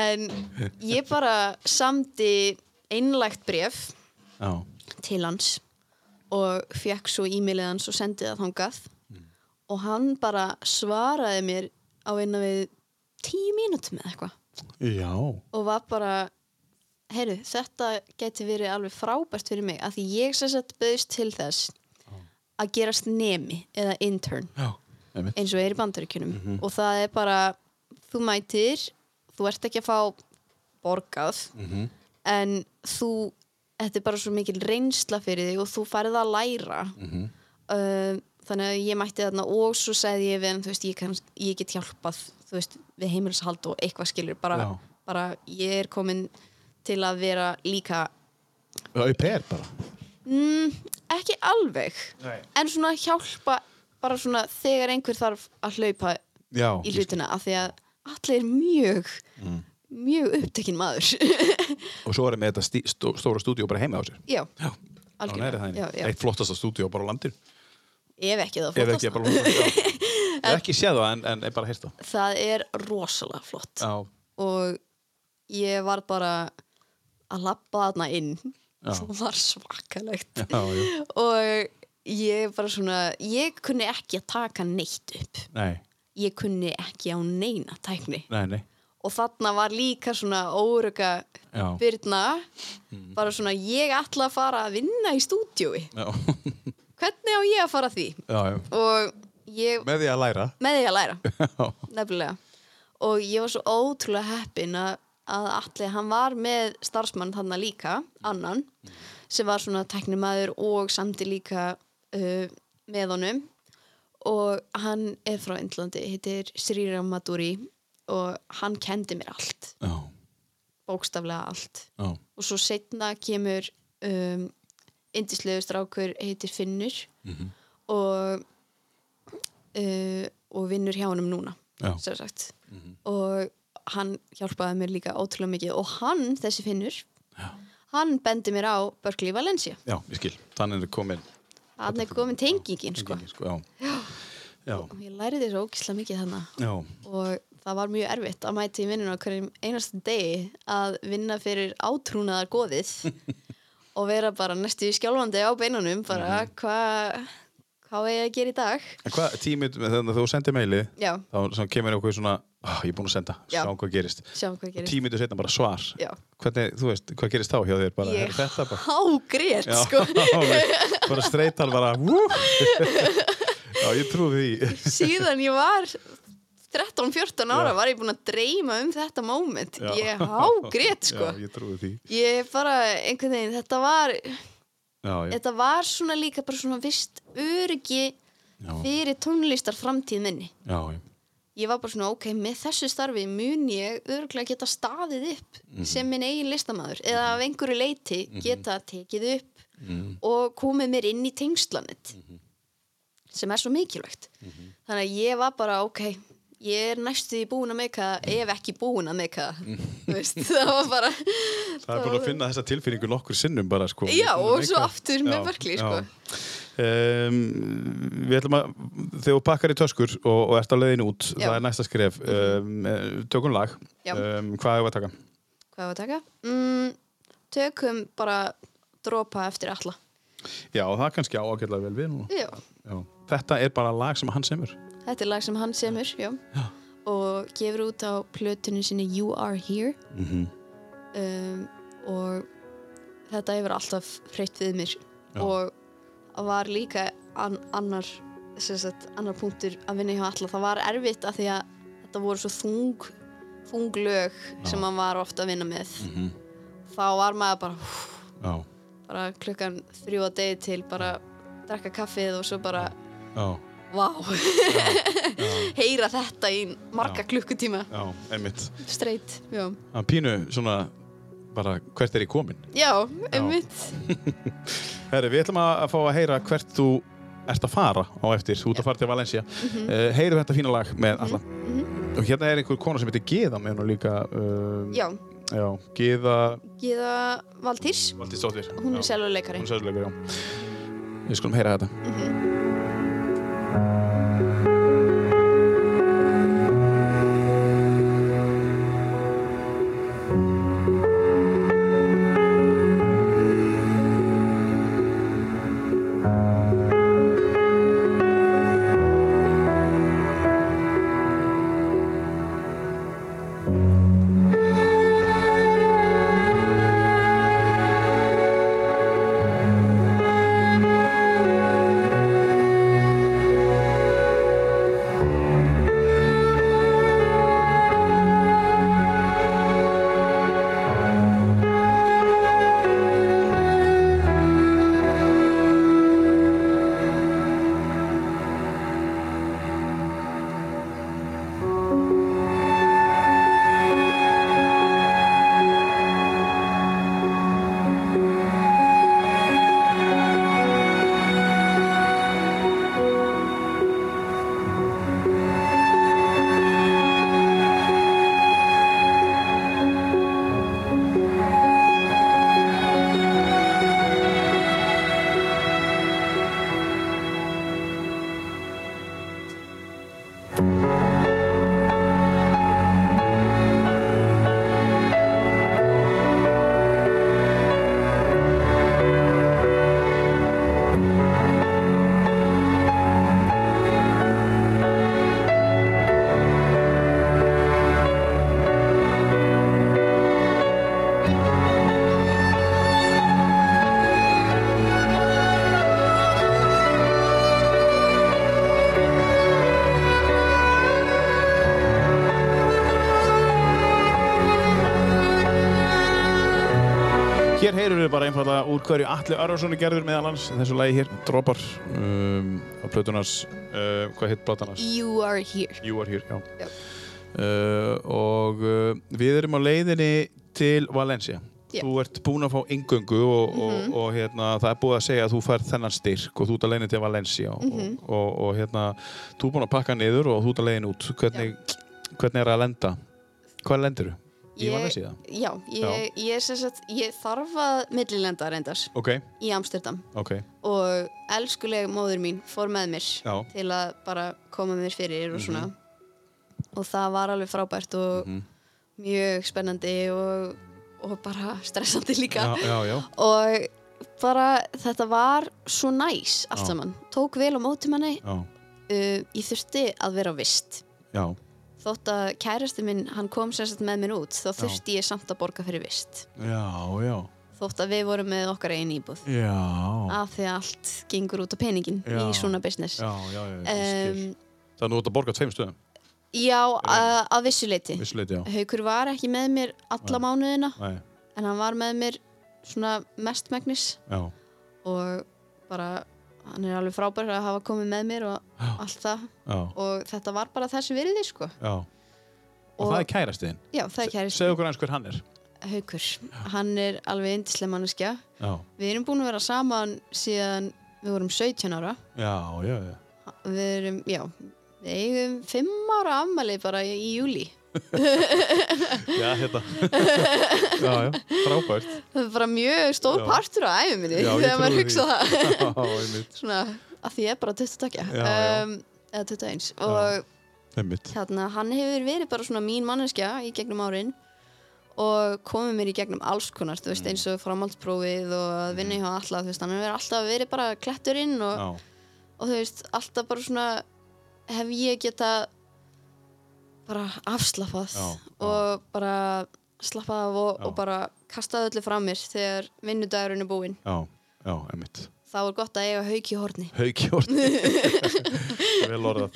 Speaker 3: en ég bara samdi einlægt bref
Speaker 1: Já,
Speaker 3: til hans og fekk svo e-mailið hans og sendið það þangað og hann bara svaraði mér á einna við tíu mínútum eða eitthvað
Speaker 1: já,
Speaker 3: og var bara heyru, þetta geti verið alveg frábært fyrir mig, af því ég sem sagt bauðst til þess að gerast nemi eða intern
Speaker 1: já. Einmitt.
Speaker 3: eins og er í bandaríkjunum og það er bara, þú mætir þú ert ekki að fá borgað en þú, þetta er bara svo mikil reynsla fyrir þig og þú færð að læra uh, þannig að ég mætti þarna og svo segði ég við hann, þú veist, ég, kann, ég get hjálpað þú veist, við heimilshald og eitthvað skilur bara,
Speaker 1: Já.
Speaker 3: bara ég er komin til að vera líka
Speaker 1: Au pair bara.
Speaker 3: ekki alveg, Nei. en svona hjálpa bara svona þegar einhver þarf að hlaupa
Speaker 1: Já.
Speaker 3: í hlutina af því að allir er mjög
Speaker 1: Mm.
Speaker 3: mjög upptekinn maður
Speaker 1: Og svo erum við þetta stí, stó, stóra stúdíó bara heima á sér.
Speaker 3: já,
Speaker 1: Já. Algjörlega.
Speaker 3: Algjörlega.
Speaker 1: Það
Speaker 3: Já,
Speaker 1: er
Speaker 3: já.
Speaker 1: eitt flottasta stúdíó bara á landinu.
Speaker 3: ef ekki
Speaker 1: Ef
Speaker 3: það
Speaker 1: ekki,
Speaker 3: flottast
Speaker 1: ég bara flottasta. Ég hef ekki séð það en, en ég bara heyrst það.
Speaker 3: það er rosalega flott
Speaker 1: Já.
Speaker 3: og ég var bara að labba þarna inn
Speaker 1: Já.
Speaker 3: það var svakalegt
Speaker 1: Já, já.
Speaker 3: og ég bara svona ég kunni ekki að taka neitt upp
Speaker 1: Nei,
Speaker 3: ég kunni ekki á neina tækni
Speaker 1: nei, nei.
Speaker 3: og þarna var líka svona óruga
Speaker 1: Já.
Speaker 3: byrna bara svona ég ætla að fara að vinna í stúdíói
Speaker 1: Já,
Speaker 3: hvernig á ég að fara að því
Speaker 1: já, já.
Speaker 3: og ég
Speaker 1: Með því að læra.
Speaker 3: með því að læra,
Speaker 1: Já.
Speaker 3: nefnilega og ég var svo ótrúlega heppin að, að allir, hann var með starfsmann þarna líka, annan sem var svona teknimaður og samti líka uh, með honum og hann er frá Indlandi, hittir Srira Maduri og hann kendi mér allt,
Speaker 1: Já,
Speaker 3: bókstaflega allt
Speaker 1: já.
Speaker 3: og svo setna kemur um, indislegu strákur heitir Finnur og uh, og vinnur hjá honum núna
Speaker 1: Já.
Speaker 3: sem sagt og hann hjálpaði mér líka ótrúlega mikið og hann, þessi Finnur hann bendi mér á Berkeley Valencia
Speaker 1: Já, ég skil. Þannig er komin.
Speaker 3: hann er komin tengingin sko
Speaker 1: Já. Já.
Speaker 3: og ég læri þessu ógislega mikið þannig
Speaker 1: Já.
Speaker 3: og það var mjög erfitt að mæta í vinnuna á hverjum einasta degi að vinna fyrir átrúnaðar goðið og vera bara næstu í skjálfandi á beinunum bara
Speaker 1: Mhm.
Speaker 3: hvað hvað er ég að gera í dag
Speaker 1: En hvað tímið með þannig að þú sendir meilið,
Speaker 3: Já.
Speaker 1: þá svona kemur eitthvað svona, oh, ég er búin að senda,
Speaker 3: Já.
Speaker 1: sjá hvað gerist.
Speaker 3: sjáum hvað gerist
Speaker 1: Tímið þú setna bara svar.
Speaker 3: Já.
Speaker 1: Hvernig, þú veist, hvað gerist þá hjá þér? Bara,
Speaker 3: ég
Speaker 1: "Heyrðu, þetta bara.
Speaker 3: hágrét
Speaker 1: Já,
Speaker 3: sko
Speaker 1: alveg. bara streytan bara, wú. Já, ég trúði því.
Speaker 3: síðan ég var 13-14 ára
Speaker 1: Já.
Speaker 3: var ég búin að dreyma um þetta moment
Speaker 1: Já.
Speaker 3: ég hágrét sko
Speaker 1: Já, ég trúi því.
Speaker 3: ég bara einhvern veginn þetta var,
Speaker 1: Já, já.
Speaker 3: þetta var svona líka bara svona vist öryggi
Speaker 1: Já,
Speaker 3: fyrir tónlistar framtíð minni
Speaker 1: já, já.
Speaker 3: ég var bara svona ok, með þessu starfi mun ég örgulega geta staðið upp sem minn eigin listamaður eða af einhverju leiti geta tekið upp og komið mér inn í tengslanet sem er svo mikilvægt þannig að ég var bara ok ég er næstu því búin að meika það ef ekki búin að meika það Þú veist, það var bara
Speaker 1: Það er bara að finna þessa tilfinningu nokkur sinnum bara, sko.
Speaker 3: Já,
Speaker 1: Við erum
Speaker 3: og svo
Speaker 1: eitthvað-
Speaker 3: aftur með Berkeley, sko.
Speaker 1: Um, við ætlum að, þegar þú pakkar í töskur og, og ert á leiðin út,
Speaker 3: Já. Mhm.
Speaker 1: það er næsta skref. Um, eh, tökum lag.
Speaker 3: Já.
Speaker 1: Um, hvað hefur að taka?
Speaker 3: hvað var að taka? Mm, tökum bara dropa eftir alla
Speaker 1: Já, það er kannski ágætlega vel við núna.
Speaker 3: Já.
Speaker 1: Já. Þetta er bara lag sem hann semur.
Speaker 3: Þetta er lag sem hann semur, já. Og gefur út á plötunni sinni You Are Here. um, og þetta hefur alltaf hreitt við mér.
Speaker 1: Já.
Speaker 3: Og var líka an annar, sem sagt, annar punktur að vinna hjá alla. Það var erfitt af því að þetta voru svo þung, þung lög sem hann var ofta að vinna með. Þá var maður bara, hú,
Speaker 1: Já,
Speaker 3: bara klukkan þrjú á degi til bara drakka kaffið og svo bara
Speaker 1: já,
Speaker 3: vá heyra þetta í marga
Speaker 1: Já.
Speaker 3: klukkutíma
Speaker 1: Já, einmitt.
Speaker 3: straight, já,
Speaker 1: Hann pínu svona bara hvert er ég komin.
Speaker 3: já, einmitt
Speaker 1: Herri, við ætlum að að fá að heyra hvert þú ert að fara á eftir, þú ert að fara til Valencia. Mm heyrum þetta fína lag með alla. Og hérna er einhver kona sem heitir Geða með hún líka. Um,
Speaker 3: já,
Speaker 1: Já, Geða
Speaker 3: Gíða Valtýrs
Speaker 1: Valdís Dóttir.
Speaker 3: hún er selvoleikari
Speaker 1: Hún er Mhm. sérlega, já. Við skulum heyra þetta. Hér heyrum við bara einfallega úr hverju Atli Arvarssoni gerður meðal hans í þessu lagi hér, Dropar um, á plötunars, uh, hvað hitt platanars?
Speaker 3: you are here
Speaker 1: You are here, já.
Speaker 3: Já.
Speaker 1: Uh, og uh, við erum á leiðinni til Valencia.
Speaker 3: Já.
Speaker 1: Þú ert búinn að fá yngöngu og, og, og hérna, það er búið að segja að þú fær þennan styrk og þú ert að leiðinni til Valencia og, og, og hérna, þú er búinn að pakka niður og þú ert að leiðinni út. Hvernig, hvernig er að lenda? Hvað lendir þú? Í Valencia?
Speaker 3: já, ég,
Speaker 1: Já.
Speaker 3: ég, ég, sem sagt, ég þarf að millilenda reyndar
Speaker 1: Ok,
Speaker 3: í Amsterdam
Speaker 1: ok,
Speaker 3: og elskuleg móður mín fór með mér
Speaker 1: Já. Mhm.
Speaker 3: til að bara koma mér fyrir og svona og það var alveg frábært og mjög spennandi og, og bara stressandi líka
Speaker 1: já, já, já.
Speaker 3: og bara þetta var svo næs allt
Speaker 1: Já.
Speaker 3: saman, tók vel á móti manni
Speaker 1: já.
Speaker 3: uh, ég þurfti að vera á vist
Speaker 1: Já,
Speaker 3: þótt að kærasti minn, hann kom sérstætt með mér út þá þurfti ég samt að borga fyrir vist
Speaker 1: já, já,
Speaker 3: þótt að við vorum með okkar einn íbúð
Speaker 1: já,
Speaker 3: af því að allt gengur út á peningin
Speaker 1: Já.
Speaker 3: í svona business
Speaker 1: já, já, já, ég skil.
Speaker 3: um,
Speaker 1: Það er nú út að borga tveim stöðum,
Speaker 3: Já, að, að vissuleiti
Speaker 1: vissuleiti, já.
Speaker 3: Haukur var ekki með mér alla mánuðina
Speaker 1: Nei,
Speaker 3: en hann var með mér svona mestmægnis
Speaker 1: já,
Speaker 3: og bara hann er alveg frábær að hafa komið með mér og allt það
Speaker 1: já,
Speaker 3: og þetta var bara þessi virði sko
Speaker 1: já. Og, það er kærastiðin.
Speaker 3: Já, það er kærist
Speaker 1: Segðu okkur eins hver hann er.
Speaker 3: Haukur, hann er alveg yndislega manneskja
Speaker 1: Já,
Speaker 3: Við erum búin að vera saman síðan við vorum 17 ára
Speaker 1: já, já, já.
Speaker 3: Við erum, já, við eigum 5 ára afmæli bara í, í júli
Speaker 1: Já, hérna. já, já, frábært.
Speaker 3: Það er bara mjög stór
Speaker 1: Já.
Speaker 3: partur á æfuminni
Speaker 1: Já, ég
Speaker 3: þegar maður
Speaker 1: trúi
Speaker 3: hugsa
Speaker 1: því. Já,
Speaker 3: það
Speaker 1: einmitt.
Speaker 3: svona, af því ég er bara 20 takkja
Speaker 1: Já, já.
Speaker 3: um, eða 21 og
Speaker 1: Einmitt.
Speaker 3: hérna, hann hefur verið bara svona mín manneskja í gegnum árin og komið mér í gegnum alls konar þú
Speaker 1: Mm.
Speaker 3: veist, eins og framhaldsprófið og að vinna hjá alla, þú veist, hann hefur alltaf verið bara kletturinn og,
Speaker 1: Já,
Speaker 3: og þú veist, alltaf bara svona hef ég geta bara afslappað
Speaker 1: Já, já.
Speaker 3: og bara slappað af og,
Speaker 1: Já.
Speaker 3: og bara kastað öllu frá mér þegar vinnudagurinn er búinn
Speaker 1: já, já, einmitt.
Speaker 3: þá er gott að eiga hauk í horni
Speaker 1: Haukjórn. vel orðað.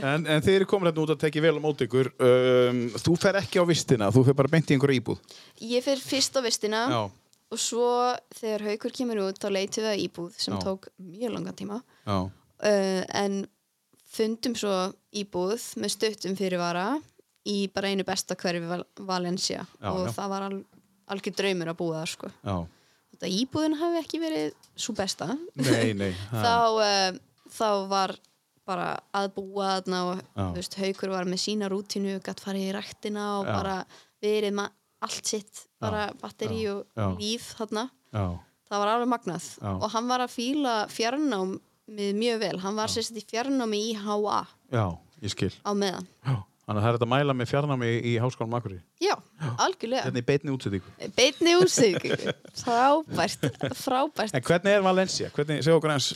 Speaker 1: En, en þið eru komin hérna út að tekja vel á móti ykkur. Um, þú fer ekki á vistina, þú fer bara beint í einhverja íbúð.
Speaker 3: Ég fer fyrst á vistina
Speaker 1: Já,
Speaker 3: og svo þegar haukur kemur út þá leitum við að íbúð sem
Speaker 1: Já.
Speaker 3: tók mjög langan tíma
Speaker 1: já,
Speaker 3: uh, en fundum svo íbúð með stuttum fyrirvara í bara einu besta hverfi Val Valencia
Speaker 1: Já,
Speaker 3: og
Speaker 1: já.
Speaker 3: það var al algjör draumur að búa það sko.
Speaker 1: Já.
Speaker 3: Þetta íbúðin hafi ekki verið svo besta
Speaker 1: Nei, nei. ha.
Speaker 3: þá, uh, þá var bara að búa þarna og
Speaker 1: Já.
Speaker 3: þú veist, haukur var með sína rútínu og gætt farið í ræktina og
Speaker 1: Já.
Speaker 3: bara verið með allt sitt bara batteri
Speaker 1: Já.
Speaker 3: og
Speaker 1: Já.
Speaker 3: líf þarna
Speaker 1: Já.
Speaker 3: það var alveg magnað
Speaker 1: Já.
Speaker 3: og hann var að fíla fjarnám mjög vel, hann var sérst í fjarnámi í HA
Speaker 1: Já, ég skil.
Speaker 3: á meðan
Speaker 1: Já. Þannig að það er þetta að mæla með fjarnámi í, í háskólanum Akureyri.
Speaker 3: já, algjörlega
Speaker 1: Þetta er beinni útsendingu.
Speaker 3: beinni úrsýðingu, frábært frábært,
Speaker 1: En hvernig er Valencia? Hvernig, segja okkur eins,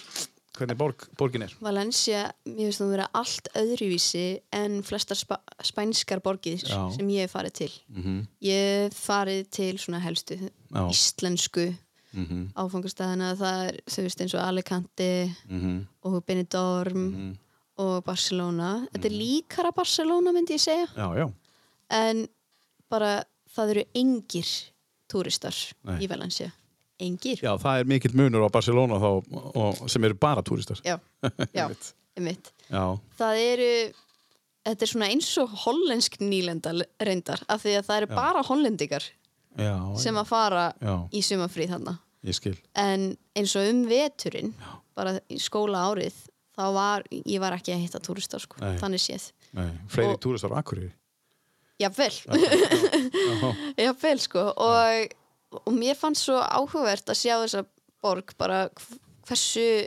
Speaker 1: hvernig borg, borgin er?
Speaker 3: Valencia mér finnst það vera allt öðruvísi en flestar spa spænskar borgir
Speaker 1: Já.
Speaker 3: sem ég hef farið til
Speaker 1: Mhm.
Speaker 3: ég hef farið til svona helstu
Speaker 1: Já.
Speaker 3: íslensku
Speaker 1: Mhm.
Speaker 3: áfangastæðina, það er þú veist eins og Alicante
Speaker 1: Mhm.
Speaker 3: og Benidorm og Barcelona
Speaker 1: Mhm.
Speaker 3: þetta er líkara Barcelona myndi ég segja
Speaker 1: Já, já.
Speaker 3: en bara það eru engir túristar
Speaker 1: Nei.
Speaker 3: í Valencia engir
Speaker 1: Já, það er mikill munur á Barcelona þá, og, sem eru bara túristar.
Speaker 3: já, já
Speaker 1: Einmitt.
Speaker 3: einmitt.
Speaker 1: Já.
Speaker 3: það eru þetta er svona eins og hollensk nýlenda reyndar af því að það eru bara hollendingar
Speaker 1: Já.
Speaker 3: sem að fara
Speaker 1: Já.
Speaker 3: í sumafríð þarna
Speaker 1: Ég skil.
Speaker 3: en eins og um veturinn bara í skóla árið þá var, ég var ekki að hitta túristar sko,
Speaker 1: Nei.
Speaker 3: þannig séð
Speaker 1: Nei, fleiri
Speaker 3: Og-
Speaker 1: túristar á Akureyri.
Speaker 3: jafnvel, jafnvel sko og, og mér fannst svo áhugavert að sjá þessa borg bara hv- hversu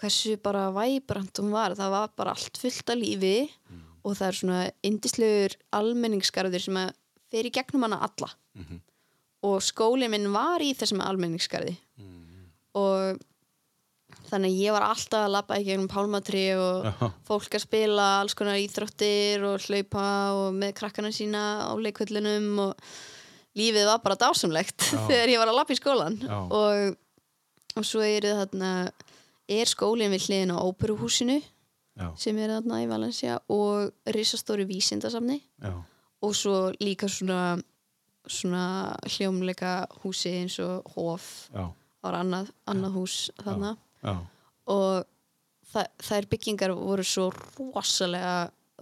Speaker 3: hversu bara væbrant hún var það var bara allt fullt af lífi og það er svona yndislegur almenningsgarður sem að fer í gegnum hana alla og skólinn minn var í þessum almenningsgarði og þannig að ég var alltaf að labba í gegnum pálmatri og
Speaker 1: Já.
Speaker 3: fólk að spila alls konar íþróttir og hlaupa og með krakkana sína á leikvöllunum og lífið var bara dásamlegt þegar ég var að lappa í skólan
Speaker 1: Já.
Speaker 3: og, og svo er þarna er skólinn við hliðin á óperuhúsinu
Speaker 1: Já.
Speaker 3: sem er þarna í Valencia og risastóri vísindasamni
Speaker 1: Já.
Speaker 3: og svo líka svona svona hljómleika húsi eins og hof
Speaker 1: Já.
Speaker 3: það var annað, annað hús þarna
Speaker 1: Já.
Speaker 3: og þa þær byggingar voru svo rosalega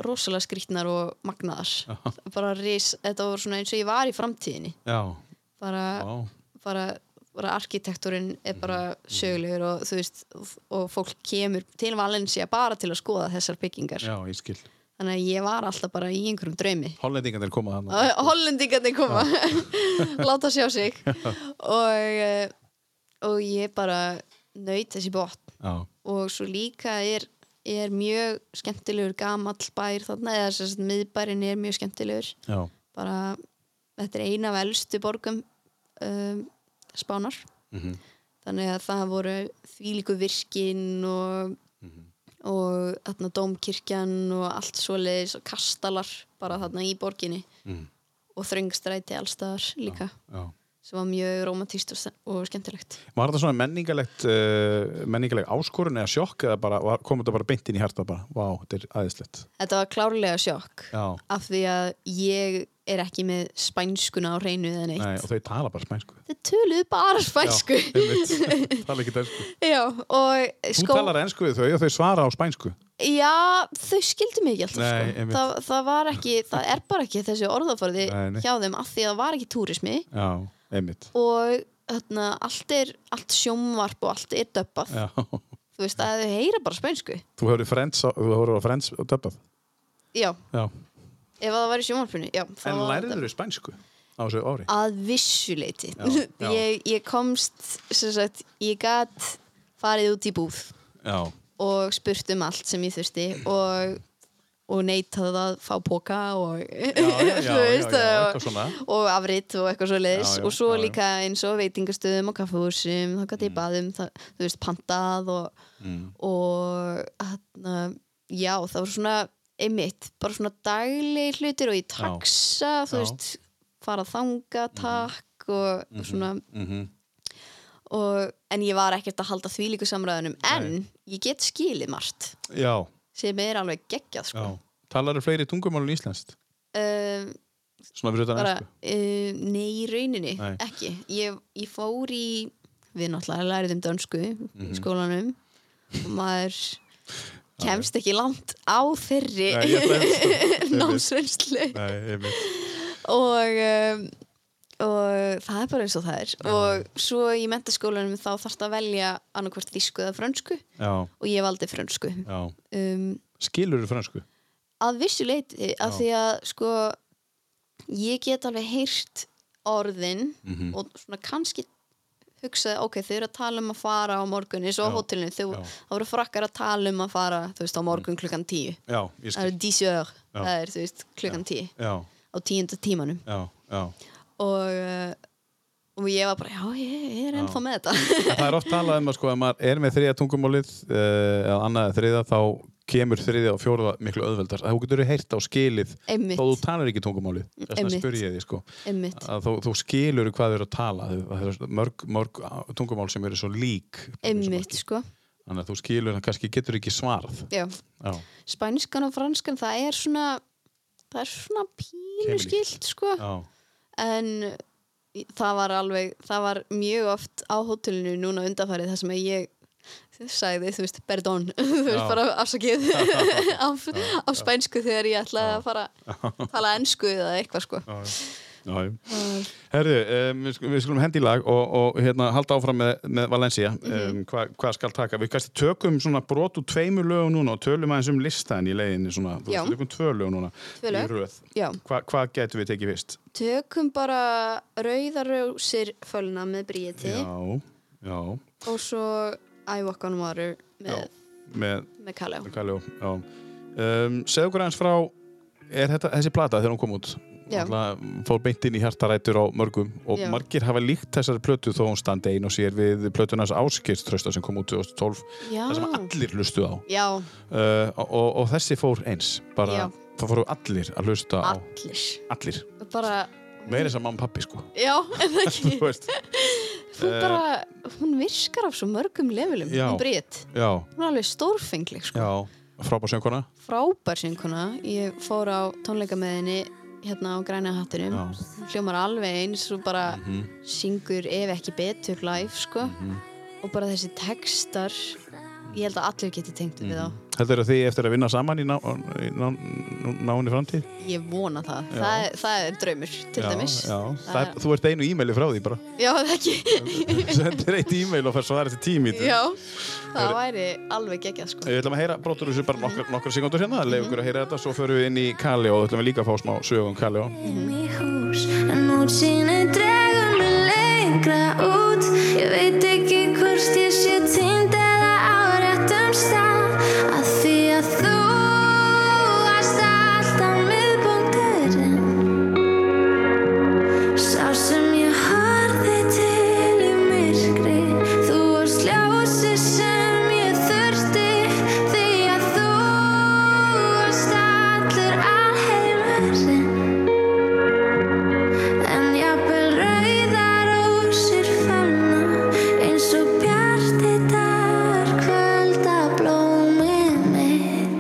Speaker 3: rosalega skrýtnar og magnaðar bara ris, þetta voru svona eins og ég var í framtíðinni
Speaker 1: Já.
Speaker 3: bara,
Speaker 1: Vá.
Speaker 3: bara, bara arkitektúrin er bara sögulegur og þú veist og fólk kemur til Valencia bara til að skoða þessar byggingar
Speaker 1: Já, ég skil.
Speaker 3: þannig að ég var alltaf bara í einhverjum draumi
Speaker 1: Hollendingarnir koma hann.
Speaker 3: Að Hollendingarnir koma láta sjá sig og, eh, og ég bara nöyt þessi botn
Speaker 1: Já.
Speaker 3: og svo líka er, er mjög skemmtilegur gamall bær þarna eða sem sagt miðbærin er mjög skemmtilegur
Speaker 1: Já.
Speaker 3: bara þetta er eina af elstu borgum um, spánar
Speaker 1: Mhm.
Speaker 3: þannig að það voru þvílíku virkin og
Speaker 1: Mhm.
Speaker 3: og þarna dómkirkjan og allt svoleiðis og kastalar bara þarna í borginni
Speaker 1: Mhm.
Speaker 3: og þröngstræti allstaðar líka
Speaker 1: Já.
Speaker 3: sem var mjög romantíst og, og skemmtilegt
Speaker 1: Var þetta svona menningalegt, uh, menningaleg áskorun eða sjokk eða bara, var, kom þetta bara beint inn í hjarta bara, vá, þetta er aðeinslegt.
Speaker 3: Þetta var klárlega sjokk
Speaker 1: Já.
Speaker 3: af því að ég er ekki með spænskuna á hreinu eða neitt.
Speaker 1: Nei, og þau tala bara spænsku.
Speaker 3: Þau töluðu bara spænsku.
Speaker 1: Já, einmitt. tala ekki dansku.
Speaker 3: Já, og
Speaker 1: Þú
Speaker 3: skó...
Speaker 1: talar ensku við þau og þau svara á spænsku.
Speaker 3: Já, þau skildu mig ekki alltaf
Speaker 1: Nei,
Speaker 3: sko.
Speaker 1: einmitt.
Speaker 3: Það, það var ekki, það er bara ekki þessi orðaforði
Speaker 1: Nei, nei.
Speaker 3: hjá þeim af því að það var ekki túrismi
Speaker 1: Já, einmitt.
Speaker 3: og þarna, allt er, allt sjómvarp og allt er döbbað.
Speaker 1: Já.
Speaker 3: Þú veist að þau heyra bara spænsku.
Speaker 1: Þú hefur frends, á- þú hefur á frends og döpað.
Speaker 3: Já,
Speaker 1: Já.
Speaker 3: ef það var í sjómvarpinu. Já, það
Speaker 1: En
Speaker 3: var
Speaker 1: læriður þau spænsku á þessu ári?
Speaker 3: að vissuleiti
Speaker 1: Já, já.
Speaker 3: ég, ég komst sem sagt, ég gat farið út í búð
Speaker 1: Já.
Speaker 3: og spurt um allt sem ég þurfti og, og neitað að fá póka og,
Speaker 1: já, já,
Speaker 3: þú veist,
Speaker 1: já, já,
Speaker 3: og-
Speaker 1: eitthvað svona.
Speaker 3: og afrit og eitthvað svo leiðis
Speaker 1: Já, já,
Speaker 3: og svo
Speaker 1: já, Mm. já.
Speaker 3: líka eins og veitingastöðum og kaffehúsum þá gæti ég baðum, það, þú veist, pantað og,
Speaker 1: Mm.
Speaker 3: og hana, já, það var svona einmitt, bara svona daglegi hlutir og í taxa,
Speaker 1: já.
Speaker 3: þú
Speaker 1: Mm.
Speaker 3: veist fara þanga, takk og svona
Speaker 1: Mhm.
Speaker 3: og, en ég var ekkert að halda því líku samræðunum en ég get skilið margt
Speaker 1: Já,
Speaker 3: sem er alveg geggjað
Speaker 1: já.
Speaker 3: sko.
Speaker 1: Talar þau fleiri tungumál en íslenskt?
Speaker 3: um,
Speaker 1: Svona fyrir utan
Speaker 3: bara,
Speaker 1: ensku?
Speaker 3: um, nei, í rauninni
Speaker 1: Nei.
Speaker 3: ekki, ég, ég fór í
Speaker 1: Mhm.
Speaker 3: við náttúrulega læriðum dönsku í skólanum og maður kemst ekki langt á þeirri
Speaker 1: Nei, ég veit.
Speaker 3: námsveinslu
Speaker 1: Nei, einmitt.
Speaker 3: og, um, og það er bara eins og það er og svo í mentaskólanum þá þarfst að velja annarkvort þýsku eða frönsku
Speaker 1: Já,
Speaker 3: og ég valdi frönsku
Speaker 1: já.
Speaker 3: um,
Speaker 1: Skilur þú fransku?
Speaker 3: að vissu leiti af
Speaker 1: Já.
Speaker 3: því að sko ég get alveg heyrt orðin
Speaker 1: Mhm.
Speaker 3: og svona kannski hugsaði, ok, þau eru að tala um að fara á morgun eins og á
Speaker 1: Já.
Speaker 3: hótelinu,
Speaker 1: Já.
Speaker 3: þau þá voru frakkar að tala um að fara, þú veist, á morgun klukkan tíu
Speaker 1: Já, ég
Speaker 3: það
Speaker 1: skil.
Speaker 3: eru 10 ör,
Speaker 1: Já.
Speaker 3: það er, þú veist, klukkan tíu
Speaker 1: Já,
Speaker 3: á tíunda tímanum
Speaker 1: já, já.
Speaker 3: og, eh, og ég var bara, já, ég, ég er ennþá með þetta
Speaker 1: En það er oft talað um að sko, ef maður er með þriðja tungumálið eh, eða annað eða þriðja, þá kemur þriðja og fjóruða miklu auðveldar. Þú getur heyrt á skilið
Speaker 3: Einmitt.
Speaker 1: þó þú talar ekki tungumálið. Þess vegna
Speaker 3: Einmitt.
Speaker 1: spur ég því, sko.
Speaker 3: einmitt,
Speaker 1: Að þú, þú skilur hvað þau eru að tala. Þau- Það eru mörg, mörg tungumál sem eru svo lík.
Speaker 3: einmitt, sko
Speaker 1: Þannig að þú skilur, en kannski getur ekki svarað.
Speaker 3: já,
Speaker 1: Já,
Speaker 3: spænskan og franskan það er svona það er svona pínu
Speaker 1: Kemur líkt.
Speaker 3: skilt sko.
Speaker 1: já,
Speaker 3: en það var alveg það var mjög oft á hótelinu núna undanfarið þar sem að ég sagði, þú veist, perdón þú veist,
Speaker 1: Já.
Speaker 3: bara afsakið á, á spænsku þegar ég ætlaði að fara að tala ensku eða eitthvað sko
Speaker 1: já. já. já. Herðu, um, við skulum- við skulum hendi í lag og, og hérna, halda áfram með, með Valencia
Speaker 3: Mhm.
Speaker 1: um, hvað hva skal taka. Við kannski tökum svona brot úr tveimur lögum núna og tölum aðeins um listan í leiðinni svona. Þú
Speaker 3: Já.
Speaker 1: veist, við tökum tvö lög núna
Speaker 3: Tvö lög.
Speaker 1: í röð.
Speaker 3: Já.
Speaker 1: Hva, hvað getum við tekið fyrst?
Speaker 3: tökum bara rauðarjósir fölna með bríeti
Speaker 1: Já, já,
Speaker 3: og svo I Walk on Water með,
Speaker 1: með
Speaker 3: með Kalló
Speaker 1: Kaljó. Já. Um, segðu okkur aðeins frá, er þetta, þessi plata þegar hún kom út?
Speaker 3: Já.
Speaker 1: Náttúrulega fór beint inn í hjartarætur á mörgum og
Speaker 3: Já.
Speaker 1: margir hafa líkt þessari plötu þó hún standi einu og sér við plötunars áskirströsta sem kom út 2012
Speaker 3: Já.
Speaker 1: það sem allir hlustu á
Speaker 3: Já,
Speaker 1: uh, og, og, og þessi fór eins bara,
Speaker 3: Já.
Speaker 1: það fóru allir að hlusta á
Speaker 3: allir
Speaker 1: allir,
Speaker 3: bara,
Speaker 1: meira sem mamma og pappi sko
Speaker 3: já, en það ekki
Speaker 1: Þú veist,
Speaker 3: hún bara, hún virkar af svo mörgum levelum,
Speaker 1: Já.
Speaker 3: hún breytt
Speaker 1: já,
Speaker 3: hún er alveg stórfengleg sko.
Speaker 1: já frábær sönguna
Speaker 3: frábær synguna ég fór á tónleika með henni hérna á græna hattinum
Speaker 1: Já. Mhm.
Speaker 3: hún hljómar alveg eins og bara syngur ef ekki betur live sko. og bara þessi textar ég held að allir geti tengt
Speaker 1: Mhm.
Speaker 3: við þá
Speaker 1: heldur þið eftir að vinna saman í ná- í ná- nú- náinni framtíð
Speaker 3: ég vona það, það er, það er draumur til
Speaker 1: já,
Speaker 3: dæmis
Speaker 1: já.
Speaker 3: Það
Speaker 1: Það, þú ert einu e-maili frá því bara
Speaker 3: já, það ekki
Speaker 1: sendir eitt e-mail og fær svara til tími
Speaker 3: já, það væri alveg geggjað sko.
Speaker 1: Við ætlum að heyra brotur þessu bara nokkar, nokkar sekundur hérna, leið okkur að heyra þetta, svo förum við inn í Kalli og ætlum við líka að fá smá um sögum Kalli
Speaker 4: í hús En útsýni dregur mig lengra út Ég veit ekki hvort ég sé týnd eða á réttum stað Að því að þú varst alltaf miðbúndurinn Sá sem ég horfði til í myrkri Þú varst ljósi sem ég þurfti Því að þú varst allur alheimurinn En jafnvel rauðar ósir fanna eins og bjarti dagur kvölda blómið mitt.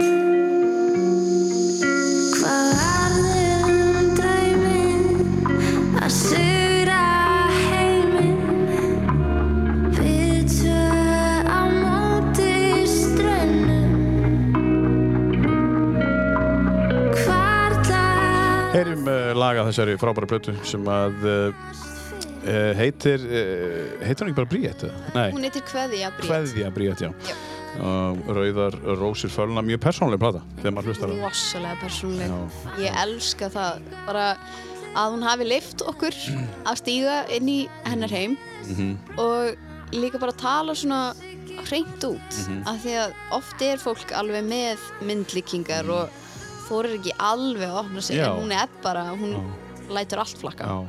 Speaker 4: Hvað varður um drauminn að sugra heiminn? Við tvö á móti strönnum. Hvarlar
Speaker 1: Heyrim uh, laga þessari frábæra plötu sem að uh, uh, heitir, uh, heitir hún ekki bara Bríett? eða?
Speaker 3: hún
Speaker 1: Nei,
Speaker 3: heitir Kveðja Bríett
Speaker 1: Kveðja Bríett, já.
Speaker 3: Já.
Speaker 1: Uh, rauðar Rósir Fölna, mjög persónlega plata þegar maður hlustar á það.
Speaker 3: rosalega persónleg
Speaker 1: Já.
Speaker 3: ég elska það bara að hún hafi leift okkur að stíga inn í hennar heim
Speaker 1: Mhm.
Speaker 3: og líka bara tala svona hreint út
Speaker 1: Mhm.
Speaker 3: af því að oft er fólk alveg með myndlíkingar og þorir ekki alveg að opna sig
Speaker 1: Mhm. Já.
Speaker 3: en hún er bara, hún lætur allt flakka
Speaker 1: Já.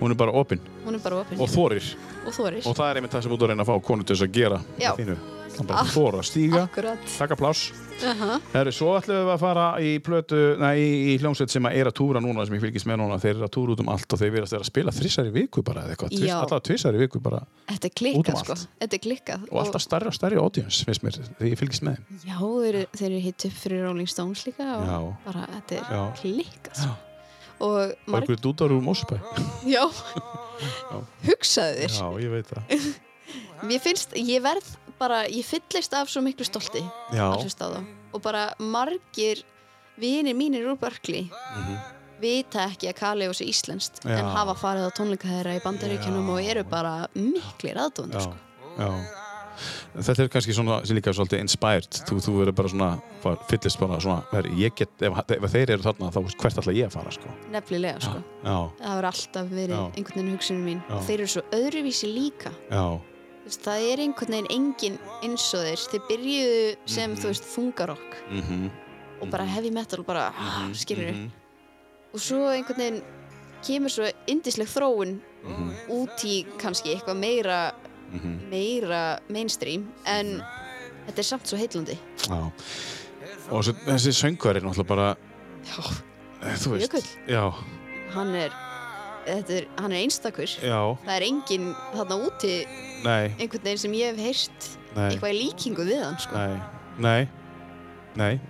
Speaker 1: Hún er bara opinn
Speaker 3: hún er bara opinn
Speaker 1: og þorir
Speaker 3: og þorir
Speaker 1: og það er einmitt það sem þú ert að reyna að fá konu til þess að gera
Speaker 3: Já. Ah.
Speaker 1: með þínu. Það bara þora, stíga,
Speaker 3: akkurat
Speaker 1: taka pláss.
Speaker 3: uh
Speaker 1: Herru, svo ætlum við að fara í plötu, nei, í, í hljómsveit sem að er að túra núna, sem ég fylgist með núna, þeir eru að túra út um allt og þeir verðast vera að spila þrissar í viku bara, eða eitthvað, tvis,
Speaker 3: Já.
Speaker 1: alltaf tvissar í viku bara,
Speaker 3: þetta er
Speaker 1: Út um
Speaker 3: klikkað sko
Speaker 1: allt.
Speaker 3: þetta er klikkað
Speaker 1: og alltaf starri og starri audience, finnst mér, þegar ég fylgist með þeim.
Speaker 3: Já, þeir, eru- þeir eru hitt upp fyrir Rolling Stones líka og
Speaker 1: Já.
Speaker 3: bara þetta er
Speaker 1: Já.
Speaker 3: klikkað sko. og
Speaker 1: Var
Speaker 3: marg,
Speaker 1: ykkur dúdar úr Mósabæ?
Speaker 3: já, hugsaðu þér
Speaker 1: Já, ég veit það.
Speaker 3: mér finnst, ég verð bara, ég fyllist af svo miklu stolti
Speaker 1: Já.
Speaker 3: að hlusta á þá og bara margir vinir mínir úr Berkeley vita ekki að Kaleos er íslenskt
Speaker 1: Mhm. Já.
Speaker 3: en hafa farið á tónleika þeirra í bandaríkjunum og eru bara miklir aðdóndur
Speaker 1: já,
Speaker 3: sko.
Speaker 1: já. Þetta er kannski svona, sem líka svolítið inspired, þú, þú verður bara svona bara fyllist bara svona, herri, ég get ef, ef þeir eru þarna, þá veist, hvert ætla ég að fara sko.
Speaker 3: nefnilega sko.
Speaker 1: já,
Speaker 3: það hefur alltaf verið
Speaker 1: Já.
Speaker 3: einhvern veginn hugsunum mín
Speaker 1: Já.
Speaker 3: þeir eru svo öðruvísi líka
Speaker 1: já,
Speaker 3: Þú veist, það er einhvern veginn engin eins og þeir þeir byrjuðu sem þú veist þungarokk
Speaker 1: mhm
Speaker 3: og bara heavy metal bara mm skilur og svo einhvern veginn kemur svo indisleg þróun
Speaker 1: Mhm.
Speaker 3: út í kannski eitthvað meira meira mainstream en
Speaker 1: Mhm.
Speaker 3: þetta er samt svo heitlandi
Speaker 1: já og svo, þessi söngvar er náttúrulega bara
Speaker 3: Já.
Speaker 1: eh, þú veist
Speaker 3: Jökull.
Speaker 1: já,
Speaker 3: hann er, þetta er, hann er einstakur
Speaker 1: já,
Speaker 3: það er enginn þarna úti
Speaker 1: nei,
Speaker 3: einhvern veginn sem ég hef heyrt
Speaker 1: nei
Speaker 3: eitthvað í líkingu við hann sko.
Speaker 1: Nei, nei, nei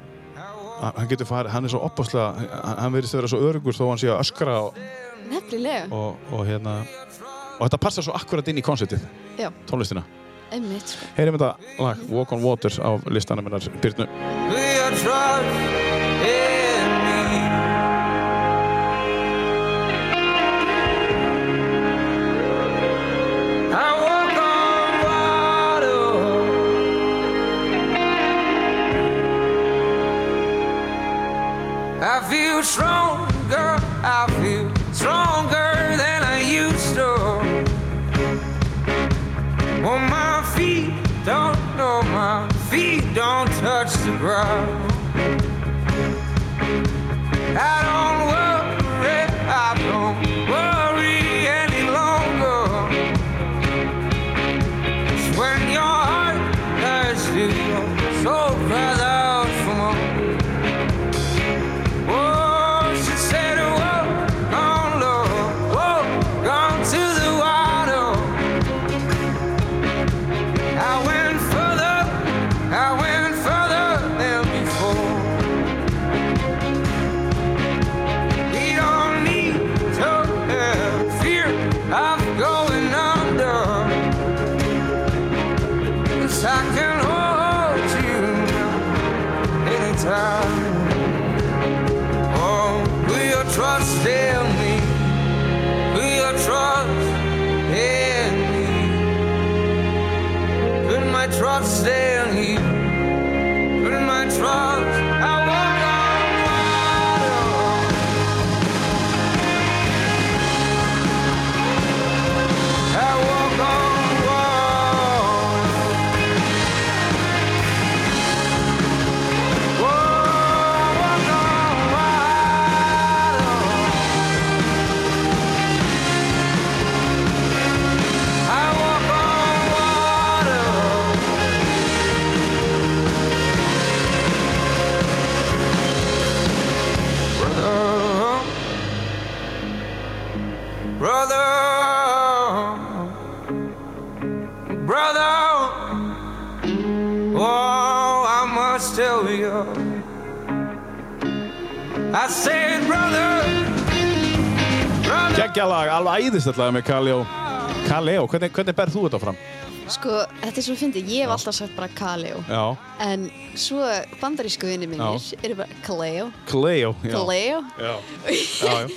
Speaker 1: Ha- Hann getur farið, hann er svo opaslega hann hann virðist vera svo örugur þó hann sé að öskra og,
Speaker 3: nefnilega,
Speaker 1: og, og hérna og þetta passar svo akkurat inn í konsertið
Speaker 3: Já.
Speaker 1: tónlistina.
Speaker 3: einmitt sko.
Speaker 1: Heyrim þetta lag Walk on Water á listanum minnar Byrnu.
Speaker 7: Your trust in me. I walk on water. I feel stronger, I feel stronger than I used to. Well, my feet don't know, my feet don't touch the ground. I don't worry, I don't worry any longer. 'Cause when your heart turns to your soul cries out for more. Oh, she said, walk on, Lord, walk on to the water. I went further, I went further than before. We don't need to have fear of going under. 'Cause I can hold you now anytime. Oh, will you trust in me? Will you trust in me? Put my trust in you. Put my trust. I walk on water. I walk on water. Whoa, I walk on water. I walk on water. Brother, brother, brother. Oh, I must tell you. I said, brother, brother.
Speaker 1: Gekkja lag, alveg æðist lag með Kaleo Kaleo, hvernig, hvernig berð þú þetta fram?
Speaker 3: sko, þetta er svo fyndið, ég hef alltaf sagt bara Kaleo
Speaker 1: Já,
Speaker 3: en svo bandarísku vinni mínir
Speaker 1: Já.
Speaker 3: eru bara Kaleo,
Speaker 1: Kaleo já.
Speaker 3: Kaleo
Speaker 1: Já, já, já.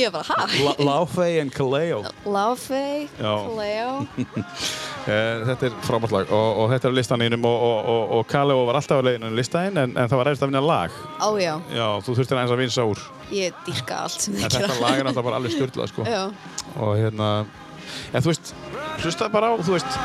Speaker 3: ég er bara, ha?
Speaker 1: La- Laufey and Kaleo
Speaker 3: Láfey,
Speaker 1: Já.
Speaker 3: Kaleo
Speaker 1: Eh, Þetta er frábært lag og, og þetta er á listanínum og, og, og, og Kaleo var alltaf á leiðinu í listaninn en, en það var erfitt að vinna lag
Speaker 3: ájá,
Speaker 1: Já, þú þurftir aðeins að vinsa úr
Speaker 3: ég dýrka allt sem
Speaker 1: en
Speaker 3: þið
Speaker 1: þetta
Speaker 3: gera
Speaker 1: lag er náttúrulega bara alveg styrlað sko.
Speaker 3: já,
Speaker 1: og hérna en þú veist, hlustaði bara á þú veist,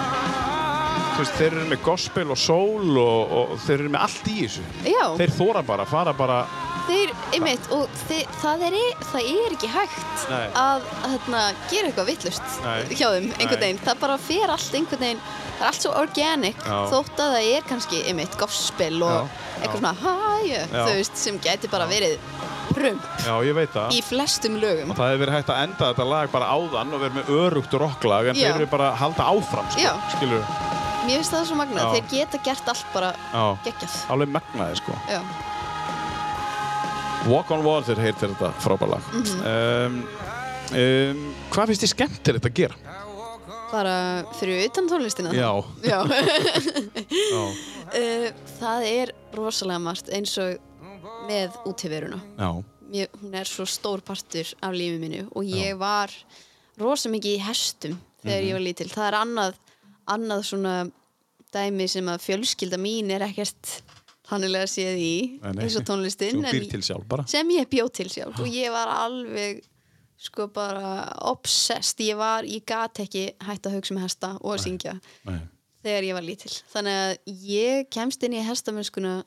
Speaker 1: þú veist, þeir eru með gospel og soul og, og þeir eru með allt í þessu
Speaker 3: já
Speaker 1: þeir þóra bara, fara bara
Speaker 3: Þeir, einmitt, og þeir, það, er, það er ekki hægt
Speaker 1: Nei.
Speaker 3: að hérna, gera eitthvað vittlust
Speaker 1: Nei.
Speaker 3: hjá þeim einhvern
Speaker 1: Nei.
Speaker 3: veginn. Það bara fer allt einhvern veginn, það er allt svo organic
Speaker 1: Já.
Speaker 3: þótt að það er kannski, einmitt, gospel og
Speaker 1: Já, já.
Speaker 3: eitthvað svona hæju,
Speaker 1: Já.
Speaker 3: þú veist, sem gæti bara verið prump
Speaker 1: já, ég veit það
Speaker 3: í flestum lögum.
Speaker 1: og það hefur verið hægt að enda þetta lag bara áðan og verið með örugt rocklag en
Speaker 3: Já.
Speaker 1: þeir eru bara að halda áfram sko,
Speaker 3: Já.
Speaker 1: skilur,
Speaker 3: Mér finnst það svo magnað,
Speaker 1: Já.
Speaker 3: þeir geta gert allt bara
Speaker 1: já,
Speaker 3: geggjað.
Speaker 1: alveg magnaði sko
Speaker 3: Já,
Speaker 1: Walk on Water heitir þetta Mhm. frábæla mm um, um, hvað finnst þið skemmtilegt að gera?
Speaker 3: bara fyrir utan tónlistina
Speaker 1: Já.
Speaker 3: Já.
Speaker 1: Já.
Speaker 3: Eh, það er rosalega margt eins og með útiveruna
Speaker 1: Já.
Speaker 3: Mér, hún er svo stór partur af lífið minu og ég var rosa mikið í hestum þegar
Speaker 1: Mhm.
Speaker 3: ég var lítil það er annað, annað svona dæmi sem að fjölskylda mín er ekkert hannilega séð í
Speaker 1: Nei, nei.
Speaker 3: eins og tónlistin
Speaker 1: Þú
Speaker 3: en
Speaker 1: býr
Speaker 3: ég-
Speaker 1: til sjálf bara.
Speaker 3: sem ég bjó til sjálf og ég var alveg sko bara obsessed ég var, ég gat ekki hætt að hugsa með hesta og að syngja
Speaker 1: Nei.
Speaker 3: þegar ég var lítil þannig að ég kemst inn í hestamennskuna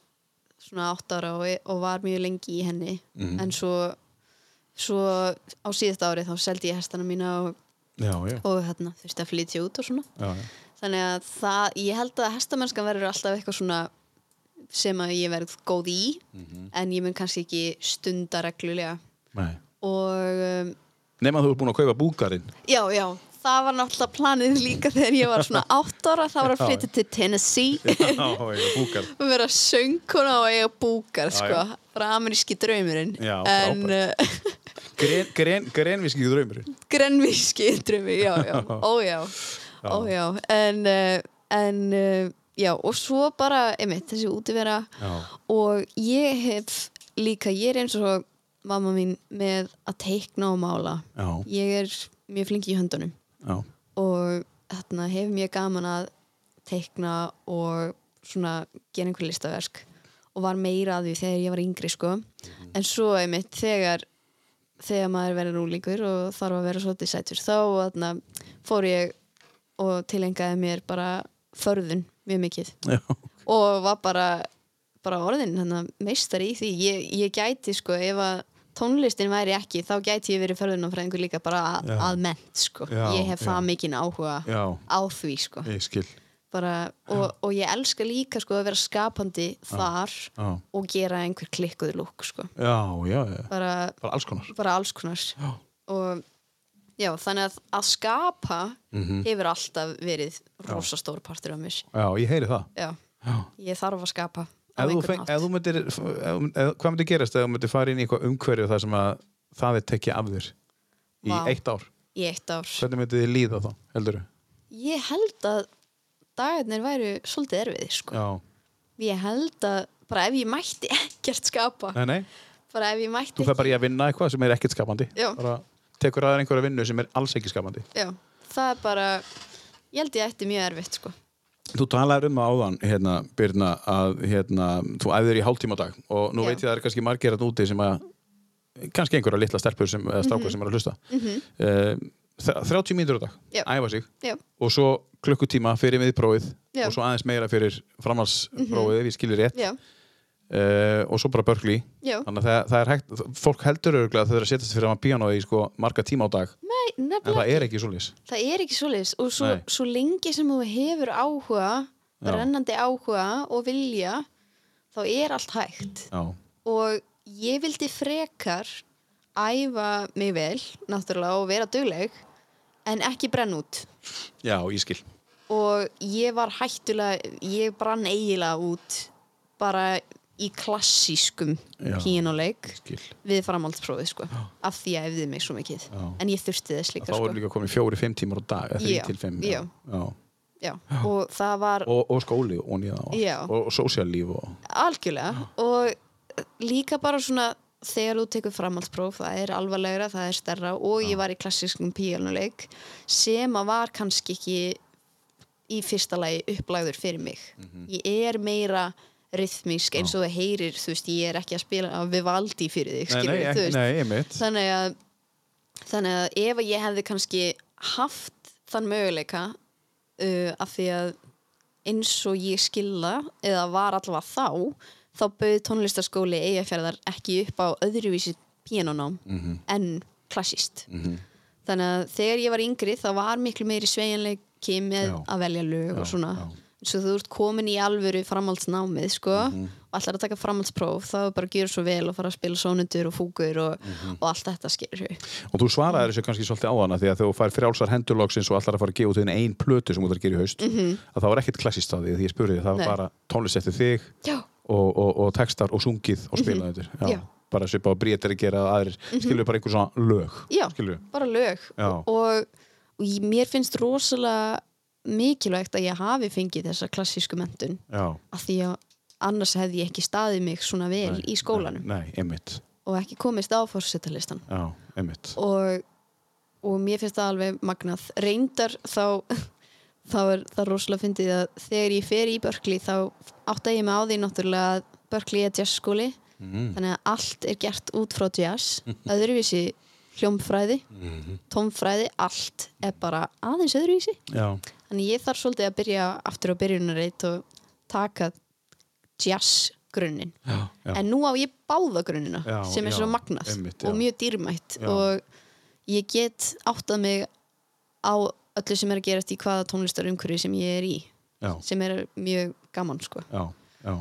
Speaker 3: svona 8 ára og, og var mjög lengi í henni en svo, svo á síðasta ári þá seldi ég hestana mína og,
Speaker 1: Já, já.
Speaker 3: og hérna, þurfti að flytja út og svona
Speaker 1: Já, já.
Speaker 3: þannig að það, ég held að hestamennskan verður alltaf eitthvað svona sem að ég verð góð í en ég mun kannski ekki stunda reglulega
Speaker 1: Nei.
Speaker 3: og um,
Speaker 1: Nefn að þú ert búin að kaupa búkarinn.
Speaker 3: Já, já, það var náttúrulega planið líka þegar ég var svona átt ára það var að flytja til Tennessee
Speaker 1: Já, já, búkar.
Speaker 3: og vera söngkona og eiga búkar,
Speaker 1: Já,
Speaker 3: sko
Speaker 1: já.
Speaker 3: bara ameríski draumurinn
Speaker 1: Já,
Speaker 3: en uh,
Speaker 1: Gren, gren, grenviski draumurinn.
Speaker 3: grenvíski draumi, já, já, ójá ójá, en uh, en, uh, já, og svo bara einmitt, þessi útivera
Speaker 1: Já.
Speaker 3: og ég hef líka, ég er eins og mamma mín með að teikna og mála
Speaker 1: Já,
Speaker 3: ég er mjög flinki í höndunum
Speaker 1: já.
Speaker 3: og þarna hef mjög gaman að teikna og svona gera einhver listaverk og var meira að því þegar ég var yngri sko en svo einmitt þegar þegar maður verður úlingur og þarf að vera svolítið sætur þá þarna, fór ég og tilengaði mér bara förðun mjög mikið
Speaker 1: Já,
Speaker 3: og var bara, bara orðin hana, meistari í því ég, ég gæti sko ef að tónlistin væri ekki þá gæti ég verið förðunafræðingur líka bara að,
Speaker 1: Já.
Speaker 3: að mennt sko
Speaker 1: Já,
Speaker 3: ég hef
Speaker 1: já.
Speaker 3: það mikinn áhuga
Speaker 1: já.
Speaker 3: á því sko
Speaker 1: Ég skil.
Speaker 3: bara, og, og ég elska líka sko að vera skapandi þar
Speaker 1: Já.
Speaker 3: og gera einhver klikkuð lúk sko
Speaker 1: Já, já, já.
Speaker 3: bara,
Speaker 1: Bara alls konar.
Speaker 3: bara alls konar já. og já, þannig að að skapa
Speaker 1: Mhm.
Speaker 3: hefur alltaf verið rosa stór partur af mér
Speaker 1: Já, ég heyri það.
Speaker 3: já,
Speaker 1: Já.
Speaker 3: ég þarf að skapa á
Speaker 1: Ef þú,
Speaker 3: einhvern
Speaker 1: feng,
Speaker 3: hátt.
Speaker 1: ef þú myndir, ef, ef, hvað myndir gerast ef þú myndir fara inn í eitthvað umhverju þar sem að það er tekið af þér í
Speaker 3: Vá.
Speaker 1: eitt ár?
Speaker 3: í eitt ár
Speaker 1: Hvernig myndir þið líða þá, heldur þú?
Speaker 3: ég held að dagarnir væru svolítið erfið sko.
Speaker 1: Já.
Speaker 3: ég held að bara ef ég mætti ekkert skapa
Speaker 1: Nei, nei.
Speaker 3: bara ef ég mætti
Speaker 1: Þú fer bara í að vinna eitthvað sem er ekkert skapandi.
Speaker 3: Já.
Speaker 1: Bara tekur aðeins einhverja vinnu sem er alls ekki skapandi.
Speaker 3: já, það er bara ég held ég ætti mjög erfitt sko.
Speaker 1: Þú talaðir um það áðan, hérna, Birna, að hérna, þú æfðir í hálftíma á dag og nú
Speaker 3: Já.
Speaker 1: veit ég að það er kannski margir hérna úti sem að, kannski einhverja litla stelpur sem, eða strákur
Speaker 3: Mhm.
Speaker 1: sem er að hlusta. Mm -hmm. 30 mínútur á dag,
Speaker 3: Já.
Speaker 1: æfa sig
Speaker 3: já,
Speaker 1: og svo klukkutíma fyrir miðprófið
Speaker 3: Já. Mhm.
Speaker 1: og svo aðeins meira fyrir framhalsprófið, ef ég skilur rétt,
Speaker 3: já,
Speaker 1: uh, og svo bara börkli.
Speaker 3: Já.
Speaker 1: Þannig að það, það er hægt, fólk heldur örgulega að þau eru að setjast fyrir að maður píanói í sko marga tíma á dag,
Speaker 3: Nei,
Speaker 1: en
Speaker 3: nefnilega
Speaker 1: það er ekki svoleiðis.
Speaker 3: það er ekki svoleiðis og svo,
Speaker 1: Nei.
Speaker 3: svo lengi sem þú hefur áhuga
Speaker 1: Já.
Speaker 3: brennandi áhuga og vilja þá er allt hægt
Speaker 1: Já,
Speaker 3: og ég vildi frekar æfa mig vel náttúrulega og vera dugleg en ekki brenn út
Speaker 1: já, ég skil.
Speaker 3: og ég var hættulega ég brann eiginlega út bara í klassískum
Speaker 1: Já.
Speaker 3: pínuleik
Speaker 1: skil.
Speaker 3: við framhaldsprófið sko af því að ég efði mig svo mikið
Speaker 1: Já.
Speaker 3: en ég þurfti þess líka
Speaker 1: Þá
Speaker 3: sko
Speaker 1: eru líka komin fjóri, fimm tímar á dag, eða
Speaker 3: Já,
Speaker 1: þrý til fimm.
Speaker 3: já.
Speaker 1: já.
Speaker 3: Já. og það var
Speaker 1: Og, og skóli og nýða og,
Speaker 3: Já.
Speaker 1: og, og sósíallíf og...
Speaker 3: algjörlega og líka bara svona þegar þú tekur framhaldspróf það er alvarlegra, það er stærra og ég var í klassískum píanuleik sem að var kannski ekki í fyrsta lagi upplæður fyrir mig
Speaker 1: Mhm.
Speaker 3: ég er meira rithmísk eins og það heyrir þú veist, ég er ekki að spila að við valdi fyrir þig skilur,
Speaker 1: nei,
Speaker 3: þú
Speaker 1: ekki,
Speaker 3: veist
Speaker 1: nei, einmitt.
Speaker 3: þannig að þannig að ef að ég hefði kannski haft þann möguleika uh, af því að eins og ég skilða eða var allavega þá þá bauð tónlistaskóli eigafjörðar ekki upp á öðruvísi píanónám
Speaker 1: Mhm.
Speaker 3: en klassist þannig að þegar ég var yngri þá var miklu meiri sveigjanleiki með
Speaker 1: Já.
Speaker 3: að velja lög og
Speaker 1: Já,
Speaker 3: svona
Speaker 1: já.
Speaker 3: svo þú ert komin í alvöru framhaldsnámið sko,
Speaker 1: Mhm.
Speaker 3: og ætlar að taka framhaldspróf þá er bara að gera svo vel og fara að spila sónundur og fúkur og,
Speaker 1: Mhm.
Speaker 3: og allt þetta skilur
Speaker 1: Og þú svaraði þessu kannski svolítið áðana því að þegar þú fær frjálsar hendurlóksins og allar að fara að gefa út einu ein plötu sem þú þarf að gera í haust að það var ekkert klassist að því því ég spurði því það var
Speaker 3: Mhm. Nei.
Speaker 1: bara tónlist eftir þig
Speaker 3: Já.
Speaker 1: og, og, og textar og sungið og spilað mm
Speaker 3: Mhm. Já. Mhm.
Speaker 1: bara svipa og brétir að gera að aðrir skilur bara einhver svona lög
Speaker 3: já,
Speaker 1: skilur
Speaker 3: bara lög
Speaker 1: Já.
Speaker 3: og, og og ég, mér finnst rosalega mikilvægt að ég hafi fengið þessa klassísku mentun
Speaker 1: Já.
Speaker 3: af því að annars hefði ég ekki staðið mig svona vel
Speaker 1: Nei,
Speaker 3: í skólanum
Speaker 1: Nei, nei, einmitt.
Speaker 3: og ekki komist á fórsetalistan
Speaker 1: Já, einmitt.
Speaker 3: og, og mér finnst það alveg magnað reyndar þá þá er það rosalega fyndið að þegar ég fer í Börkli þá átta ég mig á því náttúrulega að Börkli er jazzskóli þannig að allt er gert út frá jazz öðruvísi hljómfræði tómfræði, allt er bara aðeins öðruvísi
Speaker 1: Já.
Speaker 3: þannig ég þarf svolítið að byrja aftur á byrjunarreit og taka jazz grunninn
Speaker 1: Já. Já.
Speaker 3: en nú á ég báða grunnina
Speaker 1: Já,
Speaker 3: sem er
Speaker 1: já,
Speaker 3: svo magnað
Speaker 1: einmitt, já.
Speaker 3: og mjög dýrmætt
Speaker 1: Já.
Speaker 3: og ég get áttað mig á öllu sem er að gerast í hvaða tónlistarumhverju sem ég er í
Speaker 1: Já.
Speaker 3: sem er mjög gaman sko
Speaker 1: Já. Já.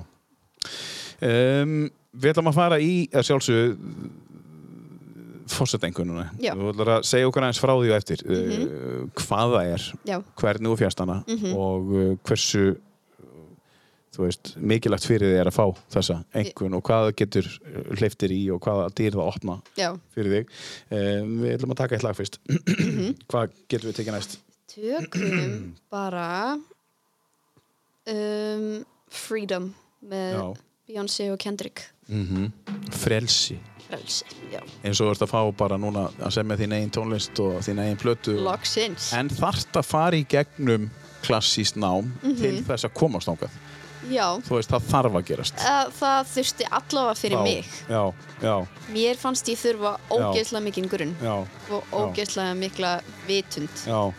Speaker 1: Um, við ætlum að fara í, að sjálfsögðu, fórsetengununa.
Speaker 3: Já. Mhm.
Speaker 1: Þú ætlar að segja okkur aðeins frá því og eftir uh, hvað það er,
Speaker 3: já, Mhm.
Speaker 1: hvernig þú fjast hana og uh, hversu uh, þú veist, mikilvægt fyrir þig er að fá þessa engun og hvað það getur hleyftir í og hvaða dýr það opna
Speaker 3: já
Speaker 1: fyrir þig. Um, við ætlum að taka eitt lag fyrst.
Speaker 3: Mhm.
Speaker 1: Hvað getum við tekið næst?
Speaker 3: tökum bara um, Freedom með
Speaker 1: Já.
Speaker 3: Beyoncé og Kendrick
Speaker 1: Frelsi.
Speaker 3: frelsi, já,
Speaker 1: Eins og þú ert að fá bara núna að semja þín eigin tónlist og þín eigin plötu. og-
Speaker 3: loksins
Speaker 1: En þarft að fara í gegnum klassíst nám
Speaker 3: Mhm.
Speaker 1: til þess að komast ángað.
Speaker 3: já,
Speaker 1: Þú veist, það þarf að gerast.
Speaker 3: það, það þurfti allavega fyrir
Speaker 1: Já,
Speaker 3: mig
Speaker 1: Já, já,
Speaker 3: mér fannst ég þurfa ógeðslega mikinn grunn
Speaker 1: já,
Speaker 3: og ógeðslega mikla vitund
Speaker 1: já.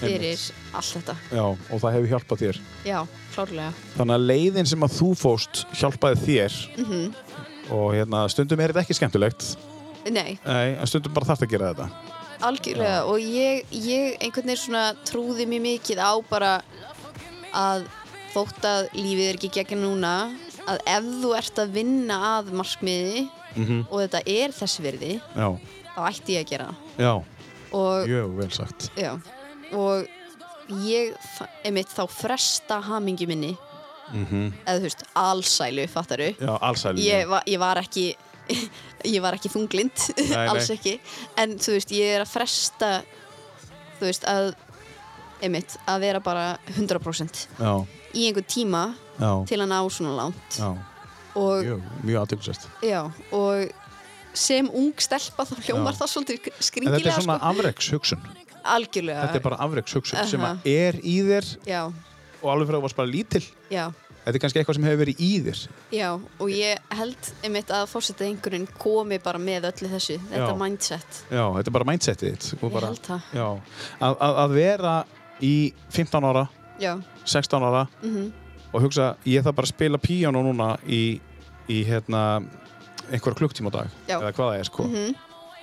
Speaker 3: fyrir
Speaker 1: Einmitt.
Speaker 3: allt þetta
Speaker 1: Já, og það hefur hjálpað þér.
Speaker 3: já, klárlega
Speaker 1: Þannig að leiðin sem að þú fóst hjálpaði þér
Speaker 3: Mhm.
Speaker 1: og hérna, stundum er þetta ekki skemmtilegt
Speaker 3: nei,
Speaker 1: Nei, en stundum bara þarft að gera þetta
Speaker 3: algjörlega og ég, ég einhvern veginn svona trúði mér mikið á bara að þótt að lífið er ekki gegn núna að ef þú ert að vinna að markmiði og þetta er þess virði
Speaker 1: Já,
Speaker 3: þá ætti ég að gera það.
Speaker 1: já,
Speaker 3: og,
Speaker 1: mjög vel sagt
Speaker 3: já, og ég þa- einmitt þá fresta hamingi minni eða þú veist, allsælu, fattaru
Speaker 1: Já, allsæli
Speaker 3: ég, va ég var ekki ég var ekki þunglind
Speaker 1: nei.
Speaker 3: alls ekki, en þú veist ég er að fresta þú veist að einmitt, að vera bara 100%
Speaker 1: Já,
Speaker 3: í einhver tíma
Speaker 1: já,
Speaker 3: til að ná svona langt
Speaker 1: já,
Speaker 3: og,
Speaker 1: mjög, mjög aðtökulsvært
Speaker 3: já, og sem ung stelpa þá hljómar
Speaker 1: Já.
Speaker 3: það svolítið
Speaker 1: En þetta
Speaker 3: skringilega
Speaker 1: er svona afreks hugsun
Speaker 3: sko, algjörlega
Speaker 1: Þetta er bara afreks hugsun sem
Speaker 3: sko. Aha.
Speaker 1: að er í þér
Speaker 3: já,
Speaker 1: og alveg frá að þú varst bara lítil
Speaker 3: já,
Speaker 1: Þetta er kannski eitthvað sem hefur verið í þér
Speaker 3: já og ég held einmitt að fórsetið einhverjum komi bara með öllu þessu, þetta
Speaker 1: Já.
Speaker 3: mindset
Speaker 1: Já, þetta er bara mindsetið þitt og
Speaker 3: Ég
Speaker 1: bara,
Speaker 3: held það.
Speaker 1: Já, að, að, að vera í 15 ára,
Speaker 3: já,
Speaker 1: 16 ára
Speaker 3: Mhm.
Speaker 1: og hugsa, ég þarf bara að spila píano núna í, í hérna, einhver klukktíma á dag
Speaker 3: Já. Mhm.
Speaker 1: eða hvað það er sko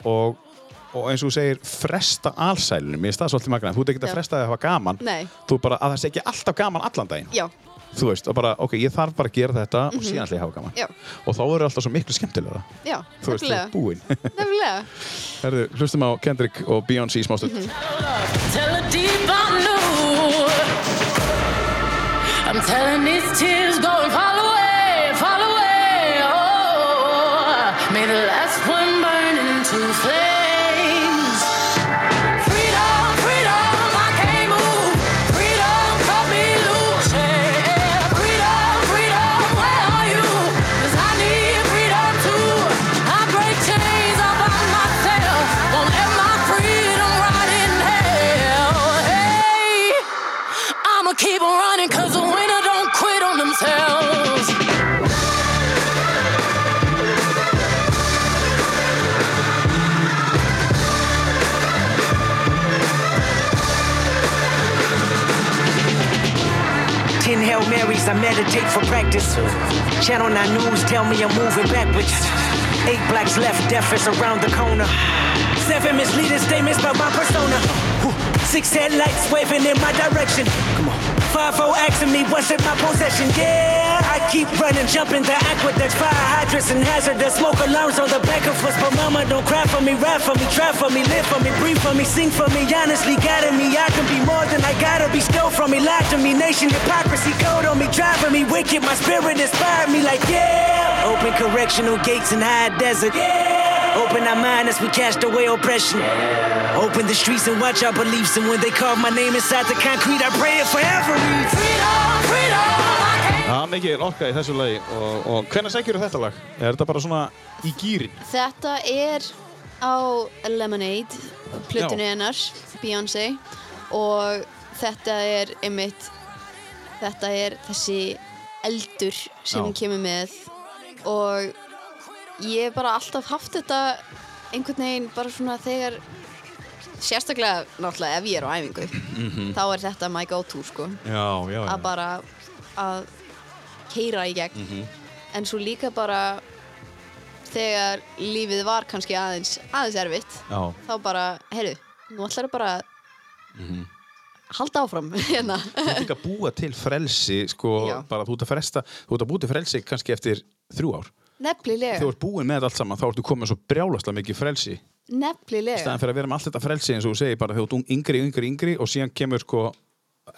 Speaker 1: og, og eins og þú segir, fresta alsælunum, ég staði svolítið magna þú ert ekki
Speaker 3: Já.
Speaker 1: að fresta það að hafa gaman
Speaker 3: nei,
Speaker 1: þú bara, að það sé ekki alltaf gaman allan daginn
Speaker 3: já,
Speaker 1: þú veist, og bara, ok, ég þarf bara að gera þetta og síðan ætla ég að hafa gaman
Speaker 3: Mhm. já
Speaker 1: og þá verður alltaf svo miklu skemmtilega
Speaker 3: já,
Speaker 1: þú veist, þú
Speaker 3: nefnilega.
Speaker 1: er búinn
Speaker 3: Nefnilega.
Speaker 1: Herðu, hlustum á Kendrick og Beyoncé í smástund
Speaker 3: Mhm.
Speaker 2: Tell her deep I know. I'm telling these tears going fall away, fall away. Oh, may the last one burn into flames. Freedom, freedom, I can't move. Freedom, cut me loose. Yeah. Freedom, freedom, where are you? 'Cause I need freedom too. I break chains all by myself. Won't let my freedom rot in hell. Hey, I'ma keep on running 'cause the winner don't quit on themselves.
Speaker 8: Ten Hail Marys, I meditate for practice. Channel 9 News tell me I'm moving backwards. Eight blacks left, death is around the corner. Seven misleading statements about my persona. Whew. Six headlights waving in my direction. Come on. Five O asking me what's in my possession. Yeah, I keep running, jumping the aqueducts, fire hydrants and hazardous smoke alarms on the back of us. But mama, don't cry for me, ride for me, try for me, live for me, breathe for me, sing for me. Honestly, guiding me, I can be more than I gotta be. Still from on me, lied to me, nation hypocrisy, code on me, driving me wicked. My spirit inspired me like, yeah. Open correctional gates in high desert. Yeah. Open our mind as we cast away oppression. Open the streets and watch our beliefs. And when they carve my name inside the concrete, I pray it forever.
Speaker 1: Það er mikið orka í þessu lagi og, og hvernig sækjur þetta lag? Er þetta bara svona í gýrin?
Speaker 3: Þetta er á Lemonade, plötunni hennar, Beyoncé og þetta er einmitt þetta er þessi eldur sem
Speaker 1: Já.
Speaker 3: hún kemur með og ég hef bara alltaf haft þetta einhvern veginn bara svona þegar sérstaklega náttúrulega ef ég er á æfingu þá er þetta my go to sko
Speaker 1: Já, já, já.
Speaker 3: að bara að keira í gegn
Speaker 1: Mhm.
Speaker 3: en svo líka bara þegar lífið var kannski aðeins aðeins erfitt
Speaker 1: Já.
Speaker 3: þá bara, heyrðu, nú ætlar bara að halda áfram hérna
Speaker 1: Mhm. Þú ert líka að búa til frelsi, sko,
Speaker 3: Já.
Speaker 1: bara þú ert að fresta, þú ert að búa til frelsi kannski eftir þrjú ár.
Speaker 3: nefnilega,
Speaker 1: Þegar þú ert búin með þetta allt saman, þá ertu komið svo brjálaslega mikið frelsi. Í
Speaker 3: nefnilega
Speaker 1: staðan fyrir að vera með allt þetta frelsi eins og þú segir bara þegar þú ert ung- yngri, yngri, yngri og síðan kemur sko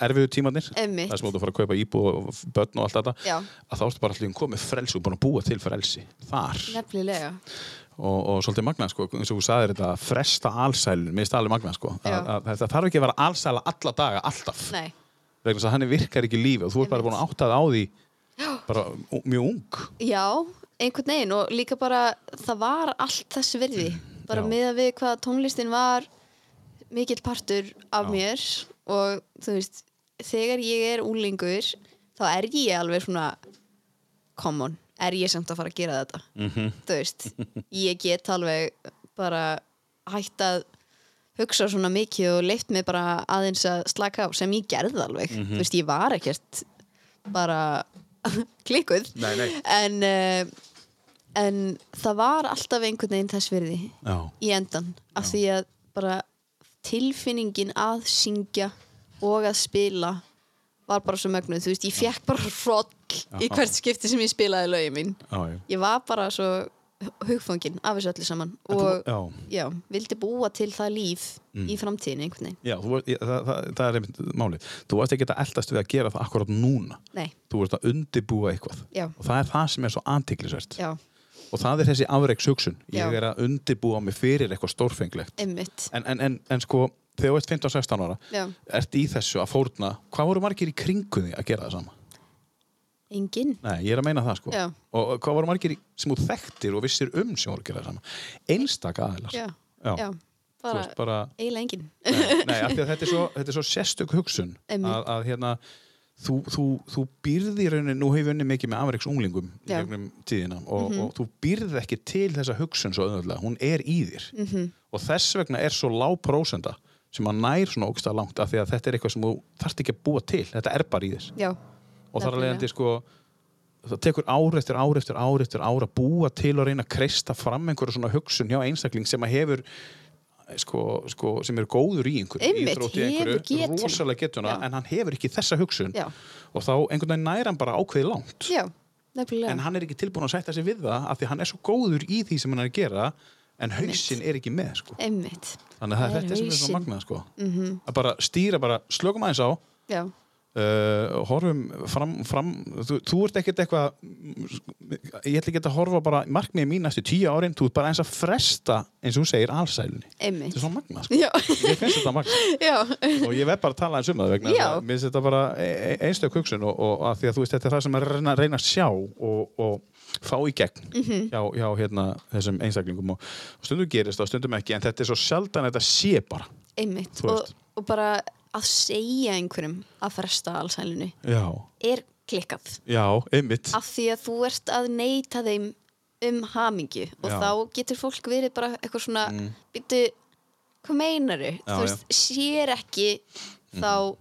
Speaker 1: erfiðu tímanir,
Speaker 3: Einmitt.
Speaker 1: það sem þú ert að fara að kaupa íbúð og börn og allt þetta,
Speaker 3: Já.
Speaker 1: að þá ertu bara allir komið frelsi og búin að búa til frelsi þar
Speaker 3: nefnilega,
Speaker 1: og, og svolítið magnað sko, eins og þú sagðir þetta að fresta alsælun, mér finnst það alveg magnað sko, að,
Speaker 3: Já.
Speaker 1: að, þetta þarf ekki að vera alsæla alla daga, alltaf,
Speaker 3: nei
Speaker 1: vegna þess að hann virkar ekki í lífi og þú ert bara búin að átta það á því bara ú- mjög ung
Speaker 3: Já, einhvern veginn og líka bara það var allt þess virði bara
Speaker 1: Já.
Speaker 3: með að við hvað tónlistin var mikill partur af mér og þú veist þegar ég er úlingur þá er ég alveg svona common, er ég samt að fara að gera þetta -hmm. þú veist ég get alveg bara hætt að hugsa svona mikið og leift mig bara aðeins að slaka á sem ég gerði alveg
Speaker 1: Mhm.
Speaker 3: þú veist, ég var ekkert bara klikkuð
Speaker 1: Nei, nei.
Speaker 3: En, uh, en það var alltaf einhvern veginn þess virði
Speaker 1: Já.
Speaker 3: í endan af því að bara tilfinningin að syngja og að spila var bara svo mögnuð, þú veist, ég fekk bara roll í hvert skipti sem ég spilaði lögin mín
Speaker 1: Já, já.
Speaker 3: ég var bara svo hugfangin af þessu öllu saman
Speaker 1: þú-
Speaker 3: og
Speaker 1: já. Mm.
Speaker 3: já, vildi búa til það líf í framtíðin einhvern veginn
Speaker 1: Já, þú, var- ég- það, það, það er einmitt málið. Þú varst ekki að eldast við að gera það akkurat núna.
Speaker 3: Nei.
Speaker 1: Þú varst að undibúa eitthvað.
Speaker 3: Já.
Speaker 1: Og það er það sem er svo antiklisvert.
Speaker 3: já,
Speaker 1: Og það er þessi afreikshugsun. Ég
Speaker 3: Já.
Speaker 1: er að undibúa mig fyrir eitthvað stórfenglegt.
Speaker 3: einmitt
Speaker 1: En, en, en, en sko, þegar þú ert 15-16 ára,
Speaker 3: Já.
Speaker 1: ert í þessu að fórna, hvað voru margir í kringu því að gera það sama?
Speaker 3: engin,
Speaker 1: Nei, ég er að meina það sko.
Speaker 3: Já.
Speaker 1: Og og hvað voru margir í- sem þú þekktir og vissir um sem voru að gera það sama? Einstaka aðilar.
Speaker 3: já,
Speaker 1: Já. Þú
Speaker 3: bara,
Speaker 1: veist bara...
Speaker 3: eiginlega engin
Speaker 1: Nei, af því að þetta er svo, þetta er svo sérstök hugsun
Speaker 3: Einmitt.
Speaker 1: að, að hérna þú, þú, þú býrði í rauninni, nú hefur unnið mikið með Ameriks unglingum í
Speaker 3: Já. Mhm.
Speaker 1: gegnum tíðina og, og þú býrði ekki til þessa hugsun svo öðvöldlega, hún er í þér
Speaker 3: Mhm.
Speaker 1: -hmm. og þess vegna er svo lág prósenda sem að nær svona ógsta langt af því að þetta er eitthvað sem þú þarft ekki að búa til þetta er bara í þér
Speaker 3: já,
Speaker 1: og þar að
Speaker 3: Nefnilega.
Speaker 1: leiðandi sko það tekur ár eftir ár eftir ár eftir ár að búa til að reyna að kreista fram einhverju svona hugsun hjá einstakling sem að hefur sko, sko, sem er góður í einhverju
Speaker 3: Einmitt,
Speaker 1: íþrótt í
Speaker 3: hefur getuna.
Speaker 1: rosalega getuna
Speaker 3: Já.
Speaker 1: en hann hefur ekki þessa hugsun
Speaker 3: Já.
Speaker 1: og þá einhvern veginn næra hann bara ákveði langt
Speaker 3: já, nefnilega
Speaker 1: en hann er ekki tilbúin að sætta sig við það af því hann er svo góður í því sem hann er að gera en hausinn er ekki með sko.
Speaker 3: Einmitt,
Speaker 1: þannig að
Speaker 3: Það er
Speaker 1: þetta er sem er svo
Speaker 3: hausinn. Mhm.
Speaker 1: magnað sko. að bara stýra, bara slökum aðeins á
Speaker 3: já,
Speaker 1: uh, horfum fram, fram þú, þú ert ekkert eitthvað ég ætla ekki að horfa bara markmiði mín næstu tíu árin, þú ert bara eins að fresta eins og þú segir alsælunni
Speaker 3: einmitt
Speaker 1: þetta er svo magna, sko.
Speaker 3: Já,
Speaker 1: ég finnst þetta magna
Speaker 3: já,
Speaker 1: og ég verð bara að tala eins um það vegna þess
Speaker 3: Já.
Speaker 1: að mér finnst þetta bara e- e- einstök hugsun og, og að því að þú veist þetta er það sem er að reyna, reyna að sjá og, og fá í gegn
Speaker 3: Mhm.
Speaker 1: hjá, hjá hérna, þessum einstaklingum og, og stundum gerist það, stundum ekki en þetta er svo sjaldan að þetta sé bara
Speaker 3: einmitt
Speaker 1: Þú
Speaker 3: og,
Speaker 1: veist.
Speaker 3: og bara að segja einhverjum að fresta allsælunni
Speaker 1: já,
Speaker 3: er klikkað
Speaker 1: já, einmitt
Speaker 3: af því að þú ert að neyta þeim um hamingju og
Speaker 1: Já.
Speaker 3: þá getur fólk verið bara eitthvað svona mm. býttu, hvað meinaru
Speaker 1: Já, Mm-hmm.
Speaker 3: þú veist, sér ekki þá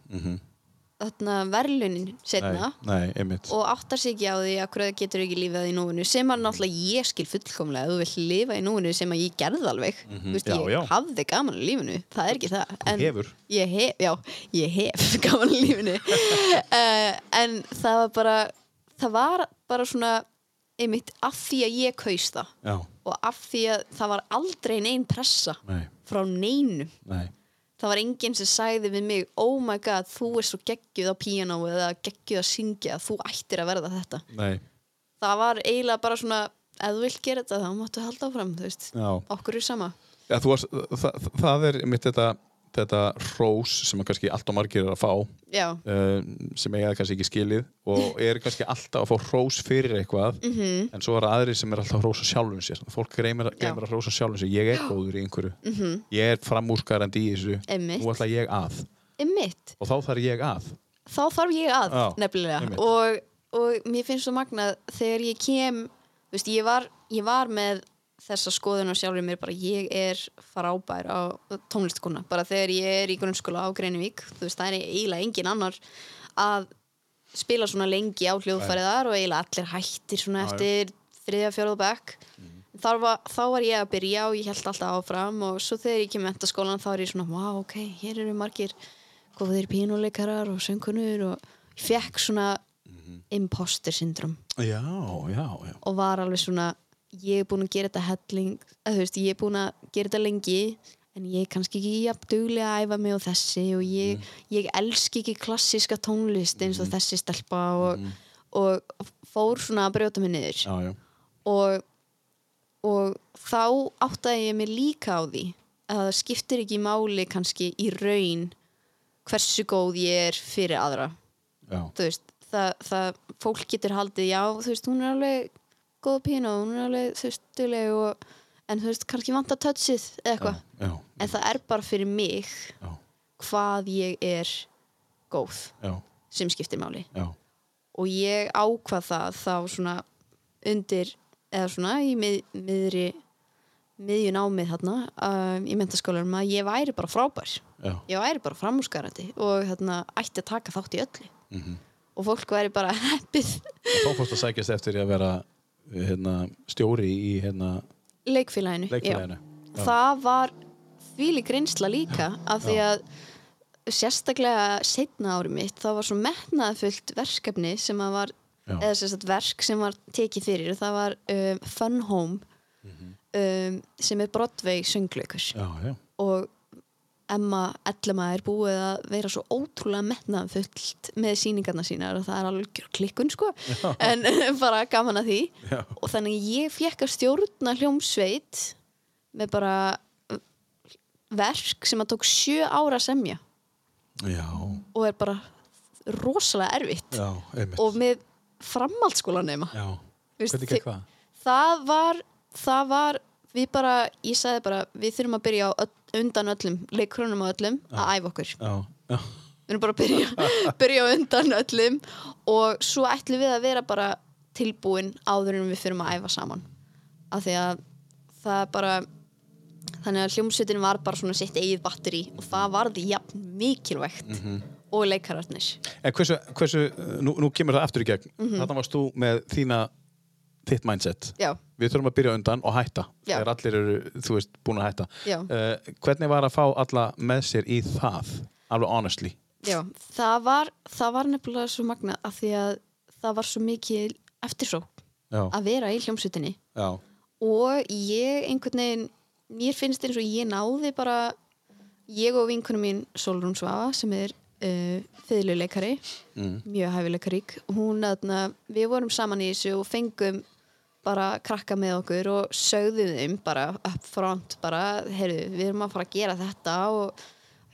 Speaker 3: þarna verlunin setna
Speaker 1: nei, nei, einmitt
Speaker 3: og áttar sig ekki á því að hverju getur ekki lífað í núinu sem að náttúrulega ég skil fullkomlega þú vill lifa í núinu sem að ég gerði alveg þú veist,
Speaker 1: Mhm. Já,
Speaker 3: ég
Speaker 1: já.
Speaker 3: hafði gaman í lífinu það er ekki það en
Speaker 1: hefur.
Speaker 3: ég hef, já, ég hef gaman í lífinu uh, en það var bara það var bara svona einmitt af því að ég kaus það
Speaker 1: já,
Speaker 3: og af því að það var aldrei nein pressa
Speaker 1: nei
Speaker 3: frá neinum
Speaker 1: Nei,
Speaker 3: það var enginn sem sagði við mig oh my god, þú er svo geggjuð á piano eða geggjuð að syngja, þú ættir að verða þetta
Speaker 1: Nei.
Speaker 3: það var eiginlega bara svona ef þú vilt gera þetta, þá máttu halda áfram þú veist,
Speaker 1: Já.
Speaker 3: okkur er sama
Speaker 1: Ja, þú varst, það, það er mitt þetta, þetta rós sem að kannski allt og margir er að fá
Speaker 3: já,
Speaker 1: uh, sem eiga það kannski ekki skilið og er kannski alltaf að fá rós fyrir eitthvað -hmm. en svo er aðri sem er alltaf að rósa sjálfum sér fólk greimir, greimir að rósa sjálfum sér ég er góður í einhverju -hmm. ég er framúrskarandi í þessu
Speaker 3: Einmitt.
Speaker 1: nú ætla ég að
Speaker 3: einmitt
Speaker 1: og þá þarf ég að
Speaker 3: þá þarf ég að
Speaker 1: Já, einmitt.
Speaker 3: nefnilega og, og mér finnst svo magnað þegar ég kem þú veist, ég, var, ég var með þessa skoðun á sjálfur mér bara ég er frábær á tónlistkona bara þegar ég er í grunnskóla á Greinivík þú veist það er eiginlega engin annar að spila svona lengi á hljóðfærið þar og eiginlega allir hættir
Speaker 1: Já,
Speaker 3: svona
Speaker 1: Mhm. já.
Speaker 3: eftir þriðja fjóraða bekk Þar var, þá var ég að byrja og ég held alltaf áfram og svo þegar ég kem mentaskólan þá er ég svona, wow, ok, hér eru margir góðir pínuleikarar og söngunur og ég fekk svona
Speaker 1: Mhm.
Speaker 3: imposter syndrom
Speaker 1: já, já, já
Speaker 3: og var alveg svona ég er búin að gera þetta helling að, veist, ég er búin að gera þetta lengi en ég er kannski ekki jafn duglega að æfa mig á þessi og ég, ég elski ekki klassíska tónlist eins og þessi stelpa og, og, fór svona að brjóta mig niður
Speaker 1: já, já,
Speaker 3: og, og þá áttaði ég mig líka á því að það skiptir ekki máli kannski í raun hversu góð ég er fyrir aðra
Speaker 1: já.
Speaker 3: þú veist, það, það fólk getur haldið, já, þú veist, hún er alveg góð pína og hún er alveg þú veist, dugleg og, en þú veist, kannski vantar touchið eða eitthvað,
Speaker 1: já,
Speaker 3: en það er bara fyrir mig
Speaker 1: já,
Speaker 3: hvað ég er góð
Speaker 1: já,
Speaker 3: sem skiptir máli
Speaker 1: já.
Speaker 3: og ég ákvað það þá svona undir eða svona í mið, miðri miðjun ámið þarna um, í mentaskólarum að ég væri bara frábær
Speaker 1: Já.
Speaker 3: ég væri bara framúrskarandi og þarna ætti að taka þátt í öllu -hmm.
Speaker 1: Mhm.
Speaker 3: og fólk væri bara heppið
Speaker 1: þá fórst að sækjast eftir að vera hérna, stjóri í hérna,
Speaker 3: leikfélaginu,
Speaker 1: leikfélaginu
Speaker 3: Já. það var þvíli grinsla líka af því að sérstaklega setna ári mitt þá var svo metnaðfullt verkefni sem að var
Speaker 1: Já.
Speaker 3: eða sem sagt verk sem var tekið fyrir og það var um, Fun Home um, sem er Broadway söngleikur
Speaker 1: Mhm. já, já,
Speaker 3: og Emma Ellema er búið að vera svo ótrúlega metnaðfullt með síningarna sínar og það er alveg klikkun sko en bara gaman að því
Speaker 1: Já.
Speaker 3: og þannig að ég fekk að stjórna hljómsveit með bara uh, verk sem að tók sjö ára að semja
Speaker 1: já,
Speaker 3: og er bara rosalega erfitt
Speaker 1: já, einmitt
Speaker 3: og með framhaldsskólanema
Speaker 1: já.
Speaker 3: Veist,
Speaker 1: hvernig gekk
Speaker 3: þi-
Speaker 1: það?
Speaker 3: það var það var, við bara, ég sagði bara við þurfum að byrja á öll, undan öllum leikrunum á öllum, að æfa okkur
Speaker 1: Já, já,
Speaker 3: við erum bara að byrja, byrja á undan öllum og svo ætlum við að vera bara tilbúin áður en við fyrir að æfa saman af því að það er bara þannig að hljómsveitin var bara svona sitt eigið batteri og það varði jafn mikilvægt og leikararnir
Speaker 1: En hversu, hversu nú, nú kemur það aftur í gegn mm Þarna varst þú með þína þitt mindset
Speaker 3: Mhm. Já.
Speaker 1: Við þurfum að byrja undan og hætta
Speaker 3: Já.
Speaker 1: Þegar allir eru, þú veist, búin að hætta
Speaker 3: Já.
Speaker 1: Eh, Hvernig var að fá alla með sér í það? Alveg honestly
Speaker 3: Já, það var, það var nefnilega svo magnað af því að það var svo mikil eftirsók
Speaker 1: Já,
Speaker 3: að vera í hljómsveitinni
Speaker 1: já,
Speaker 3: og ég einhvern veginn mér finnst eins og ég náði bara ég og vinkunum mín Solrún Svava sem er uh, fyrirleikari mjög hæfileikarík hún aðna, við vorum saman í þessu og fengum bara krakka með okkur og sögðum þeim bara upp front bara, heyrðu, við erum að fara að gera þetta og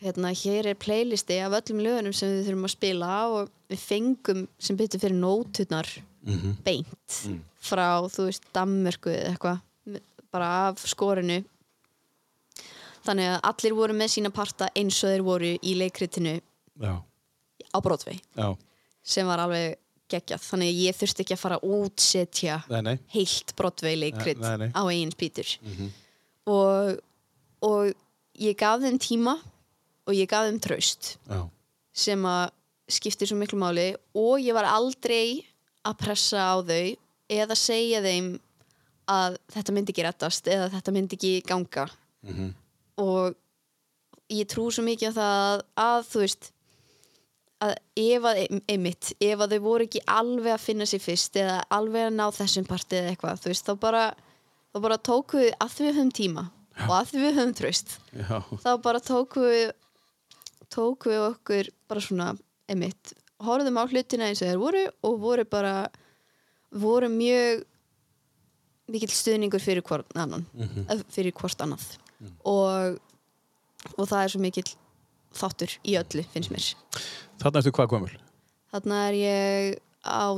Speaker 3: hérna, hér er playlisti af öllum lögunum sem við þurfum að spila og við fengum sem betur fyrir nótunar beint frá, þú veist, Danmörku eða eitthvað, bara af skorinu þannig að allir voru með sína parta eins og þeir voru í leikritinu
Speaker 1: já,
Speaker 3: á Broadway
Speaker 1: já
Speaker 3: sem var alveg geggjað þannig að ég þurfti ekki að fara að útsetja
Speaker 1: Nei, nei.
Speaker 3: heilt Broadway leikrit
Speaker 1: Nei, nei, Mhm. nei.
Speaker 3: á eigin spýtur og, og ég gaf þeim tíma og ég gaf þeim traust
Speaker 1: Já,
Speaker 3: sem að skiptir svo miklu máli og ég var aldrei að pressa á þau eða segja þeim að þetta myndi ekki rettast eða þetta myndi ekki ganga og ég trú svo mikið á það að þú veist að ef að e-, einmitt, ef að þau voru ekki alveg að finna sér fyrst eða alveg að ná þessum partið eða eitthvað, þú veist, þá bara þá bara tóku við að því við höfum tíma og að því við höfum tröst
Speaker 1: já,
Speaker 3: þá bara tóku við tók við okkur bara svona, einmitt, horfðum á hlutina eins og þeir voru og voru bara, voru mjög mikill stuðningur fyrir hvort annan, eh, fyrir hvort annað og, og það er svo mikill þáttur í öllu, finnst mér.
Speaker 1: Þarna ertu hvað gömul?
Speaker 3: Þarna er ég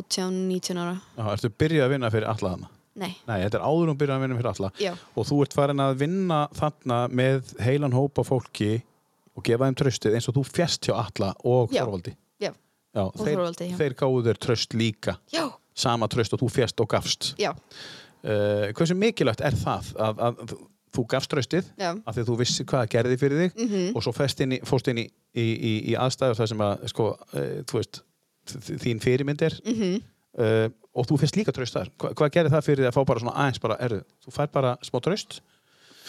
Speaker 3: 18-19 ára.
Speaker 1: Já, ertu byrjað að vinna fyrir alla þarna?
Speaker 3: Nei,
Speaker 1: Nei, þetta er áður um byrjað að vinna fyrir alla
Speaker 3: Já.
Speaker 1: og þú ert farin að vinna þarna með heilan hópa fólki og gefa þeim tröstið eins og þú fjast hjá alla og
Speaker 3: Já.
Speaker 1: Þorvaldi
Speaker 3: já,
Speaker 1: Já, þeir,
Speaker 3: Þorvaldi, já.
Speaker 1: þeir gáðu þér tröst líka
Speaker 3: já,
Speaker 1: sama tröst og þú fjast og gafst
Speaker 3: já,
Speaker 1: uh, hversu mikilvægt er það að, að þú- þú gafst tröstið
Speaker 3: Já. Mhm.
Speaker 1: af því að þú vissi hvað það gerði fyrir þig og svo fest inn í, fórst inn í, í, í, í aðstæður þar sem að sko, uh, þú veist, þ- þín fyrirmynd er
Speaker 3: Mhm.
Speaker 1: -hmm. og þú fyrst líka tröst þar Hva, hvað gerði það fyrir þig að fá bara svona aðeins bara, er, þú fær bara smá tröst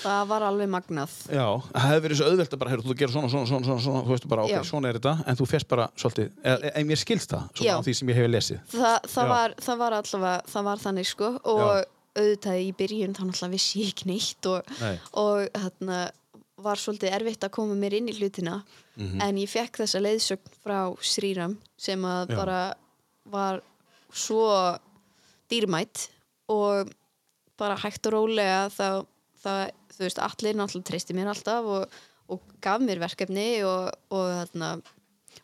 Speaker 3: það var alveg magnað.
Speaker 1: Já, það hefði verið svo auðvelt að bara, heyrðu, þú gerir svona, svona, svona, svona, svona, þú veist bara, ok,
Speaker 3: Já.
Speaker 1: svona er þetta, en þú fyrst bara svolítið, eða eða mér skilst það, svona
Speaker 3: Já.
Speaker 1: á því sem ég hefur lesið.
Speaker 3: Þa, það,
Speaker 1: Já.
Speaker 3: var, það var allavega, það var þannig sko og auðvitað í byrjun þá náttúrulega vissi ég ekki neitt og,
Speaker 1: Nei.
Speaker 3: og hérna var svolítið erfitt að koma mér inn í hlutina
Speaker 1: Mhm.
Speaker 3: en ég fekk þessa leiðsögn frá Sríram sem að
Speaker 1: Já.
Speaker 3: bara var svo dýrmætt og bara hægt og rólega þá, þá þú veist, allir náttúrulega treysti mér alltaf og, og gaf mér verkefni og, og hérna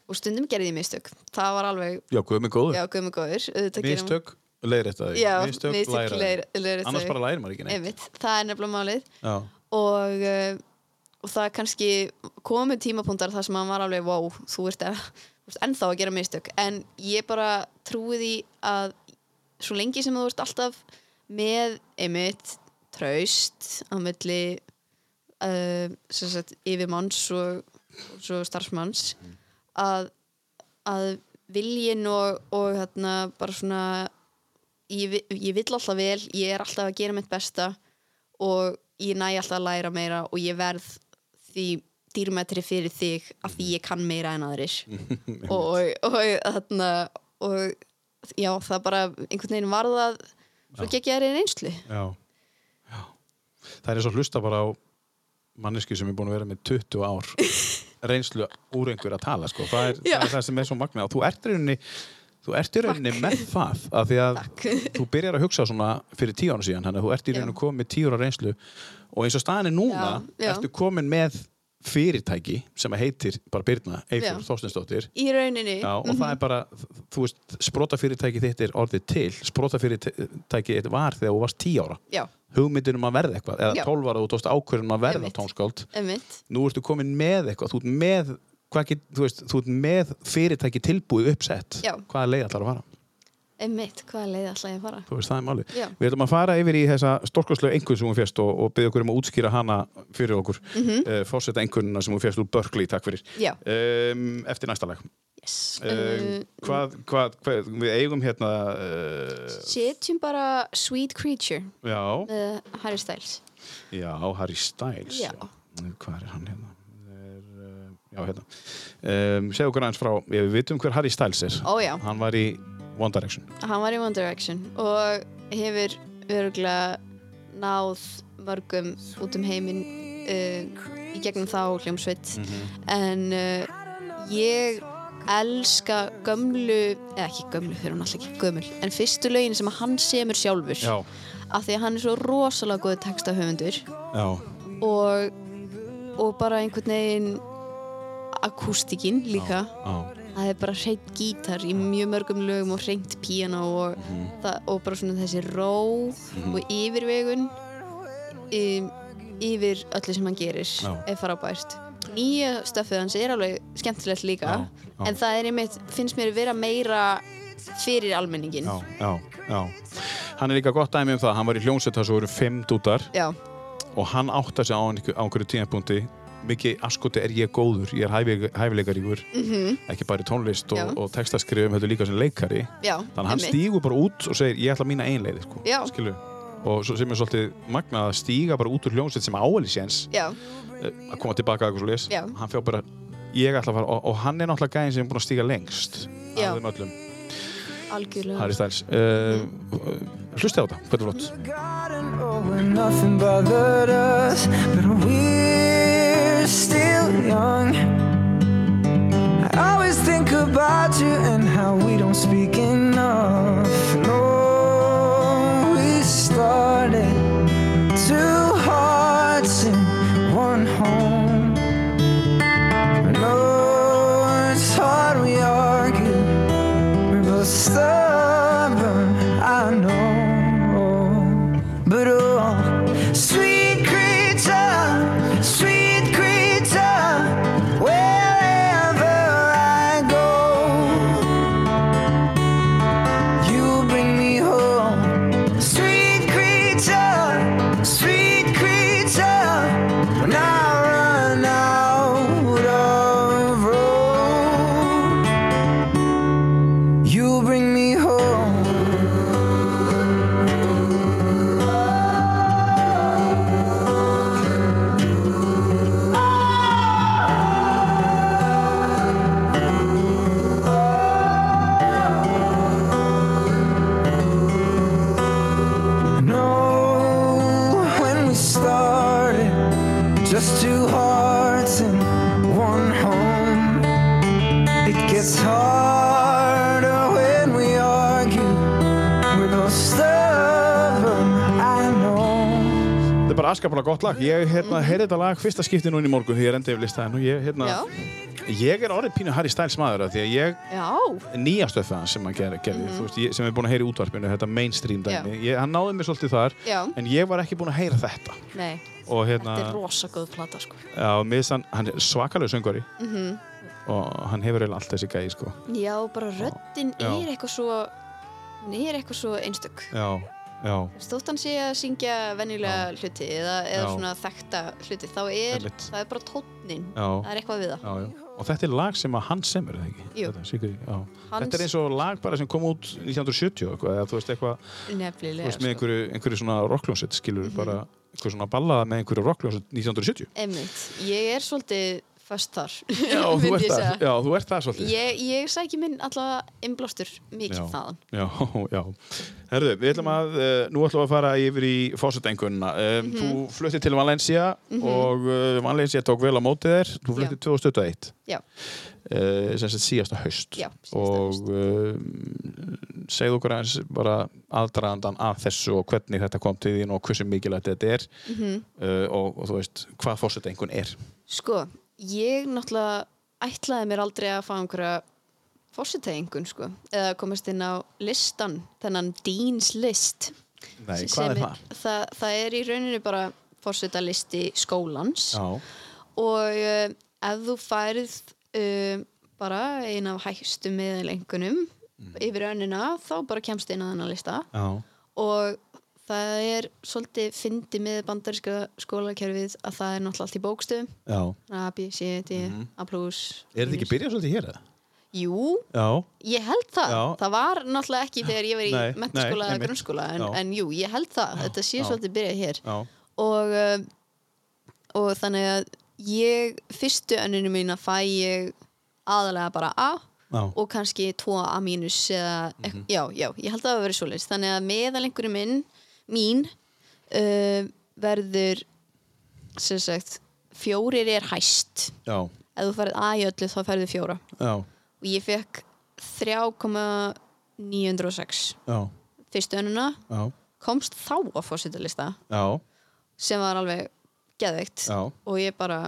Speaker 3: og stundum gerði ég mistök það var alveg
Speaker 1: Já, guð mig góður.
Speaker 3: Já, guð mig góður auðvitað gerir maður-
Speaker 1: Mistök, leiðrétta þau.
Speaker 3: Já,
Speaker 1: mistök,
Speaker 3: mistök,
Speaker 1: læra þau.
Speaker 3: leir- leiðrétta
Speaker 1: Annars
Speaker 3: þau.
Speaker 1: bara lærir maður ekki neitt.
Speaker 3: Einmitt, það er nefnilega málið
Speaker 1: Já,
Speaker 3: og, uh, og það er kannski komu tímapunktar þar sem maður var alveg wow, þú ert, að, þú ert ennþá að gera mistök en ég bara trúi því að svo lengi sem þú ert alltaf með einmitt traust á milli uh, sem sagt, yfirmanns og, og svo starfsmanns að, að viljin og, og hérna, bara svona ég, vi- ég vill alltaf vel, ég er alltaf að gera mitt besta og ég næ alltaf að læra meira og ég verð því dýrmættri fyrir þig af því ég kann meira en aðrir og, og, og, þarna, og já, það bara einhvern veginn varðað svo gekk ég aðrið reynslu
Speaker 1: já, já. Það er svo að hlusta bara á manneski sem er búin að vera með 20 ár reynslu úr einhver að tala, sko. Það er,
Speaker 3: Já.
Speaker 1: það, er það sem er svo magnað og þú ert í rauninni Þú ert í rauninni með það af því að þú byrjar að hugsa svona fyrir tíu ára síðan þannig að þú ert í rauninni
Speaker 3: Já.
Speaker 1: komið tíu ára reynslu og eins og staðan er núna
Speaker 3: Já, já.
Speaker 1: ertu komin með fyrirtæki sem að heitir bara Birna
Speaker 3: Já.
Speaker 1: Eifur Þorstinsdóttir
Speaker 3: í rauninni
Speaker 1: Já, og það er bara, þú veist, sprótafyrirtæki þitt er orðið til, sprótafyrirtæki þitt var þegar þú varst 10 ára
Speaker 3: já,
Speaker 1: hugmyndin um að verða eitthvað, eða
Speaker 3: Já.
Speaker 1: 12 ára þú tókst ákvörðin um að verða
Speaker 3: Einmitt.
Speaker 1: tónskáld
Speaker 3: emmitt
Speaker 1: nú ertu komin með eitthvað, þú ert með hvað get, þú veist, þú ert með fyrirtæki tilbúið uppsett,
Speaker 3: Já.
Speaker 1: hvaða leið allar að fara
Speaker 3: emmitt, hvaða leið ætla ég að fara
Speaker 1: þú veist, það er málið.
Speaker 3: Já.
Speaker 1: Við ætlum að fara yfir í þessa storkoslegu einhvern sem hún fjast og, og byggja okkur um að útskýra hana fyrir okkur mm -hmm. uh, fórseta einhvernina sem hún fjast úr Berkeley, takk fyrir
Speaker 3: Mhm. Já.
Speaker 1: um, eftir næsta lag
Speaker 3: yes.
Speaker 1: Um,
Speaker 3: um,
Speaker 1: hvað, hvað, hvað, við eigum hérna uh,
Speaker 3: setjum bara Sweet Creature
Speaker 1: já,
Speaker 3: uh, Harry Styles
Speaker 1: já, Harry Styles
Speaker 3: Já.
Speaker 1: hvað er hann hérna er, uh, já, hérna um, segðu okkur aðeins frá, við vitum hver Harry Styles er
Speaker 3: Ó, já.
Speaker 1: hann var í One Direction
Speaker 3: hann var í One Direction og hefur örgulega náð mörgum út um heiminn uh, í gegnum þá hljómsveit en uh, ég elska gömlu eða ekki gömlu, þau eru náttúrulega ekki gömul en fyrstu lögin sem að hann semur sjálfur af því að hann er svo rosalega góð textahöfundur
Speaker 1: já,
Speaker 3: og, og bara einhvern veginn akústikinn líka
Speaker 1: já,
Speaker 3: það er bara hreint gítar í mjög mörgum lögum og hreint píano og,
Speaker 1: Mhm.
Speaker 3: það, og bara svona þessi ró og yfirvegun í, yfir öllu sem hann gerir
Speaker 1: Já.
Speaker 3: er frábært nýja stöfið hans er alveg skemmtilegt líka
Speaker 1: Já, já.
Speaker 3: en það er einmitt, finnst mér vera meira fyrir almenningin
Speaker 1: já, já, já hann er líka gott dæmi um það, hann var í hljónsveit þar svo voru fimm dútar
Speaker 3: já,
Speaker 1: og hann áttar sig á, einhver, á einhverju tímapunkti mikið askoti er ég góður ég er hæfi, hæfileikaríkur -hmm. ekki bara í tónlist
Speaker 3: Mhm. Já.
Speaker 1: og, og textaskrifum heldur líka sem leikari
Speaker 3: já,
Speaker 1: þannig að hann
Speaker 3: einmitt.
Speaker 1: stígur bara út og segir ég ætla mína einleiði sko.
Speaker 3: Já.
Speaker 1: Skilurðu? og svo sem er svolítið magnað að stíga bara út úr hljómsveit sem áhælisjens
Speaker 3: já,
Speaker 1: að koma tilbaka eitthvað svo les
Speaker 3: Já.
Speaker 1: hann fjá bara ég ætla að fara og, og hann er náttúrulega gæðin sem er búin að stíga lengst
Speaker 3: Já.
Speaker 1: af þeim öllum
Speaker 3: algjörlega
Speaker 1: Harry Styles uh, hlustið á þetta, hvernig flott
Speaker 3: Mm.
Speaker 7: garden, oh, and nothing bothered us, but we're still young.
Speaker 9: about you and how we don't speak enough. And oh, we started two hearts in one home. And oh, it's hard we argue. We're both stubborn, I know. But oh, sweet creature, sweet creature, wherever I go, you bring me home. Sweet creature, sweet creature, when I run out of road. You bring me home. No, when we started, just two hearts in one home. It gets harder when we argue. We're both stubborn, I know.
Speaker 1: Þetta er bara afskaplega gott lag. Ég hérna,
Speaker 3: Mhm.
Speaker 1: heyrði þetta lag fyrsta skipti núna í morgun því ég rendi yfir listaðin og ég, hérna,
Speaker 3: Já.
Speaker 1: ég er orðið pínu Harry Styles maður af því að ég
Speaker 3: Já,
Speaker 1: nýja stöfið hans sem hann gerði, gerði þú veist, ég, sem við erum búin að heyra í útvarpinu, þetta mainstream dæmi,
Speaker 3: Mhm. Já.
Speaker 1: ég, hann náði mér svolítið þar
Speaker 3: Já.
Speaker 1: en ég var ekki búin að heyra þetta
Speaker 3: nei,
Speaker 1: og hérna,
Speaker 3: þetta er rosa góð plata sko.
Speaker 1: já, mér finnst hann, hann er svakalegu söngari
Speaker 3: Mhm.
Speaker 1: -hmm. og hann hefur eiginlega allt þessi gæði, sko
Speaker 3: Já, bara röddin
Speaker 1: Já.
Speaker 3: er eitthvað svo hún er eitthvað svo einstök
Speaker 1: já, já,
Speaker 3: Stótt hann sé að syngja venjulega hluti eða, eða
Speaker 1: Já.
Speaker 3: svona þekta hluti þá er,
Speaker 1: Einmitt.
Speaker 3: það er bara tónnin
Speaker 1: já,
Speaker 3: það er eitthvað við það
Speaker 1: já, já. og þetta er lag sem að hann semur, er það ekki?
Speaker 3: Jú.
Speaker 1: Þetta, Sigurður, já.
Speaker 3: Hans-
Speaker 1: þetta er eins og lag bara sem kom út 1970 og eitthvað, eða þú veist eitthvað þú
Speaker 3: nefnilega
Speaker 1: veist, með einhverju, einhverju svona rockljónsett skilur
Speaker 3: Mhm.
Speaker 1: bara, einhverju svona ballaða með einhverju rockljónsett 1970
Speaker 3: Einmitt, ég er svolítið föst þar
Speaker 1: já, þú
Speaker 3: myndi
Speaker 1: ert
Speaker 3: ég
Speaker 1: það,
Speaker 3: segja.
Speaker 1: já, þú ert það svolítið
Speaker 3: Ég, ég sæki minn allavega innblástur mikið þaðan
Speaker 1: Já, já. Herðu, við ætlum að, uh, nú ætlum við að fara yfir í fósetenguna. Um,
Speaker 3: Mhm.
Speaker 1: Þú fluttir til Valencia og uh, Valencia tók vel á mótið þér. Þú fluttir 2021,
Speaker 3: Já,
Speaker 1: uh, sem sagt síðasta haust.
Speaker 3: Já, síðasta
Speaker 1: og
Speaker 3: haust.
Speaker 1: uh, segðu okkur aðeins bara aðdragandan af þessu og hvernig þetta kom til þín og hversu mikilvægt þetta er
Speaker 3: Mhm.
Speaker 1: uh, og, og þú veist, hvað fósetengun er.
Speaker 3: sko, ég náttúrulega ætlaði mér aldrei að fá einhverja fórsetæðingun, sko eða komast inn á listan, þennan Dean's List
Speaker 1: Nei,
Speaker 3: sem-
Speaker 1: hvað er
Speaker 3: sem
Speaker 1: það?
Speaker 3: það? Það er í rauninni bara fórsetalisti skólans
Speaker 1: Já,
Speaker 3: og uh, ef þú færið uh, bara ein af hægstu miðlengunum
Speaker 1: Mm.
Speaker 3: yfir önnina þá bara kemst inn á þennan lista
Speaker 1: já,
Speaker 3: og það er svolítið fyndi með bandaríska skólakerfið að það er náttúrulega allt í bókstöðum
Speaker 1: já.
Speaker 3: A, B, C, D,
Speaker 1: Mhm.
Speaker 3: A+, E,
Speaker 1: Er þetta ekki byrjað svolítið hér eða?
Speaker 3: Jú,
Speaker 1: Já,
Speaker 3: ég held það
Speaker 1: Já.
Speaker 3: það var náttúrulega ekki þegar ég var í
Speaker 1: Nei, nei,
Speaker 3: mentaskóla eða
Speaker 1: einmitt.
Speaker 3: grunnskóla en,
Speaker 1: Já.
Speaker 3: en jú, ég held það, þetta sé
Speaker 1: já.
Speaker 3: svolítið byrjað hér
Speaker 1: já,
Speaker 3: og um, og þannig að ég, fyrstu önninu mína fæ ég aðalega bara A
Speaker 1: já.
Speaker 3: og kannski 2 A mínus eða, já, já, ég held að það hafi verið svoleiðis þannig að meðalengurinn minn mín uh, verður sem sagt fjórir er hæst
Speaker 1: Já,
Speaker 3: ef þú færið A í öllu þá færðu fjóra
Speaker 1: já,
Speaker 3: og ég fekk 3,906
Speaker 1: já,
Speaker 3: fyrstu önuna
Speaker 1: já,
Speaker 3: komst þá á fórsetalista
Speaker 1: já,
Speaker 3: sem var alveg geðveikt
Speaker 1: Já.
Speaker 3: og ég bara,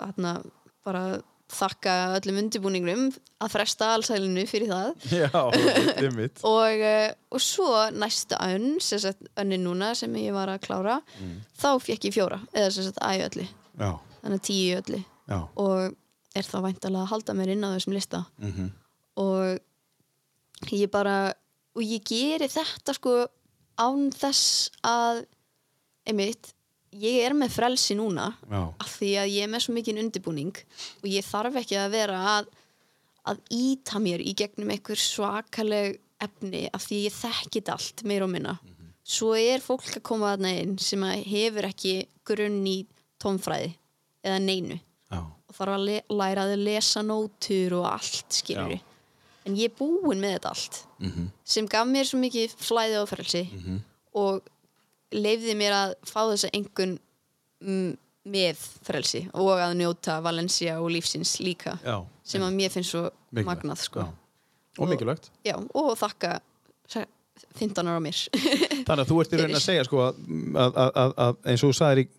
Speaker 3: þarna, bara þakka öllum undirbúningum að fresta allsælinu fyrir það
Speaker 1: já, einmitt.
Speaker 3: og, eh, og svo næsta önn sem sagt önnin núna sem ég var að klára þá fekk ég fjóra eða sem sagt æ öllu,
Speaker 1: Já,
Speaker 3: þannig að tíu í öllu
Speaker 1: já,
Speaker 3: og er þá væntalega að halda mér inn á þessum lista og ég bara og ég geri þetta sko án þess að einmitt, ég er með frelsi núna
Speaker 1: já,
Speaker 3: af því að ég er með svo mikinn undirbúning og ég þarf ekki að vera að, að íta mér í gegnum einhver svakaleg efni af því að ég þekki þetta allt meir og minna svo er fólk að koma þarna inn sem að hefur ekki grunn í tónfræði eða neinu
Speaker 1: já,
Speaker 3: og þarf að le- læra að lesa nótur og allt skilur en ég er búin með þetta allt
Speaker 1: Mhm.
Speaker 3: -hmm. sem gaf mér svo mikið flæði og frelsi -hmm. og leifði mér að fá þessa engun mm, með frelsi og að njóta Valencia og lífsins líka
Speaker 1: já,
Speaker 3: sem að mér finnst svo
Speaker 1: Mikilvægt,
Speaker 3: magnað sko.
Speaker 1: já. Og mikilvægt.
Speaker 3: Já, og þakka se- 15 ára á mér.
Speaker 1: Þannig að þú ert í raunin að segja sko að, að, að, að eins og þú sagðir í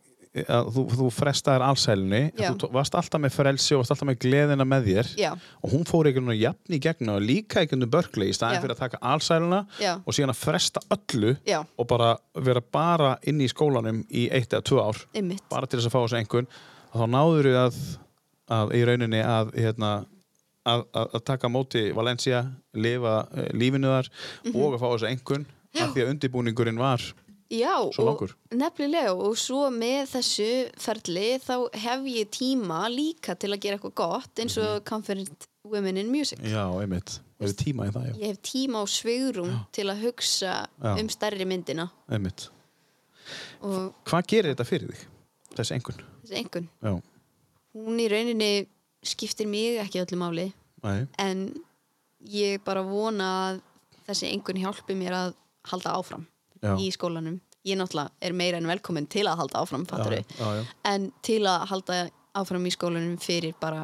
Speaker 1: að þú, þú frestaðir allsælunni
Speaker 3: Já.
Speaker 1: þú tó- varst alltaf með frelsi og varst alltaf með gleðina með þér
Speaker 3: Já.
Speaker 1: og hún fór einhvern veginn jafn í gegna og líka einhvern veginn börkli í staðin
Speaker 3: Já.
Speaker 1: fyrir að taka allsæluna
Speaker 3: Já.
Speaker 1: og síðan að fresta öllu
Speaker 3: Já.
Speaker 1: og bara vera bara inni í skólanum í eitt eða tvö ár
Speaker 3: Einmitt.
Speaker 1: bara til þess að fá þessu einhvern og þá náður við að, að í rauninni að, hérna, að, að, að taka á móti Valencia, lifa eh, lífinu þar og að fá þessu einhvern af því að undirbúningurinn var
Speaker 3: Já,
Speaker 1: Svo langur.
Speaker 3: og nefnilega og svo með þessu ferli þá hef ég tíma líka til að gera eitthvað gott eins og Confident Women in Music.
Speaker 1: Mhm. Já, einmitt, er tíma í það, já,
Speaker 3: Ég hef tíma og svegrum til að hugsa
Speaker 1: Já.
Speaker 3: um stærri myndina
Speaker 1: einmitt
Speaker 3: og
Speaker 1: Hvað gerir þetta fyrir þig, þessi einhvern?
Speaker 3: þessi engun.
Speaker 1: Já,
Speaker 3: Hún í rauninni skiptir mig ekki öllu máli
Speaker 1: nei,
Speaker 3: en ég bara vona að þessi engun hjálpi mér að halda áfram
Speaker 1: Já.
Speaker 3: í skólanum. Ég náttúrulega er meira en velkomin til að halda áfram, fattur
Speaker 1: já, já, já.
Speaker 3: en til að halda áfram í skólanum fyrir bara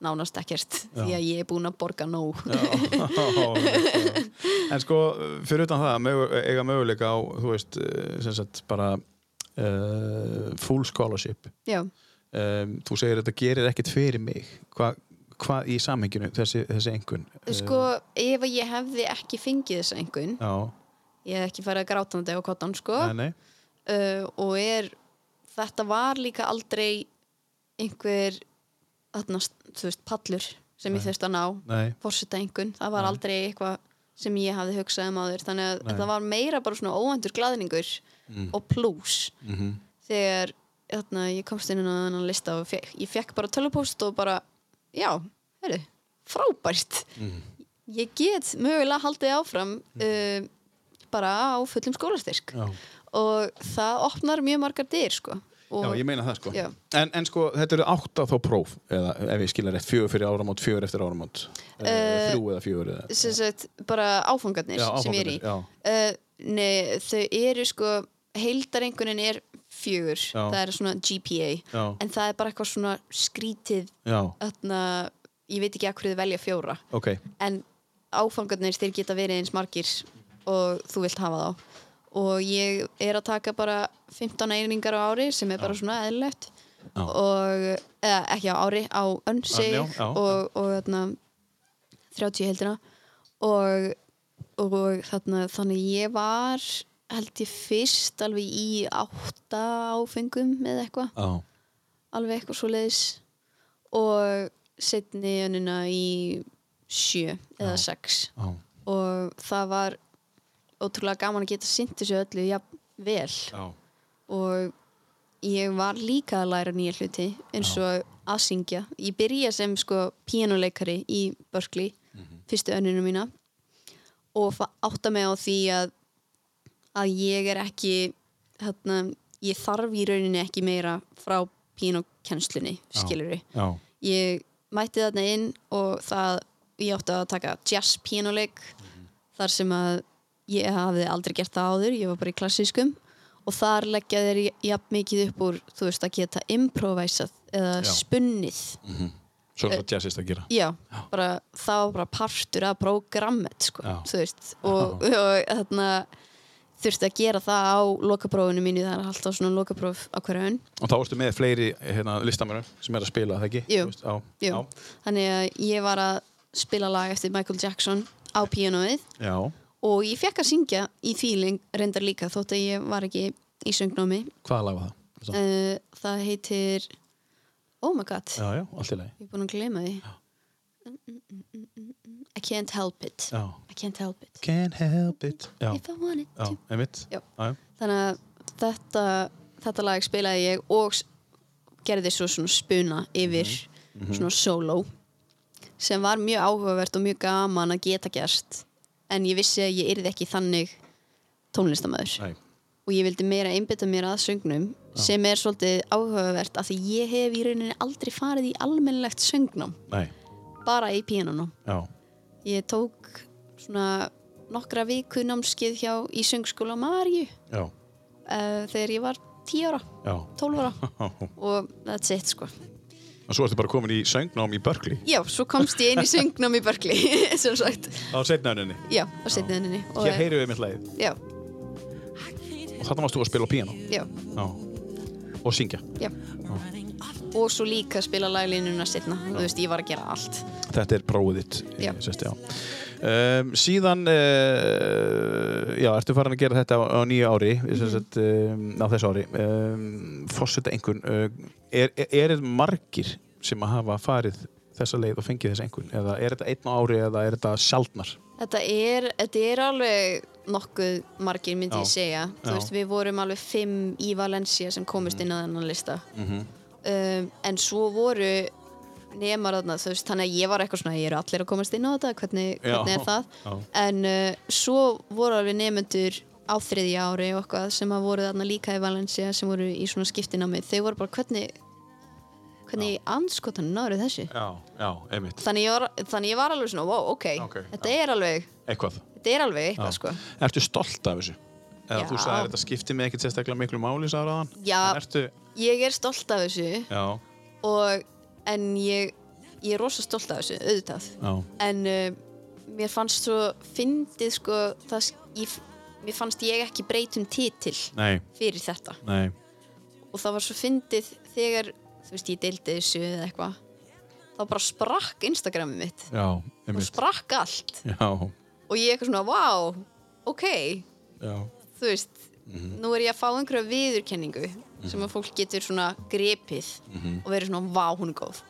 Speaker 3: nánast ekkert því að ég er búin að borga nóg
Speaker 1: En sko, fyrir utan það mögu, eiga möguleika á, þú veist eh, sem sagt, bara uh, full scholarship
Speaker 3: já,
Speaker 1: um, Þú segir þetta gerir ekkert fyrir mig Hva- Hvað í samhenginu, þessi, þessi einhvern?
Speaker 3: sko ef að ég hefði ekki fengið þessa einhvern
Speaker 1: Já,
Speaker 3: ég hef ekki farið að grátandi á kottan sko
Speaker 1: nei, nei
Speaker 3: uh, og er þetta var líka aldrei einhver þarna, þú veist, pallur sem ég þurfti að ná
Speaker 1: Nei,
Speaker 3: fórseta einhvern, það var aldrei eitthvað sem ég hafði hugsað um áður þannig að
Speaker 1: Nei. Mm.
Speaker 3: það var meira bara svona óendur glaðningur og plús
Speaker 1: mhm,
Speaker 3: þegar þarna, ég komst inn á þennan lista og fekk, ég fekk bara tölvupóst og bara, já, heyrðu, frábært
Speaker 1: Mm.
Speaker 3: ég get mögulega haldið áfram uh, bara á fullum skólastyrk
Speaker 1: já
Speaker 3: og það opnar mjög margar dyr sko. og,
Speaker 1: Já, ég meina það sko
Speaker 3: Já.
Speaker 1: en, en sko, þetta eru átta þá próf eða ef ég skilja rétt, fjögur fyrir áramót, fjögur eftir áramót uh,
Speaker 3: Eh,
Speaker 1: þrjú eða fjögur eða
Speaker 3: sem sagt, bara áfangarnir
Speaker 1: Já,
Speaker 3: sem ég er í
Speaker 1: áfangarnir,
Speaker 3: uh, nei, þau eru sko heildarengunin er fjögur
Speaker 1: Já.
Speaker 3: það er svona GPA
Speaker 1: Já.
Speaker 3: en það er bara eitthvað svona skrítið
Speaker 1: Já,
Speaker 3: öðna, ég veit ekki að hverju þau velja fjóra
Speaker 1: ok,
Speaker 3: en áfangarnir þeir geta verið eins margir og þú vilt hafa þá og ég er að taka bara 15 einingar á ári sem er bara svona eðlilegt
Speaker 1: Já.
Speaker 3: og eða, ekki á ári, á önsi
Speaker 1: Já, já, já.
Speaker 3: og, hérna, og þarna 30 heldina og, og þarna, þannig ég var held ég fyrst alveg í átta áfengum eða eitthvað
Speaker 1: já,
Speaker 3: alveg eitthvað svo leiðis og setni önuna í sjö eða sex
Speaker 1: já
Speaker 3: og það var ótrúlega gaman að geta sýnt þessu öllu jafn vel
Speaker 1: Já,
Speaker 3: og ég var líka að læra nýja hluti eins og að syngja ég byrja sem sko píanuleikari í Berkeley, fyrstu önninu mína og fa- átta mig á því að að ég er ekki hérna, ég þarf í rauninni ekki meira frá píanokennslunni skilur við
Speaker 1: já,
Speaker 3: ég mætti þarna inn og það, ég átti að taka jazz pianoleik
Speaker 1: Mhm.
Speaker 3: þar sem að ég hafði aldrei gert það áður ég var bara í klassískum og þar leggja þeir jafn mikið upp úr þú veist að geta improvisað eða
Speaker 1: Já.
Speaker 3: spunnið
Speaker 1: svona svo jazzist að gera
Speaker 3: já, bara það var bara partur af prógrammet sko,
Speaker 1: Já.
Speaker 3: þú veist og, og þarna þurfti að gera það á lokaprófinu mínu það er alltaf svona lokapróf á hverju önn
Speaker 1: Og þá ertu með fleiri hérna, listamönnum sem er að spila, það ekki?
Speaker 3: Jú.
Speaker 1: Þú veist, já,
Speaker 3: Jú. þannig að ég var að spila lag eftir Michael Jackson á píanóið
Speaker 1: já, já
Speaker 3: og ég fekk að syngja í því leng- reyndar líka þótt að ég var ekki í söngnámi
Speaker 1: Hvaða lag var það?
Speaker 3: uh, það heitir oh my god,
Speaker 1: Já, já, allt í lagi
Speaker 3: ég er búin að gleyma því Mm, I can't help it
Speaker 1: Já.
Speaker 3: I can't help it
Speaker 1: Can't help it Já,
Speaker 3: if I wanted
Speaker 1: já,
Speaker 3: to
Speaker 1: einmitt
Speaker 3: Já.
Speaker 1: já,
Speaker 3: þannig að þetta, þetta lag spilaði ég og s- gerði svo svona spuna yfir svona solo sem var mjög áhugavert og mjög gaman að geta gerst en ég vissi að ég yrði ekki þannig tónlistamöður
Speaker 1: Nei,
Speaker 3: og ég vildi meira einbytta mér að söngnum sem er svolítið áhugavert af því ég hef í rauninni aldrei farið í almennlegt söngnum
Speaker 1: nei,
Speaker 3: bara í píanunum
Speaker 1: já,
Speaker 3: ég tók svona nokkra viku námskeið hjá í söngskóla Maríu eh,
Speaker 1: já,
Speaker 3: uh, þegar ég var 10 ára
Speaker 1: já
Speaker 3: 12 ára
Speaker 1: Já,
Speaker 3: og that's it sko
Speaker 1: og svo ertu bara komin í söngnám í Berkeley
Speaker 3: Já, svo komst ég inn í söngnám í Berkeley, sem sagt.
Speaker 1: á setnaðuninni.
Speaker 3: Já, á setniðinni.
Speaker 1: Hér heyrðum við mitt lagið
Speaker 3: Já,
Speaker 1: og þarna varst þú að spila á piano
Speaker 3: já,
Speaker 1: Já. og syngja.
Speaker 3: já. Og svo líka spila laglínuna setna. Þú veist, ég var að gera allt.
Speaker 1: Þetta er prófið þitt. eh,
Speaker 3: Já.
Speaker 1: Sest, já. Um, síðan uh, já, ertu farin að gera þetta á, á nýju ári mm. sagt, um, á þessu ári um, fórseta einhvern uh, er, er, er margir sem að hafa farið þessa leið og fengið þessa einhvern eða er þetta einn á ári eða er þetta sjaldnar
Speaker 3: Þetta er, þetta er alveg nokkuð margir myndi
Speaker 1: Já.
Speaker 3: ég segja
Speaker 1: Já. Mhm.
Speaker 3: Þú veist, við vorum alveg fimm í Valencia sem komist inn á þennan lista um, en svo voru nemar þarna, þú veist, þannig að ég var eitthvað svona ég eru allir að komast inn á þetta, hvernig,
Speaker 1: Já.
Speaker 3: hvernig er það
Speaker 1: Já.
Speaker 3: en uh, svo voru alveg nemendur á þriðja ári og eitthvað sem að voru þarna líka í Valencia sem voru í svona skiptinámi þau voru bara hvernig hvernig í anskotan náru þessu
Speaker 1: já, já, einmitt,
Speaker 3: þannig ég, var, þannig ég var alveg svona, wow, ok,
Speaker 1: Ok,
Speaker 3: þetta er alveg
Speaker 1: eitthvað
Speaker 3: þetta er alveg eitthvað sko
Speaker 1: Ertu stolt af þessu? Eða
Speaker 3: Já.
Speaker 1: þú sagði þetta skipti mig ekkert sérstaklega miklu máli sagði hann
Speaker 3: Já.
Speaker 1: Ertu,
Speaker 3: ég er stolt af þessu
Speaker 1: já,
Speaker 3: og, en ég, ég er rosa stolt af þessu, auðvitað
Speaker 1: já,
Speaker 3: en uh, mér fannst svo fyndið sko, það, s- ég, mér fannst ég ekki breytum titil
Speaker 1: nei,
Speaker 3: fyrir þetta
Speaker 1: nei
Speaker 3: og það var svo fyndið þegar þú veist ég deildi þessu eða eitthvað þá bara sprakk Instagramið mitt
Speaker 1: Já,
Speaker 3: og
Speaker 1: einmitt
Speaker 3: sprakk allt
Speaker 1: Já,
Speaker 3: og ég eitthvað svona, vá, ok
Speaker 1: já,
Speaker 3: þú veist,
Speaker 1: Mhm.
Speaker 3: nú er ég að fá einhverja viðurkenningu sem að fólk getur svona grepið
Speaker 1: Mhm.
Speaker 3: og verið svona, vá, hún er góð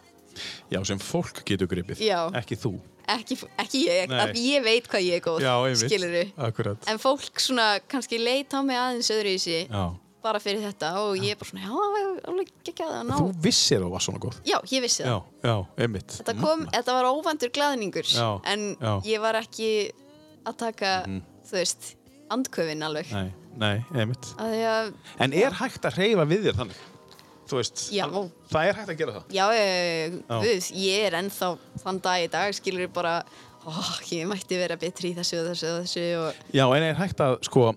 Speaker 1: já, sem fólk getur gripið
Speaker 3: Já.
Speaker 1: Ekki þú
Speaker 3: ekki, ekki ég,
Speaker 1: Nei.
Speaker 3: að ég veit hvað ég er góð skilurðu.
Speaker 1: Akkurat
Speaker 3: en fólk svona kannski leita á mig aðeins öðru í sig
Speaker 1: Já
Speaker 3: bara fyrir þetta og ég er bara svona, já, alveg ekki að það ná
Speaker 1: Þú vissir að þú var svona góð
Speaker 3: já, ég vissi það
Speaker 1: já, einmitt
Speaker 3: þetta, kom, þetta var óvandur glaðningur
Speaker 1: Já,
Speaker 3: en
Speaker 1: já. Mhm.
Speaker 3: ég var ekki að taka, þú veist andköfin alveg
Speaker 1: Mm. Nei, nei, einmitt
Speaker 3: að því að,
Speaker 1: En er hægt að hreyfa við þér þannig? Þú veist
Speaker 3: Já.
Speaker 1: það- Það er hægt að gera það
Speaker 3: já, já, já, já,
Speaker 1: Já.
Speaker 3: guð, ég er ennþá þann dag í dag, skilur ég bara ó, ég mætti vera betri í þessu og þessu og þessu og
Speaker 1: Já, en er hægt að sko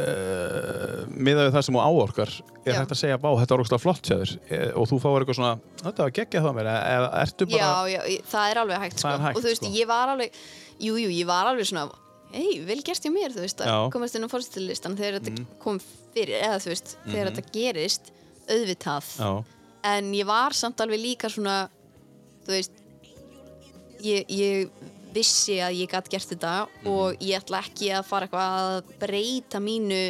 Speaker 1: Uh, miðað við það sem þú áorkar er
Speaker 3: Já.
Speaker 1: hægt að segja, vá, þetta er ógstlega flott hjá þér eh, og þú fáir eitthvað svona, þetta var geggjað hjá mér eða eða ertu bara,
Speaker 3: já, já, ég- það er alveg
Speaker 1: Það
Speaker 3: hægt, sko.
Speaker 1: er hægt,
Speaker 3: og þú veist,
Speaker 1: sko.
Speaker 3: ég var alveg jú, jú, ég var alveg svona hei, vel gert hjá mér, þú veist, að
Speaker 1: Já. Mm.
Speaker 3: komast inn á fórstulistan þegar þetta kom fyrir, eða þú veist þegar þetta gerist, auðvitað
Speaker 1: Mhm. já,
Speaker 3: en ég var samt alveg líka svona þú veist ég, ég vissi að ég gætt gert þetta og ég ætla ekki að fara eitthvað að breyta mínu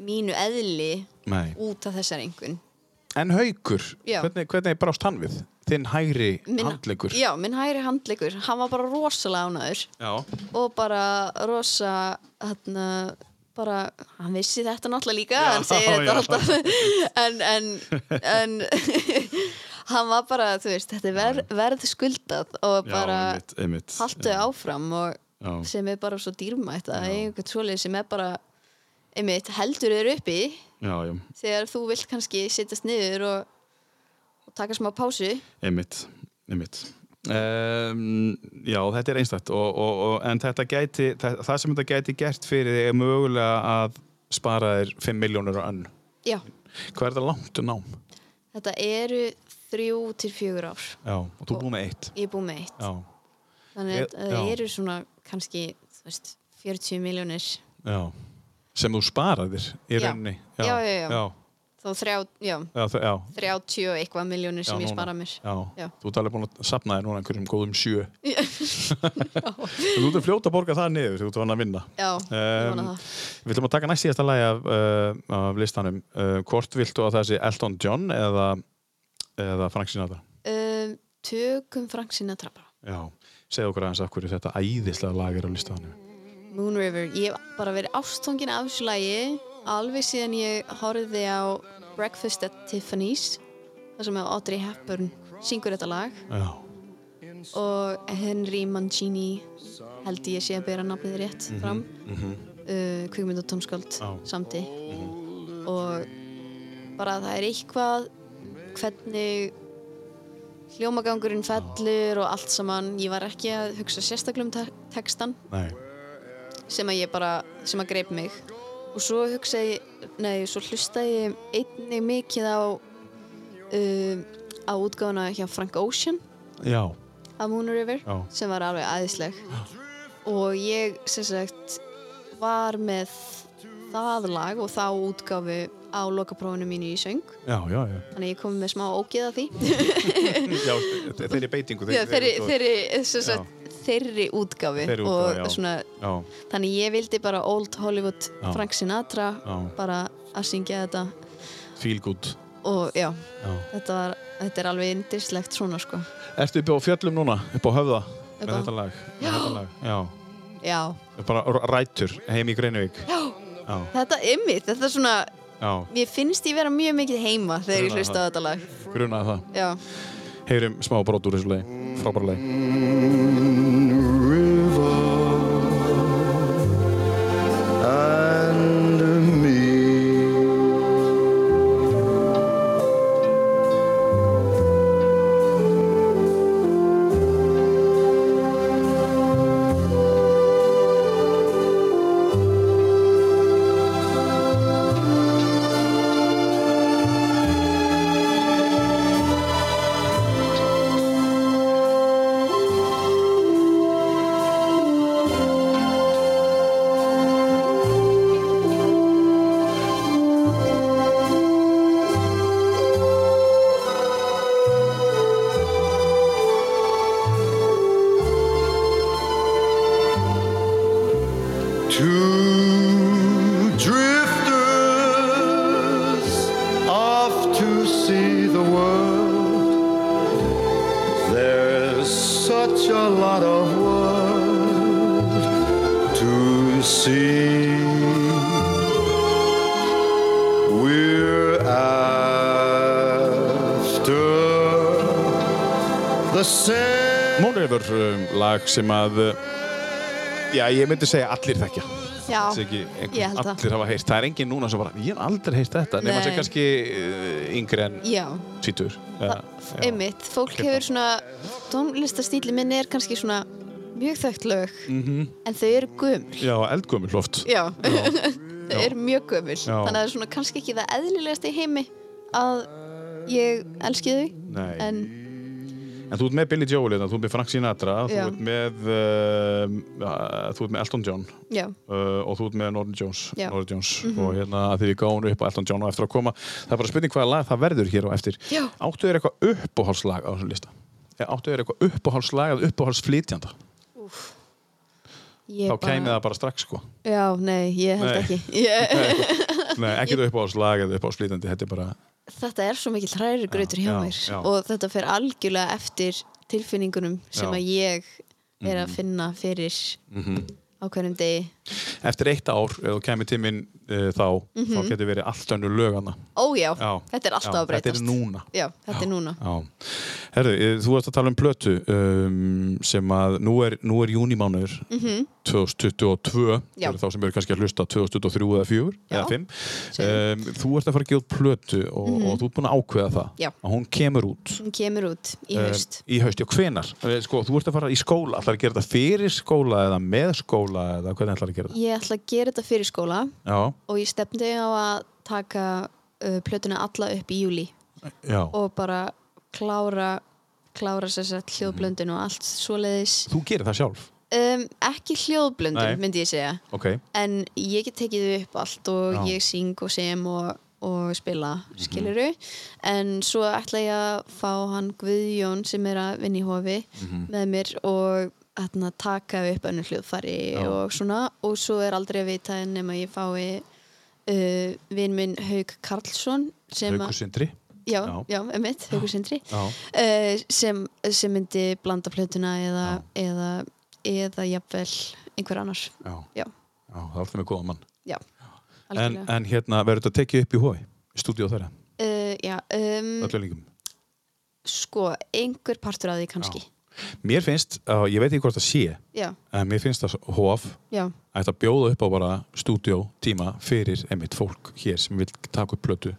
Speaker 3: mínu eðli
Speaker 1: nei
Speaker 3: út af þessar einhvern
Speaker 1: En haukur,
Speaker 3: Já.
Speaker 1: hvernig, hvernig brást hann við? Þinn hægri handleggur
Speaker 3: já, minn hægri handleikur, hann var bara rosalega ánæður
Speaker 1: já,
Speaker 3: og bara rosa hérna, bara, hann vissi þetta náttúrulega líka,
Speaker 1: Já,
Speaker 3: hann segir
Speaker 1: já.
Speaker 3: þetta alltaf en, en, en hann var bara, þú veist þetta er ver, verð skuldað og bara
Speaker 1: einmitt, einmitt.
Speaker 3: haltu áfram og
Speaker 1: Já.
Speaker 3: sem er bara svo dýrmætt að eiga einhvern svoleið sem er bara einmitt heldur þér uppi
Speaker 1: Já, já,
Speaker 3: þegar þú vilt kannski sittast niður og, og taka smá pásu
Speaker 1: einmitt, einmitt. Um, já, þetta er einstætt og, og, og, en þetta gæti, það, það sem þetta gæti gert fyrir þig er mögulega að spara þér 5 miljónur á önn
Speaker 3: já,
Speaker 1: Hvað er þetta langt um nám?
Speaker 3: þetta eru þrjú til fjögur ár
Speaker 1: Já, og þú er búin með eitt
Speaker 3: ég er búið með eitt
Speaker 1: Já,
Speaker 3: þannig að
Speaker 1: Ég-
Speaker 3: það
Speaker 1: já.
Speaker 3: eru svona kannski þú veist, 40 miljónir
Speaker 1: já Sem þú sparaðir í
Speaker 3: Já.
Speaker 1: rauninni
Speaker 3: Já, já, já.
Speaker 1: Já,
Speaker 3: þá þrjá, já,
Speaker 1: já, þ- já,
Speaker 3: 30 og eitthvað miljónir sem
Speaker 1: Já,
Speaker 3: ég
Speaker 1: núna.
Speaker 3: spara mér
Speaker 1: Já.
Speaker 3: Já.
Speaker 1: þú talar búin að sapna þér núna einhverjum góðum sjö Þú ert að fljóta að borga það niður þú ert að að vinna
Speaker 3: já, ég vona
Speaker 1: Em,
Speaker 3: það
Speaker 1: Við ætlum að taka næst síðasta lagi af, uh, af listanum uh, Hvort viltu að það sé Elton John eða, eða Frank Sinatra
Speaker 3: um, tökum Frank Sinatra bara
Speaker 1: Já, segðu okkur aðeins af hverju þetta æðislega lag er á listanum
Speaker 3: Moon River, ég hef bara verið ástfangin af þessu lagi alveg síðan ég horfði á Breakfast at Tiffany's þar sem að Audrey Hepburn syngur þetta lag
Speaker 1: Já,
Speaker 3: og Henry Mancini held ég sé að bera nafnið rétt fram uh, kvikmynd og tónskáld
Speaker 1: Já.
Speaker 3: samti og bara það er eitthvað hvernig hljómagangurinn fellur og allt saman ég var ekki að hugsa sérstaklega um te textan
Speaker 1: nei,
Speaker 3: sem að ég bara, sem að greip mig og svo hugsaði, nei, svo hlustaði ég einnig mikið á um, á útgáfuna hjá Frank Ocean
Speaker 1: Já,
Speaker 3: af Moon River
Speaker 1: Já.
Speaker 3: sem var alveg æðisleg og ég sem sagt var með það lag og þá útgáfu á lokaprófinu mínu í söng
Speaker 1: já, já, já.
Speaker 3: þannig að ég kom með smá ógeða því
Speaker 1: já þe- þeirri beitingu.
Speaker 3: þeirri, þeirri, þeirri,
Speaker 1: Já.
Speaker 3: sem sagt, þeirri útgáfu
Speaker 1: Þeirri útgáfu,
Speaker 3: og
Speaker 1: já.
Speaker 3: svona
Speaker 1: Já,
Speaker 3: þannig ég vildi bara Old Hollywood
Speaker 1: Já.
Speaker 3: Frank Sinatra
Speaker 1: Já.
Speaker 3: bara að syngja þetta
Speaker 1: feel good.
Speaker 3: og já,
Speaker 1: Já.
Speaker 3: þetta, var, þetta er alveg indislegt svona sko
Speaker 1: Ertu upp á fjöllum núna, upp á höfða með
Speaker 3: Upp á-
Speaker 1: þetta lag? með
Speaker 3: Já.
Speaker 1: Þetta lag. Já.
Speaker 3: já,
Speaker 1: Bara r- rætur heim í Greinavík. Já. Já,
Speaker 3: þetta er mitt þetta er svona,
Speaker 1: já,
Speaker 3: mér finnst ég vera mjög mikið heima þegar ég
Speaker 1: Grunaði
Speaker 3: hlusta á þetta lag
Speaker 1: grunaði það.
Speaker 3: já,
Speaker 1: Heyrum smá brot úr þessu lagi, frábæra lagi.
Speaker 10: under me. Two drifters off to see the world. There's such a lot of world to see. We're after the same.
Speaker 1: Mónreifur um, lag sem að, uh, já, ég myndi segja allir þekkja.
Speaker 3: já.
Speaker 1: Þessi ekki,
Speaker 3: Ég
Speaker 1: einhver,
Speaker 3: held það.
Speaker 1: allir hafa heyrt. Það er engin núna sem bara, ég hef aldrei heyrt þetta, nema
Speaker 3: Nei.
Speaker 1: sem kannski uh, yngri en
Speaker 3: já.
Speaker 1: tvítur.
Speaker 3: Það- einmitt, fólk hefur svona tónlistastíli minn er kannski svona mjög þögt lög
Speaker 1: Mhm.
Speaker 3: en þau eru gömul
Speaker 1: Já, eldgömmul oft.
Speaker 3: já, þau eru mjög gömul
Speaker 1: Já.
Speaker 3: þannig að það er svona kannski ekki það eðlilegast í heimi að ég elski þau
Speaker 1: Nei. En,
Speaker 3: en
Speaker 1: þú ert með Billy Joel, hérna, þú ert með Frank Sinatra, þú
Speaker 3: Já.
Speaker 1: ert með, uh, uh, þú ert með Elton John
Speaker 3: já,
Speaker 1: uh, og þú ert með Norton Jones,
Speaker 3: Já. Mhm.
Speaker 1: Norton Jones. og hérna að því við gáum upp á Elton John og eftir að koma, það er bara spurning hvaða lag það verður hér á eftir.
Speaker 3: Já.
Speaker 1: Áttu þér eitthvað uppáhálslag á þessum lista? Eh, Áttu þér eitthvað uppáhálslag eða uppáhálsflytjanda?
Speaker 3: ég
Speaker 1: Þá
Speaker 3: bara
Speaker 1: kæmi það bara strax sko.
Speaker 3: já, nei, ég held
Speaker 1: Nei.
Speaker 3: ekki ég,
Speaker 1: Nei, ekkert uppáhálslag eða uppáhálsflytjandi, þetta er bara,
Speaker 3: þetta er svo mikið hræri grötur hjá
Speaker 1: Já,
Speaker 3: mér
Speaker 1: já.
Speaker 3: og þetta fer algjörlega eftir tilfinningunum sem
Speaker 1: Já. Mhm.
Speaker 3: að ég er að finna fyrir á hverjum degi
Speaker 1: eftir eitt ár, ef þú kæmi tíminn uh, þá, þá getur verið allt önnur lögana.
Speaker 3: ójá,
Speaker 1: Já.
Speaker 3: Mhm. þetta er alltaf
Speaker 1: Já,
Speaker 3: að
Speaker 1: Þetta
Speaker 3: breytast
Speaker 1: er núna.
Speaker 3: já, þetta er núna
Speaker 1: Já. Herðu, eh, þú varst að tala um plötu um, sem að nú er, nú er júnimánuður 2022
Speaker 3: Mhm. Já.
Speaker 1: fyrir þá sem eru kannski að hlusta 2023 eða 4
Speaker 3: Já.
Speaker 1: eða 5 um, Þú ert að fara að gefa út plötu og, og þú ert búin að ákveða það
Speaker 3: Mhm. Já.
Speaker 1: að hún kemur út
Speaker 3: hún kemur út í
Speaker 1: eh,
Speaker 3: haust
Speaker 1: í haust, já hvenar? Eh, Sko, þú ert að fara í skóla, ætlar að gera þetta fyrir skóla eða með skóla eða hvernig ætlar að gera þetta?
Speaker 3: ég ætla að gera þetta fyrir skóla
Speaker 1: Já,
Speaker 3: og ég stefndi á að taka uh, plötuna alla upp í júli
Speaker 1: já
Speaker 3: og bara klára klára sér sett hljóðblöndin og allt svoleiðis
Speaker 1: Þú gerir það sjálf,
Speaker 3: um, ekki
Speaker 1: Nei.
Speaker 3: hljóðblöndin myndi ég segja
Speaker 1: ok
Speaker 3: en ég get tekið þau upp allt og
Speaker 1: Já. Mhm.
Speaker 3: ég syng og sem og, og spila skiluru en svo ætla ég að fá hann Guðjón sem er að vinna í hofi
Speaker 1: Mhm.
Speaker 3: með mér og hérna, taka upp önnur hljóðfari
Speaker 1: Já.
Speaker 3: og svona og svo er aldrei að vita en nema ég fái uh, vinn minn Haug Karlsson sem að-
Speaker 1: Haukur Sindri
Speaker 3: já,
Speaker 1: Já.
Speaker 3: já. emitt, Haugur Sindri
Speaker 1: Já.
Speaker 3: uh, sem, sem myndi blanda plötuna eða, eða, eða jafnvel einhver annars
Speaker 1: Já,
Speaker 3: já,
Speaker 1: já það er alltaf með góða mann
Speaker 3: já
Speaker 1: en,
Speaker 3: algjörlega.
Speaker 1: en hérna, verður þetta tekið upp í hói? Stúdíó þeirra?
Speaker 3: uh, já, um,
Speaker 1: öllu líkum
Speaker 3: sko, einhver partur að því kannski
Speaker 1: Mér finnst, uh, ég veit ekki hvort það sé
Speaker 3: já,
Speaker 1: en mér finnst það hóf
Speaker 3: já,
Speaker 1: ætti að bjóða upp á bara stúdíó tíma fyrir einmitt fólk hér sem vil taka upp plötu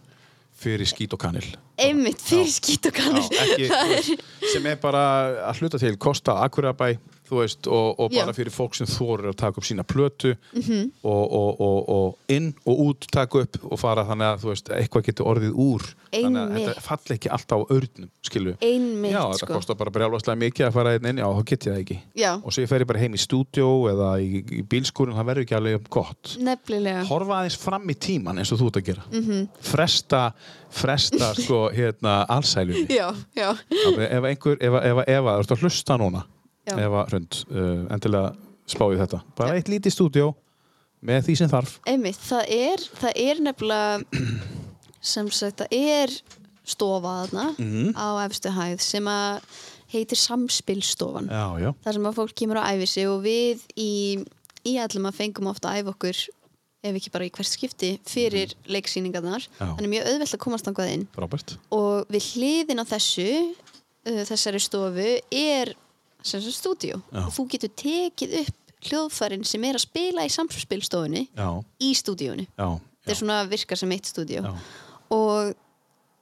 Speaker 1: fyrir skít og kanil
Speaker 3: einmitt fyrir skýt og kannur
Speaker 1: Já, ekki, þú veist, sem er bara að hluta til Kosta Akurabæ þú veist, og, og
Speaker 3: Já. Mhm.
Speaker 1: bara fyrir fólk sem þorir að taka upp sína plötu og, og, og, og inn og út taka upp og fara þannig að þú veist, eitthvað getur orðið úr þannig að
Speaker 3: Einmitt.
Speaker 1: þetta falli ekki alltaf á örnum skilju,
Speaker 3: Einmitt,
Speaker 1: já, þetta
Speaker 3: sko.
Speaker 1: kostar bara brjálvarslega mikið að fara einn inn, já, þá get ég það ekki
Speaker 3: Já.
Speaker 1: og svo ég fer ég bara heim í stúdjó eða í, í bílskúrin, það verður ekki alveg jafn gott
Speaker 3: nefnilega
Speaker 1: horfa aðeins fram í tíman eins og þú ert að gera
Speaker 3: Mhm.
Speaker 1: -hmm. fresta, fresta sko, hérna, allsælunni
Speaker 3: já, já,
Speaker 1: Alveg, ef einhver, ef, ef, ef, þú ert að hlusta núna
Speaker 3: Já.
Speaker 1: ef að hrönd, uh, endilega spáði þetta, bara eitt lítið stúdjó með því sem þarf
Speaker 3: einmitt, það er það er nefnilega sem sagt, það er stofa þarna
Speaker 1: Mhm.
Speaker 3: á efstu hæð sem að heitir samspilstofan
Speaker 1: já, já,
Speaker 3: þar sem að fólk kemur að æfi sig og við í, í allum að fengum ofta að æfa okkur ef ekki bara í hvert skipti fyrir leiksýningarnar
Speaker 1: Mhm. Já.
Speaker 3: þannig mjög auðvelt að komast þangað inn
Speaker 1: frábært
Speaker 3: og við hliðin á þessu uh, þessari stofu er sem sem stúdíu
Speaker 1: Já.
Speaker 3: og þú getur tekið upp hljóðfærin sem er að spila í samspilstofunni
Speaker 1: já,
Speaker 3: í stúdíunni
Speaker 1: já,
Speaker 3: þetta er svona að virka sem eitt stúdíu
Speaker 1: Já.
Speaker 3: og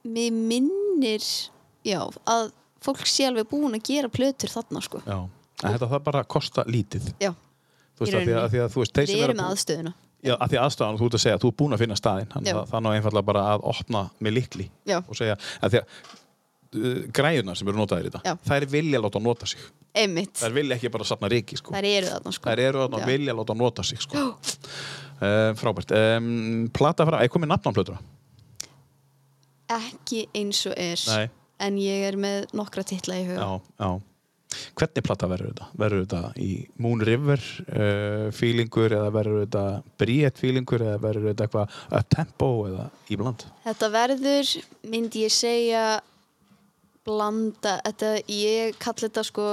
Speaker 3: mér minnir já, að fólk sé alveg búin að gera plötur þarna sko
Speaker 1: já. En þetta þarf bara að kosta lítið
Speaker 3: já,
Speaker 1: þú veist,
Speaker 3: Í
Speaker 1: að því að,
Speaker 3: rauninni.
Speaker 1: að því að þú veist, þeir
Speaker 3: við
Speaker 1: sem eru
Speaker 3: erum með aðstöðuna
Speaker 1: Já, að því aðstæðan þú ert að segja að þú er búin að finna staðinn þannig
Speaker 3: Já.
Speaker 1: að þannig að einfallega bara að opna með likli
Speaker 3: Já.
Speaker 1: og segja að því að uh, græjurnar sem eru notaðir í
Speaker 3: Já.
Speaker 1: þetta þær vilja láta nota sig
Speaker 3: einmitt,
Speaker 1: þær vilja ekki bara safna reiki sko.
Speaker 3: þær eru þarna sko
Speaker 1: þær eru þarna
Speaker 3: Já.
Speaker 1: og vilja láta nota sig sko. uh, frábært um, plata frá, er komið nafn á plötuna?
Speaker 3: ekki eins og er
Speaker 1: Nei.
Speaker 3: en ég er með nokkra titla í huga
Speaker 1: já Hvernig plata verður þetta? Verður þetta í Moon River uh, feelingur eða verður þetta Briett feelingur eða verður þetta eitthvað up-tempo eða íbland?
Speaker 3: Þetta verður, myndi ég segja blanda, þetta, ég kalli þetta sko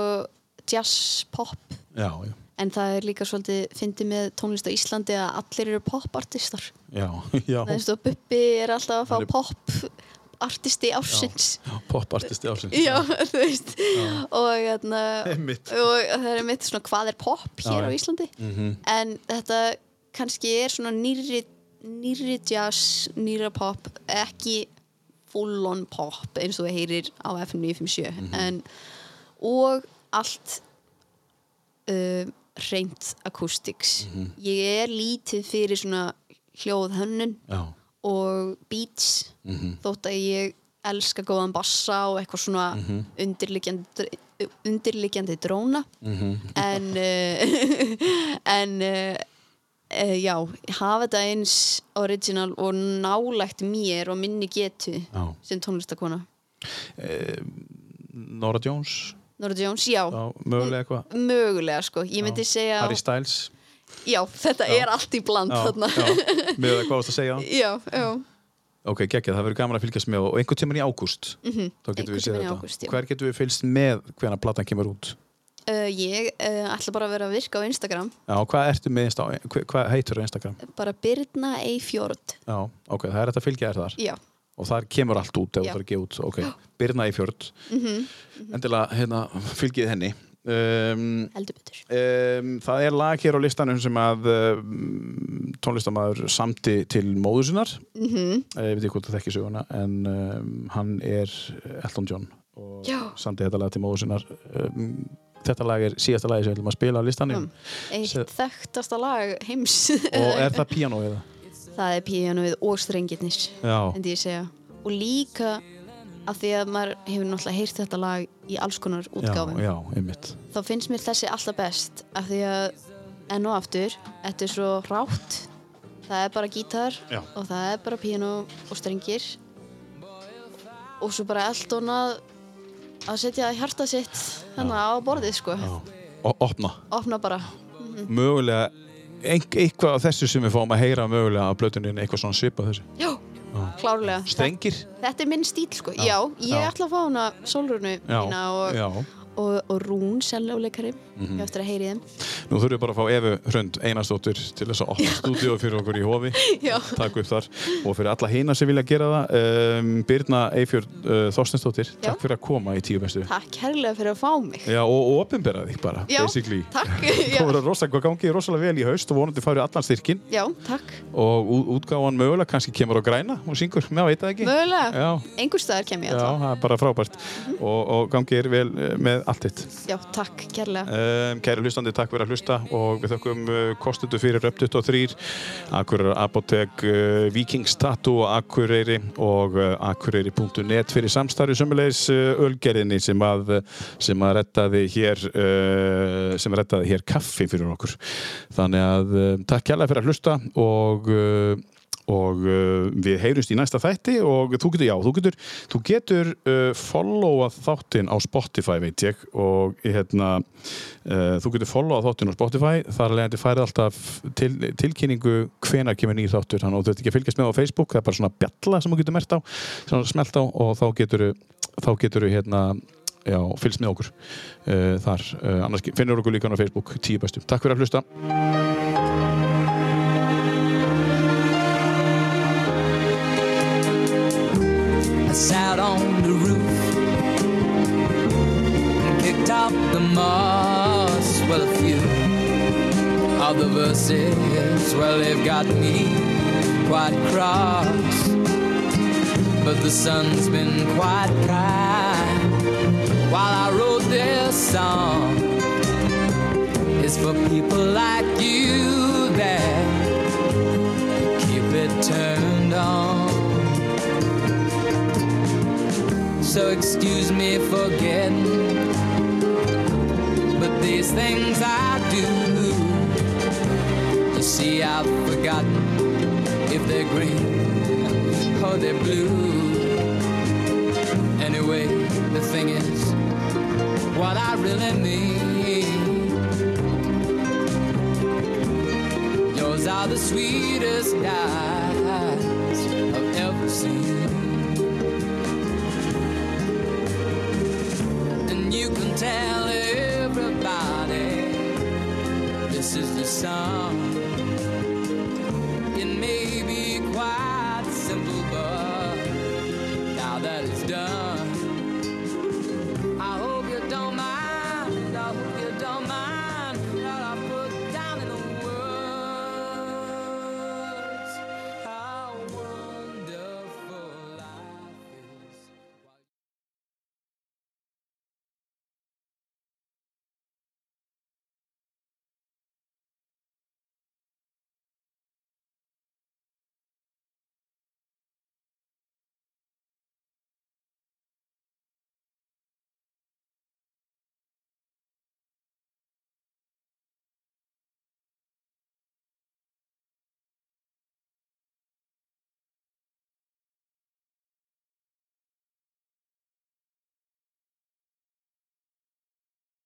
Speaker 3: jazz pop
Speaker 1: Já, já.
Speaker 3: en það er líka svolítið, fyndið með tónlist á Íslandi að allir eru popartistar
Speaker 1: Já, já.
Speaker 3: það er svo Bubbi er alltaf að fá
Speaker 1: Hann er-
Speaker 3: popartisti ársins
Speaker 1: Popartisti ársins
Speaker 3: Já, þú veist og, þarna,
Speaker 1: Einmitt.
Speaker 3: og það er mitt svona hvað er pop hér
Speaker 1: Já, Mhm.
Speaker 3: á
Speaker 1: já.
Speaker 3: Íslandi -hmm. en þetta kannski er svona nýri, nýri jazz, nýra pop ekki full on pop eins og það heyrir á FM 957
Speaker 1: Mhm.
Speaker 3: en, og allt um, reynt acoustics
Speaker 1: Mhm.
Speaker 3: ég er lítið fyrir svona hljóðhönnun
Speaker 1: Já,
Speaker 3: og beats
Speaker 1: Mhm.
Speaker 3: þótt að ég elska góðan bassa og eitthvað svona
Speaker 1: Mhm.
Speaker 3: undirliggjandi, dr- undirliggjandi dróna
Speaker 1: Mhm.
Speaker 3: en uh, en uh, uh, já, hafa þetta eins original og nálægt mér og minni getu
Speaker 1: Já.
Speaker 3: sem tónlistakona
Speaker 1: Nora Jones
Speaker 3: Nora Jones, já,
Speaker 1: já, mögulega eitthvað
Speaker 3: mögulega sko ég myndi segja,
Speaker 1: Harry Styles
Speaker 3: já, þetta er allt í bland
Speaker 1: Já,
Speaker 3: þarna
Speaker 1: já, með það hvað varst að segja
Speaker 3: já, já,
Speaker 1: Ok, geggja, það verður gaman að fylgjast með og einhvern tímann í ágúst -hmm. þá getum
Speaker 3: Mhm, Einhvern
Speaker 1: við séð
Speaker 3: tímann í
Speaker 1: þetta
Speaker 3: ágúst, já.
Speaker 1: Hver getum við fylgst með hvenær platan kemur út?
Speaker 3: Uh, ég uh, ætla bara að vera að virka á Instagram
Speaker 1: Já, hvað ertu með Insta, hve- hvað heitur á Instagram?
Speaker 3: bara Birna Eifjörd
Speaker 1: Já, ok, það er þetta að fylgja þér þar
Speaker 3: já,
Speaker 1: og þar kemur allt út ef þú
Speaker 3: Já. Mhm,
Speaker 1: þarf að gefa út ok, Birna í fjörd endilega, hérna, fylgjið henni um,
Speaker 3: heldur betur
Speaker 1: um, Það er lag hér á listanum sem að um, tónlistamæður samti til móðusinnar mm -hmm. ég veit ekki hvort það þekki söguna en um, hann er Elton John og
Speaker 3: Já.
Speaker 1: samti þetta lag til móðusinnar um, þetta lag er síðasta lagi sem við ætlum að spila á listanum
Speaker 3: eitt
Speaker 1: Se-
Speaker 3: þekktasta lag heims
Speaker 1: og er það píanóið?
Speaker 3: það er píanóið og strengirnir
Speaker 1: Já,
Speaker 3: myndi ég segja og líka af því að maður hefur náttúrulega heyrt þetta lag í alls konar
Speaker 1: já,
Speaker 3: útgáfum
Speaker 1: já, einmitt
Speaker 3: þá finnst mér þessi alltaf best af því að enn og aftur þetta er svo rátt það er bara gítar
Speaker 1: Já.
Speaker 3: og það er bara píanó og strengir og svo bara allt annað að setja hjarta sitt hérna á borðið sko
Speaker 1: já. og opna
Speaker 3: opna bara
Speaker 1: mögulega ein, eitthvað af þessu sem við fáum að heyra mögulega á blötuninni, eitthvað svona svipað þessu
Speaker 3: já, klárlega
Speaker 1: strengir
Speaker 3: Þetta er minn stíl sko, já, ég
Speaker 1: já.
Speaker 3: ætla að fá hana sólrunu
Speaker 1: já,
Speaker 3: mína og,
Speaker 1: já. Mhm.
Speaker 3: og, og rún seljáleikari mm ég á eftir að heyri þeim
Speaker 1: nú þurfum við bara að fá Efu Hrönd Einarsdóttir til þess að opna stúdíu fyrir okkur í hofi
Speaker 3: Já.
Speaker 1: takk upp þar og fyrir alla hina sem vilja gera það um, Birna Eifjörn uh, Þorstensdóttir
Speaker 3: Já.
Speaker 1: takk fyrir að koma í tíu bestu
Speaker 3: Takk herrlega fyrir að fá mig
Speaker 1: já, og, og opinbera þig bara
Speaker 3: Já,
Speaker 1: basically
Speaker 3: takk
Speaker 1: Það
Speaker 3: já.
Speaker 1: voru rosalega, gangið rosalega vel í haust og vonandi farið allan styrkin
Speaker 3: já, takk,
Speaker 1: og ú- útgáfan mögulega kannski kemur á græna og syngur, með veit það ekki
Speaker 3: mögulega Mhm.
Speaker 1: Já.
Speaker 3: einhver staðar kem ég
Speaker 1: Já,
Speaker 3: alltaf
Speaker 1: það er bara frábært og, og gangið er vel eh, með allt þitt.
Speaker 3: Já, takk kærlega.
Speaker 1: Um, kæri hlustandi, takk fyrir að hlusta og við þökkum uh, kostendu fyrir Röp 23, Akureyri Apotek, uh, Vikings Tattoo og Akureyri og uh, akureyri.net fyrir samstarfi sömulegis uh, ölgerðinni sem að, sem að rettaði hér uh, sem rettaði hér kaffi fyrir okkur. Þannig að uh, takk kærlega fyrir að hlusta og uh, og uh, við heyrumst í næsta þætti og þú getur, já, þú getur, þú getur uh, followa þáttinn á Spotify veit ég og hérna, uh, þú getur followa þáttinn á Spotify þar að leiðandi færið alltaf til, tilkynningu hvenar kemur nýr þáttur þannig að þú þurft ekki að fylgjast með á Facebook það er bara svona bjalla sem þú getur mert á svona smelt á og þá getur þá getur hérna já, fylgst með okkur uh, þar uh, annars finnur okkur líka á Facebook tíu bestu takk fyrir að hlusta
Speaker 7: I sat on the roof and picked up the moss. Well, a few of the verses, well, they've got me quite cross. But the sun's been quite kind while I wrote this song. It's for people like you that keep it turned on. So excuse me for getting But these things I do You see I've forgotten If they're green or they're blue Anyway, the thing is What I really mean Yours are the sweetest eyes I've ever seen and you can tell everybody this is the song. It may be quite simple, but now that it's done.